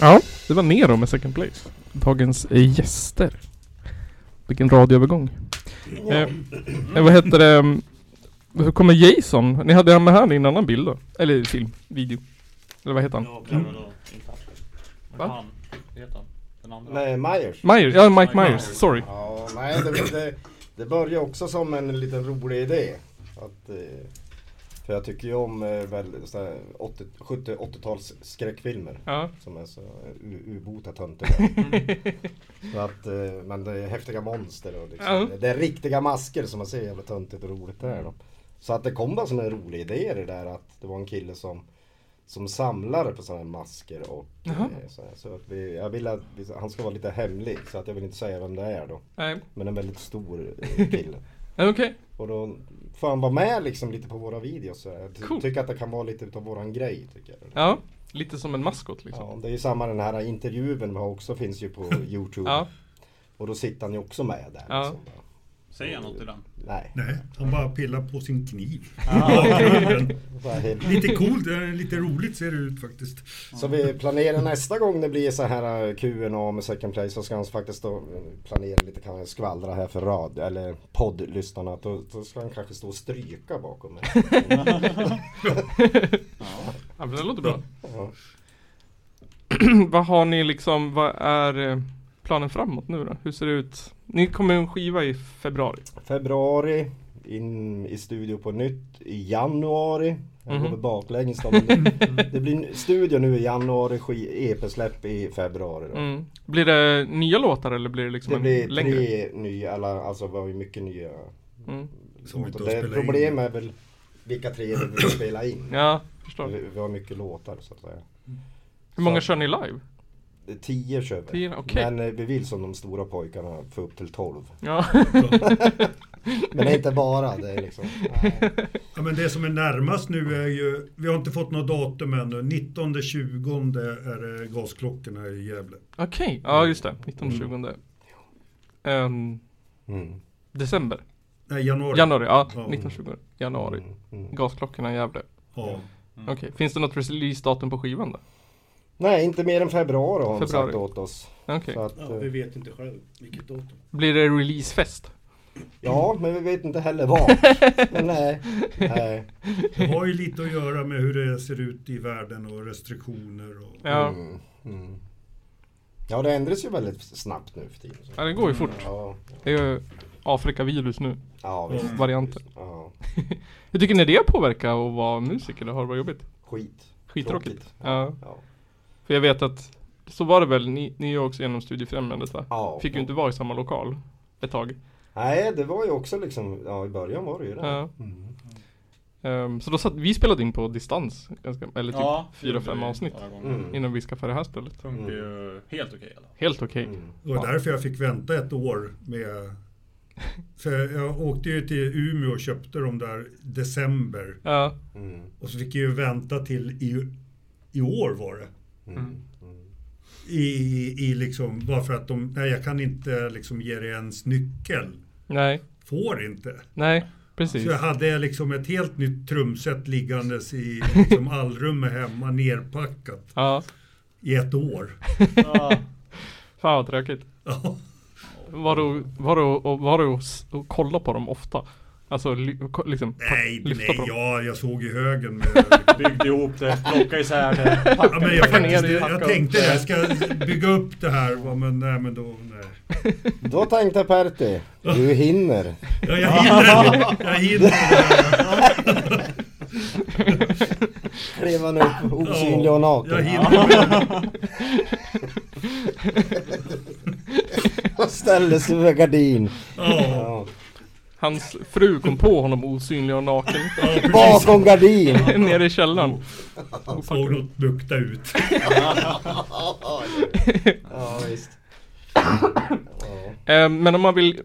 Speaker 9: Ja. Det var Nero med second place. Dagens eh, gäster. Vilken radioövergång. Eh, eh, vad heter det?
Speaker 3: mm, Hur kommer Jason? Ni hade med han i en annan bild då? Eller film, video. Eller vad heter han?
Speaker 6: Ja, kan man då.
Speaker 3: Va?
Speaker 2: Han, vad heter han? Den andra?
Speaker 4: Nej, Myers.
Speaker 3: Myers, ja Mike
Speaker 2: Mike
Speaker 3: Myers,
Speaker 2: Myers.
Speaker 3: sorry.
Speaker 4: Ja, nej, det, det, det började också som en liten rolig idé. Att, eh, för jag tycker ju om eh, väl, så här 80, 70 80-tals skräckfilmer.
Speaker 3: Ja.
Speaker 4: Som är så eh, u- ubota töntiga. Så att, eh, men det är häftiga monster och liksom,
Speaker 3: Ja.
Speaker 4: det är riktiga masker som man ser jävla töntigt och roligt det är. Då. Så att det kom bara sådana rolig idé det där att det var en kille som som samlade på sådana här masker och
Speaker 3: Jaha.
Speaker 4: eh, så, här. så att vi, jag vill att vi, han ska vara lite hemlig så att jag vill inte säga vem det är då.
Speaker 3: Nej,
Speaker 4: Men en väldigt stor eh, kille.
Speaker 3: eh, okej.
Speaker 4: Och då får han vara med liksom lite på våra videos. Så jag ty-
Speaker 3: Cool.
Speaker 4: tycker att det kan vara lite utav våran grej. Tycker jag.
Speaker 3: Ja, lite som en maskot liksom.
Speaker 4: Ja, det är ju samma den här intervjun har också finns ju på Youtube.
Speaker 3: Ja,
Speaker 4: Och då sitter han ju också med där.
Speaker 3: Ja.
Speaker 4: Liksom.
Speaker 2: Säger han något i den?
Speaker 4: Nej,
Speaker 5: Nej, han bara pillar på sin kniv.
Speaker 6: Ah.
Speaker 4: så, här helt...
Speaker 5: lite coolt, eh, lite roligt ser det ut faktiskt.
Speaker 4: så vi planerar nästa gång det blir så här eh, Q&A med second place så ska han faktiskt då eh, planera lite, kan jag skvallra här för rad eller poddlyssnarna. Då, då ska han kanske stå och stryka bakom mig.
Speaker 3: ja men det låter bra.
Speaker 4: Ja.
Speaker 3: vad har ni liksom, vad är eh, planen framåt nu då? Hur ser det ut? Ni kommer med en skiva i februari.
Speaker 4: Februari, in i studio på nytt i januari. Jag
Speaker 3: Mhm.
Speaker 4: går väl baklänges då, men det, det blir n- studio nu i januari, ski- EP-släpp i februari. Då.
Speaker 3: Mm. Blir det nya låtar eller blir det liksom
Speaker 4: Det blir
Speaker 3: en längre?
Speaker 4: tre nya, eller alltså var ju mycket nya.
Speaker 3: Mm.
Speaker 5: Som inte
Speaker 4: Och
Speaker 5: har
Speaker 4: Det
Speaker 5: spelat in.
Speaker 4: problem är väl vilka tre vi vill spela in.
Speaker 3: Ja, förstår.
Speaker 4: Vi, vi har mycket låtar så att säga.
Speaker 3: Hur många
Speaker 4: Så-
Speaker 3: kör ni live?
Speaker 4: Det är Tio kör vi.
Speaker 3: Tio, okej.
Speaker 4: Men eh, vi vill som de stora pojkarna få upp till tolv.
Speaker 3: Ja.
Speaker 4: Men det är inte bara, det är liksom.
Speaker 5: Ja, men det som är närmast nu är ju, vi har inte fått något datum ännu, 19-20 är det gasklockorna i Gävle.
Speaker 3: Okej, ja just det.
Speaker 5: Mm.
Speaker 3: 19-20 Ehm,
Speaker 4: Mm.
Speaker 3: December?
Speaker 5: Nej, januari.
Speaker 3: Januari, ja.
Speaker 5: Ja.
Speaker 3: 19-20 januari.
Speaker 4: Mm, mm.
Speaker 3: Gasklockorna i Gävle.
Speaker 5: Ja.
Speaker 3: Okej, finns det något releasedatum på skivan då?
Speaker 4: Nej, inte mer än februari har de
Speaker 3: Februari.
Speaker 4: sagt åt oss.
Speaker 3: Okej.
Speaker 4: Så att,
Speaker 6: Ja,
Speaker 4: eh,
Speaker 6: vi vet inte själv vilket datum.
Speaker 3: Blir det releasefest?
Speaker 4: Ja, men vi vet inte heller vad. Men nej, nej.
Speaker 5: Det har ju lite att göra med hur det ser ut i världen och restriktioner och...
Speaker 3: Ja.
Speaker 4: Mm, mm. ja, det ändras ju väldigt snabbt nu för tiden. så.
Speaker 3: ja, det går ju fort.
Speaker 4: Ja,
Speaker 3: Det är ju Afrika-virus nu,
Speaker 4: ja visst.
Speaker 3: varianter.
Speaker 4: Ja,
Speaker 3: Hur tycker ni det påverkar att vara musiker? då? Har det varit jobbigt?
Speaker 4: skit.
Speaker 3: Skittråkigt.
Speaker 4: Tråkigt.
Speaker 3: Ja.
Speaker 4: Ja.
Speaker 3: För jag vet att, så var det väl, ni, ni är ju också genom Studiefrämjandet va?
Speaker 4: Ja.
Speaker 3: Fick ju inte vara i samma lokal ett tag.
Speaker 4: Nej, det var ju också liksom, ja i början var det ju det.
Speaker 3: Ja.
Speaker 4: Mm.
Speaker 3: Eh, Ehm, så då satt, vi spelade in på distans, ganska, eller typ
Speaker 2: Ja, det
Speaker 3: fyra,
Speaker 2: gjorde
Speaker 3: fem
Speaker 2: vi
Speaker 3: avsnitt.
Speaker 2: några gånger.
Speaker 4: Mm.
Speaker 3: Innan vi skaffade det här stället.
Speaker 2: Funkar ju helt okej i alla fall.
Speaker 3: Helt okej.
Speaker 4: Mm.
Speaker 5: Det var därför jag fick vänta ett år med... För jag åkte ju till Umeå och köpte de där december.
Speaker 3: Ja,
Speaker 4: Mm.
Speaker 5: Och så fick jag ju vänta till i, i år var det.
Speaker 4: Mm. Mm.
Speaker 5: I, i, i liksom, bara för att de, nej jag kan inte liksom ge dig ens nyckel.
Speaker 3: nej,
Speaker 5: Får inte.
Speaker 3: nej,
Speaker 5: Så
Speaker 3: precis.
Speaker 5: jag hade liksom ett helt nytt trumset liggandes i liksom allrummet hemma nerpackat
Speaker 3: Ja,
Speaker 5: i ett år.
Speaker 3: fan vad tråkigt.
Speaker 5: Ja.
Speaker 3: Var du, var du, och var du och, s- och kolla på dem ofta? Alltså li, ko- liksom, pack-
Speaker 5: Nej,
Speaker 3: lyfta
Speaker 5: nej,
Speaker 3: på dem.
Speaker 5: ja, jag såg ju högen med
Speaker 2: Byggde ihop det, plockade isär det,
Speaker 5: Ja, men jag,
Speaker 3: Packa ner
Speaker 5: faktiskt,
Speaker 3: det,
Speaker 5: jag,
Speaker 3: packa
Speaker 5: jag
Speaker 3: upp
Speaker 5: tänkte
Speaker 3: det.
Speaker 5: jag ska bygga upp det här, va, men nej men då, nej.
Speaker 4: Då tänkte Pertti, du hinner.
Speaker 5: Ja, jag hinner inte, jag hinner inte.
Speaker 4: Klev han upp osynlig och naken.
Speaker 5: Jag hinner inte.
Speaker 4: Och ställde sig för gardin.
Speaker 5: Ja,
Speaker 4: Ja.
Speaker 3: Hans fru kom på honom osynlig och naken.
Speaker 5: ja precis.
Speaker 4: Bakom gardin.
Speaker 3: nere i källaren. Och
Speaker 5: Såg
Speaker 3: packade-
Speaker 5: något bukta ut.
Speaker 4: Ja, visst. Ja.
Speaker 3: Eh, men om man vill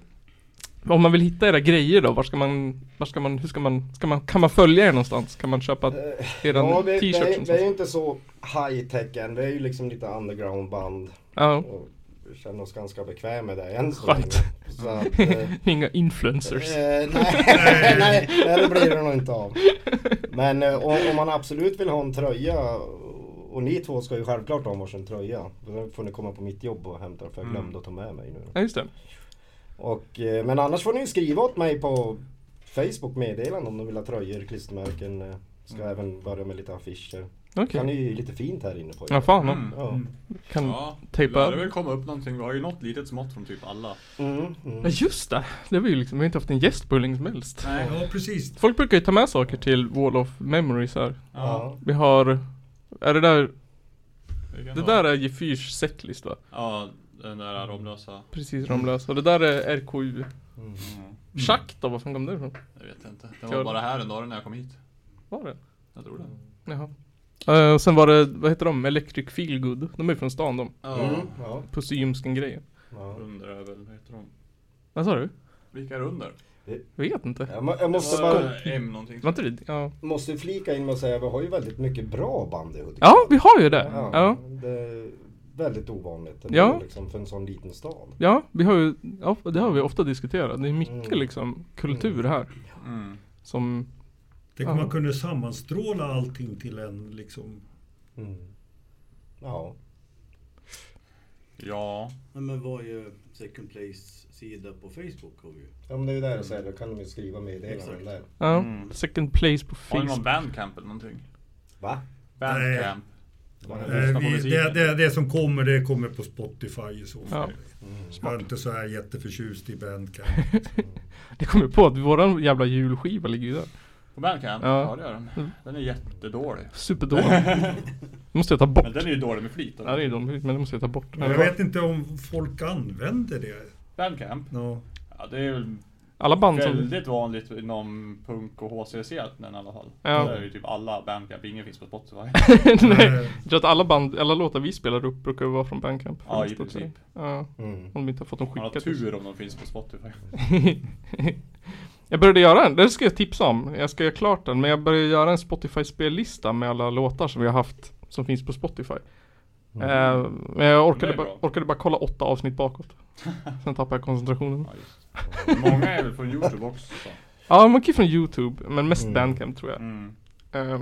Speaker 3: om man vill hitta era grejer då, var ska man, var ska man, hur ska man, ska man, kan man följa er någonstans? Kan man köpa eran
Speaker 4: Eh, Ja, vi, vi,
Speaker 3: t-shirt
Speaker 4: är, vi är ju
Speaker 3: någonstans?
Speaker 4: inte så high-tech än. Vi är ju liksom lite underground-band.
Speaker 3: Ja,
Speaker 4: Och vi känner oss ganska bekväma med det än så
Speaker 3: Skönt.
Speaker 4: länge. Så att, eh,
Speaker 3: ni är inga influencers.
Speaker 4: Eh, nej, nej, nej, det blir det nog inte av. Men eh, om, om man absolut vill ha en tröja och ni två ska ju självklart ha varsin tröja. Då får ni komma på mitt jobb och hämta den för jag
Speaker 3: Mm.
Speaker 4: glömde att ta med mig nu.
Speaker 3: Ja just det.
Speaker 4: Och, eh, men annars får ni skriva åt mig på Facebook meddelande om de vill ha tröjor, klistermärken. eh, Ska även börja med lite affischer.
Speaker 3: Mm. Okej.
Speaker 4: Kan ju lite fint här inne på
Speaker 3: Ja fan.
Speaker 2: Mm.
Speaker 4: Ja.
Speaker 3: Kan... Ja.
Speaker 2: Ja,
Speaker 3: Tejpa.
Speaker 2: lär det väl komma upp någonting. Vi har ju något litet smått från typ alla.
Speaker 4: Mm, mm.
Speaker 3: just det. Det var ju liksom, vi har inte haft en gäst på hur länge som helst.
Speaker 2: Nej.
Speaker 5: Ja, precis.
Speaker 3: Folk brukar ju ta med saker till Wall of Memories här.
Speaker 2: Ja.
Speaker 3: Vi har... Är det där...
Speaker 2: vilken
Speaker 3: Det där
Speaker 2: var
Speaker 3: är Gefyrs setlist va?
Speaker 2: Ja, den där Romlösa.
Speaker 3: Precis Ramlös. Och det där är RKU.
Speaker 2: Mm.
Speaker 3: Schack då? Var fan kom det ifrån?
Speaker 2: Jag vet inte. Den
Speaker 3: Kul.
Speaker 2: var bara här en dag när jag kom hit.
Speaker 3: Var det?
Speaker 2: Jag tror
Speaker 4: Mm.
Speaker 2: det.
Speaker 3: Jaha. Eh, och sen var det, vad heter de? Electric Feelgood. De är från stan de.
Speaker 2: Ja.
Speaker 4: Mm, ja,
Speaker 3: Posymsken grejen.
Speaker 4: ja.
Speaker 2: Runder är väl, vad heter de?
Speaker 3: Vad sa du?
Speaker 2: Vilka är Runder?
Speaker 3: Vet inte.
Speaker 4: Jag, må- jag måste
Speaker 2: Det
Speaker 4: bara
Speaker 2: var M någonting.
Speaker 3: Var inte det? Ja.
Speaker 4: måste flika in med att säga vi har ju väldigt mycket bra band i Hudiksvall.
Speaker 3: ja, vi har ju det. Ja.
Speaker 4: Det är väldigt ovanligt ändå,
Speaker 3: Ja.
Speaker 4: liksom, för en sån liten stad.
Speaker 3: Ja, vi har ju, ja, det har vi ofta diskuterat. Det är mycket
Speaker 4: Mm.
Speaker 3: liksom kultur här.
Speaker 2: Mm.
Speaker 3: Som,
Speaker 5: Tänk om man kunde sammanstråla allting till en liksom...
Speaker 4: Mm. Ja.
Speaker 2: Ja.
Speaker 6: Nej, men vad är ju second place sida på Facebook har vi ju.
Speaker 4: ja, men det är ju där jag säger, då kan de ju skriva meddelanden
Speaker 6: Exakt.
Speaker 4: där.
Speaker 3: ja,
Speaker 2: Mm.
Speaker 3: second place på
Speaker 2: Har ni någon
Speaker 3: Facebook.
Speaker 2: bandcamp eller någonting?
Speaker 4: Va?
Speaker 2: Bandcamp?
Speaker 5: Eh, vi, det, det, det som kommer, det kommer på Spotify i så fall. Jag är inte så här jätteförtjust i Bandcamp.
Speaker 3: Det kom ju på att våran jävla julskiva ligger ju där.
Speaker 2: På bandcamp?
Speaker 3: Ja. Mm.
Speaker 2: Ja. det gör den. Den är jättedålig.
Speaker 3: Superdålig. Det måste jag ta bort.
Speaker 2: Men den är ju dålig med flit.
Speaker 3: Ja,
Speaker 2: eller?
Speaker 3: det är dum, men det måste jag ta bort.
Speaker 5: Jag vet inte om folk använder det.
Speaker 2: Bandcamp?
Speaker 5: Ja.
Speaker 2: Ja, det är väl
Speaker 3: Alla band som...
Speaker 2: väldigt vanligt inom punk och HC-scenen i alla fall.
Speaker 3: Ja.
Speaker 2: Där är ju typ alla bandcamp, ingen finns på Spotify.
Speaker 3: Nej.
Speaker 5: Eh,
Speaker 3: Jag tror att alla band, alla låtar vi spelar upp brukar ju vara från Bandcamp.
Speaker 2: Ja, i
Speaker 3: Främst också.
Speaker 2: princip.
Speaker 3: Ja,
Speaker 4: Mm.
Speaker 3: om vi inte har fått dem
Speaker 2: Man har
Speaker 3: skickat.
Speaker 2: tur om de finns på Spotify.
Speaker 3: jag började göra en, det ska jag tipsa om. Jag ska göra klart den, men jag började göra en Spotify-spellista med alla låtar som vi har haft, som finns på Spotify. Eh, men jag orkade,
Speaker 2: Mm. Det är
Speaker 3: bara,
Speaker 2: bra.
Speaker 3: orkade bara kolla åtta avsnitt bakåt. Sen tappade jag koncentrationen.
Speaker 2: Ja, just. det. Många är väl från Youtube också. Så.
Speaker 3: Ja, mycket från YouTube, men mest
Speaker 4: Mm.
Speaker 3: Bandcamp tror jag.
Speaker 2: Mm.
Speaker 3: Ehm,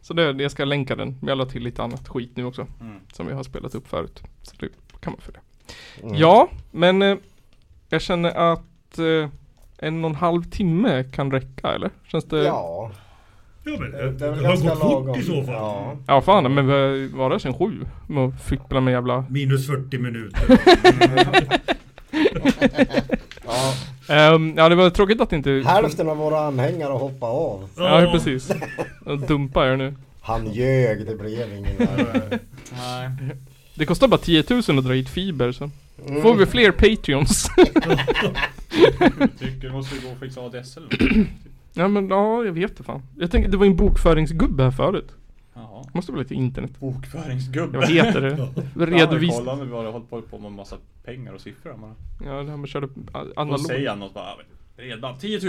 Speaker 3: så det, jag ska länka den, men jag la till lite annat skit nu också.
Speaker 2: Mm.
Speaker 3: Som vi har spelat upp förut. Så det kan man följa.
Speaker 4: Mm.
Speaker 3: Ja, men eh, jag känner att eh, en och en halv timme kan räcka eller? Känns det?
Speaker 4: Ja,
Speaker 5: Ja, men, eh,
Speaker 4: det Eh, är
Speaker 5: det,
Speaker 4: väl
Speaker 5: har
Speaker 4: ganska
Speaker 5: gått
Speaker 4: lagom.
Speaker 5: fort i så fall.
Speaker 4: Ja.
Speaker 3: Ja fan, men vi var där sen sju. Med att fippla med jävla...
Speaker 5: Minus 40 minuter.
Speaker 4: Ja.
Speaker 3: Ehm, ja det var tråkigt att inte...
Speaker 4: Hälften av våra anhängare hoppar av.
Speaker 3: Ja precis. Jag dumpar er nu.
Speaker 4: Han ljög, det blev ingen där.
Speaker 2: Nej.
Speaker 3: Det kostar bara 10 000 att dra hit fiber så.
Speaker 4: Mm.
Speaker 3: Får vi fler Patreons?
Speaker 2: Jag tycker du måste ju gå och fixa ADSL. eller något.
Speaker 3: ja men ja, jag vet det fan. Jag tänkte det var ju en bokföringsgubbe här förut.
Speaker 2: Jaha.
Speaker 3: Det måste vara lite internet.
Speaker 2: Bokföringsgubbe.
Speaker 3: Jag heter det. Redovis...
Speaker 2: Kolla när vi har hållit på, på med massa pengar och siffror. Man.
Speaker 3: Ja det här med att köra
Speaker 2: Då
Speaker 3: analogt.
Speaker 2: säger han något bara. Redan 10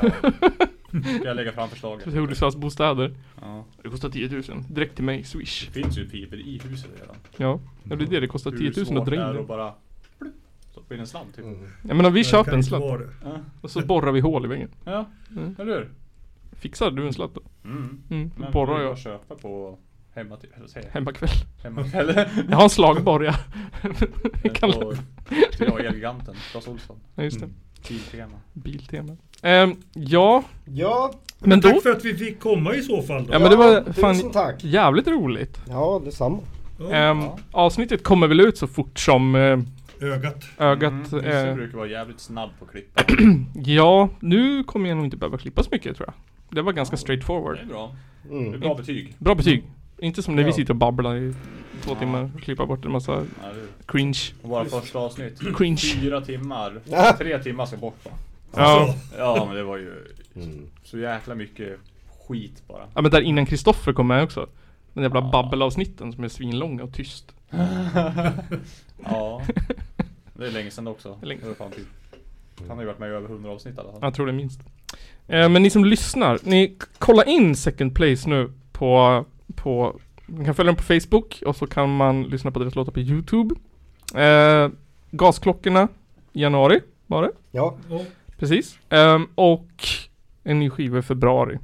Speaker 2: 000. Ja. Ska jag lägga fram förslaget.
Speaker 3: Hudiksvalls bostäder.
Speaker 2: Ja.
Speaker 3: Det kostar 10 000. Direkt till mig, swish.
Speaker 2: Det finns ju fiber i huset redan.
Speaker 3: Ja, ja, det är det det kostar 10 000 att
Speaker 2: svårt
Speaker 3: dra
Speaker 2: är
Speaker 3: in
Speaker 2: det
Speaker 3: det.
Speaker 2: att bara stoppa in en slant typ.
Speaker 4: Mm.
Speaker 3: Jag menar vi köper en slapp
Speaker 5: slapp.
Speaker 2: Ja.
Speaker 3: och så borrar vi hål i väggen.
Speaker 2: ja,
Speaker 3: Mm.
Speaker 2: eller hur?
Speaker 3: Fixar du en slapp då?
Speaker 2: Mm.
Speaker 3: Mm, då
Speaker 2: Men
Speaker 3: borrar
Speaker 2: det är bara
Speaker 3: jag.
Speaker 2: att köpa på hemma till, eller säger jag?
Speaker 3: Hemmakväll.
Speaker 2: Hemma eller?
Speaker 3: Jag har en slagborr ja. Vi kan
Speaker 2: På ja, Elgiganten, Clas Ohlson,
Speaker 3: Ja, just det.
Speaker 2: Biltema.
Speaker 3: Biltema. Ehm, ja,
Speaker 4: Ja,
Speaker 3: men då.
Speaker 5: Tack för att vi fick komma i så fall. Då.
Speaker 3: Ja men det var
Speaker 4: tusen
Speaker 3: fan
Speaker 4: tack.
Speaker 3: jävligt roligt.
Speaker 4: Ja, detsamma.
Speaker 3: Ehm, avsnittet kommer väl ut så fort som eh,
Speaker 5: Ögat.
Speaker 3: ögat...
Speaker 2: Mm,
Speaker 3: eh,
Speaker 2: Nisse brukar vara jävligt snabb på att klippa.
Speaker 3: ja, nu kommer jag nog inte behöva klippa så mycket tror jag. Det var ganska straightforward.
Speaker 2: Det är bra. Det är
Speaker 4: Mm.
Speaker 2: bra betyg.
Speaker 3: Bra betyg. Inte som när vi
Speaker 4: Ja.
Speaker 3: sitter och babblar i två
Speaker 2: Ja.
Speaker 3: timmar och klipper bort en massa
Speaker 2: Ja, det är-
Speaker 3: cringe.
Speaker 2: Och Våra första avsnitt.
Speaker 3: Cringe.
Speaker 2: Fyra timmar. Tre timmar ska bort va?
Speaker 3: Ja.
Speaker 2: Ja men det var ju
Speaker 4: Mm.
Speaker 2: så jäkla mycket skit bara.
Speaker 3: ja men där innan Kristoffer kom med också. Den jävla
Speaker 2: Ja.
Speaker 3: babbelavsnitten som är svinlånga och tyst.
Speaker 2: Ja. Det är länge sedan också.
Speaker 3: länge
Speaker 2: Det var fan typ. Han har ju varit med i över 100 avsnitt i alla fall.
Speaker 3: Jag tror det är minst. Eh, men ni som lyssnar, ni k- kolla in Second Place nu på, på man kan följa dem på Facebook och så kan man lyssna på deras låtar på Youtube. Eh, gasklockorna, i januari var det.
Speaker 4: Ja.
Speaker 3: Precis. Ehm, och en ny skiva i februari.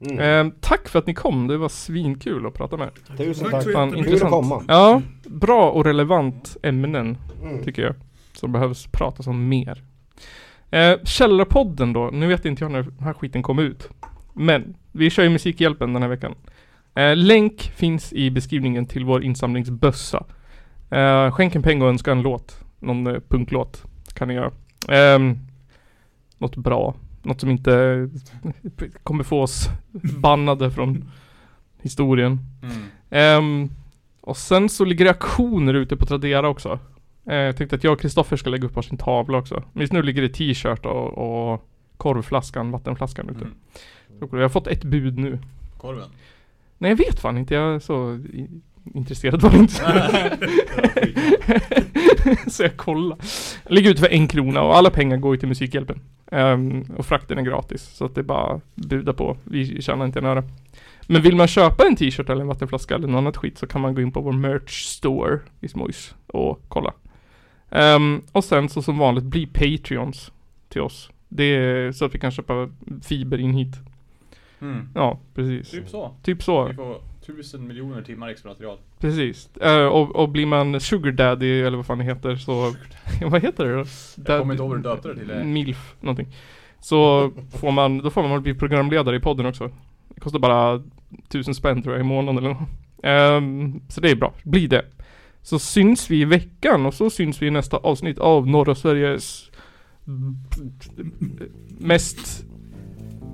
Speaker 4: Mm.
Speaker 3: Ehm, tack för att ni kom, det var svinkul att prata med er.
Speaker 4: Tusen
Speaker 5: Tack
Speaker 4: tack.
Speaker 5: så
Speaker 3: Fan,
Speaker 5: jättemycket.
Speaker 3: intressant.
Speaker 4: Kul att komma.
Speaker 3: Ja, bra och relevant ämnen
Speaker 4: Mm.
Speaker 3: tycker jag. Som behövs pratas om mer. Ehm, Eh, Källarpodden då, nu vet inte jag när den här skiten kom ut. Men, vi kör ju Musikhjälpen den här veckan. Eh, länk finns i beskrivningen till vår insamlingsbössa. Eh, skänk en peng och önska en låt. Någon eh, punklåt kan ni göra. Ehm, något bra. Något som inte kommer få oss bannade från historien.
Speaker 2: Mm.
Speaker 3: Ehm, och sen så ligger det auktioner ute på Tradera också. Eh, jag tänkte att jag och Kristoffer ska lägga upp varsin tavla också. Men just nu ligger det t-shirt och, och korvflaskan, vattenflaskan ute.
Speaker 2: Mm.
Speaker 3: Jag har fått ett bud nu.
Speaker 2: Korven.
Speaker 3: Nej jag vet fan inte, jag är så i- intresserad var jag inte. så jag kollar. Jag ligger ute för en krona och alla pengar går ju till Musikhjälpen. Ehm, och frakten är gratis, så att det är bara att buda på. Vi tjänar inte en öre. Men vill man köpa en t-shirt eller en vattenflaska eller något annat skit så kan man gå in på vår merch store i Smojs och kolla. Ehm, och sen så som vanligt, bli Patreons till oss. Det är så att vi kan köpa fiber in hit.
Speaker 2: Mm.
Speaker 3: Ja, precis.
Speaker 2: Typ så.
Speaker 3: Typ så.
Speaker 2: Vi får tusen miljoner timmar extra material.
Speaker 3: Precis. Eh, och, och blir man sugar daddy eller vad fan det heter så... vad heter det då?
Speaker 2: Jag kommer inte ihåg vad du döpte det till. eh.
Speaker 3: Milf, någonting. Så får man, då får man bli programledare i podden också. Det kostar bara tusen spänn tror jag i månaden eller något. Ehm, Så det är bra, bli det. Så syns vi i veckan och så syns vi i nästa avsnitt av norra Sveriges mest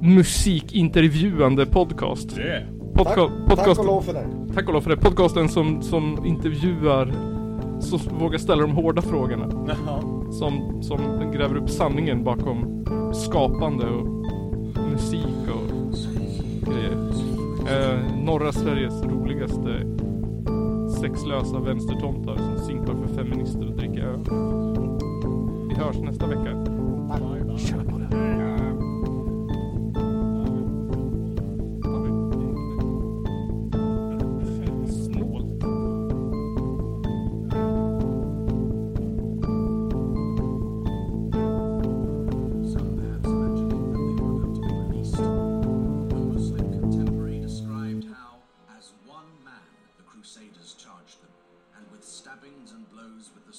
Speaker 3: musikintervjuande podcast.
Speaker 2: Det.
Speaker 3: Podca-
Speaker 4: Tack
Speaker 3: podcast.
Speaker 4: och lov för det.
Speaker 3: Tack och lov för det. Podcasten som, som intervjuar, som vågar ställa de hårda frågorna.
Speaker 2: Ja.
Speaker 3: Som, som gräver upp sanningen bakom skapande och musik och grejer. Eh, norra Sveriges roligaste sexlösa vänstertomtar som simpar för feminister och dricker öl. Vi hörs nästa vecka. Snål.
Speaker 10: Some bands mentioning that they were going to be released. One Muslim contemporary described how, as one man, the Crusaders charged them, and with stabbings and blows with the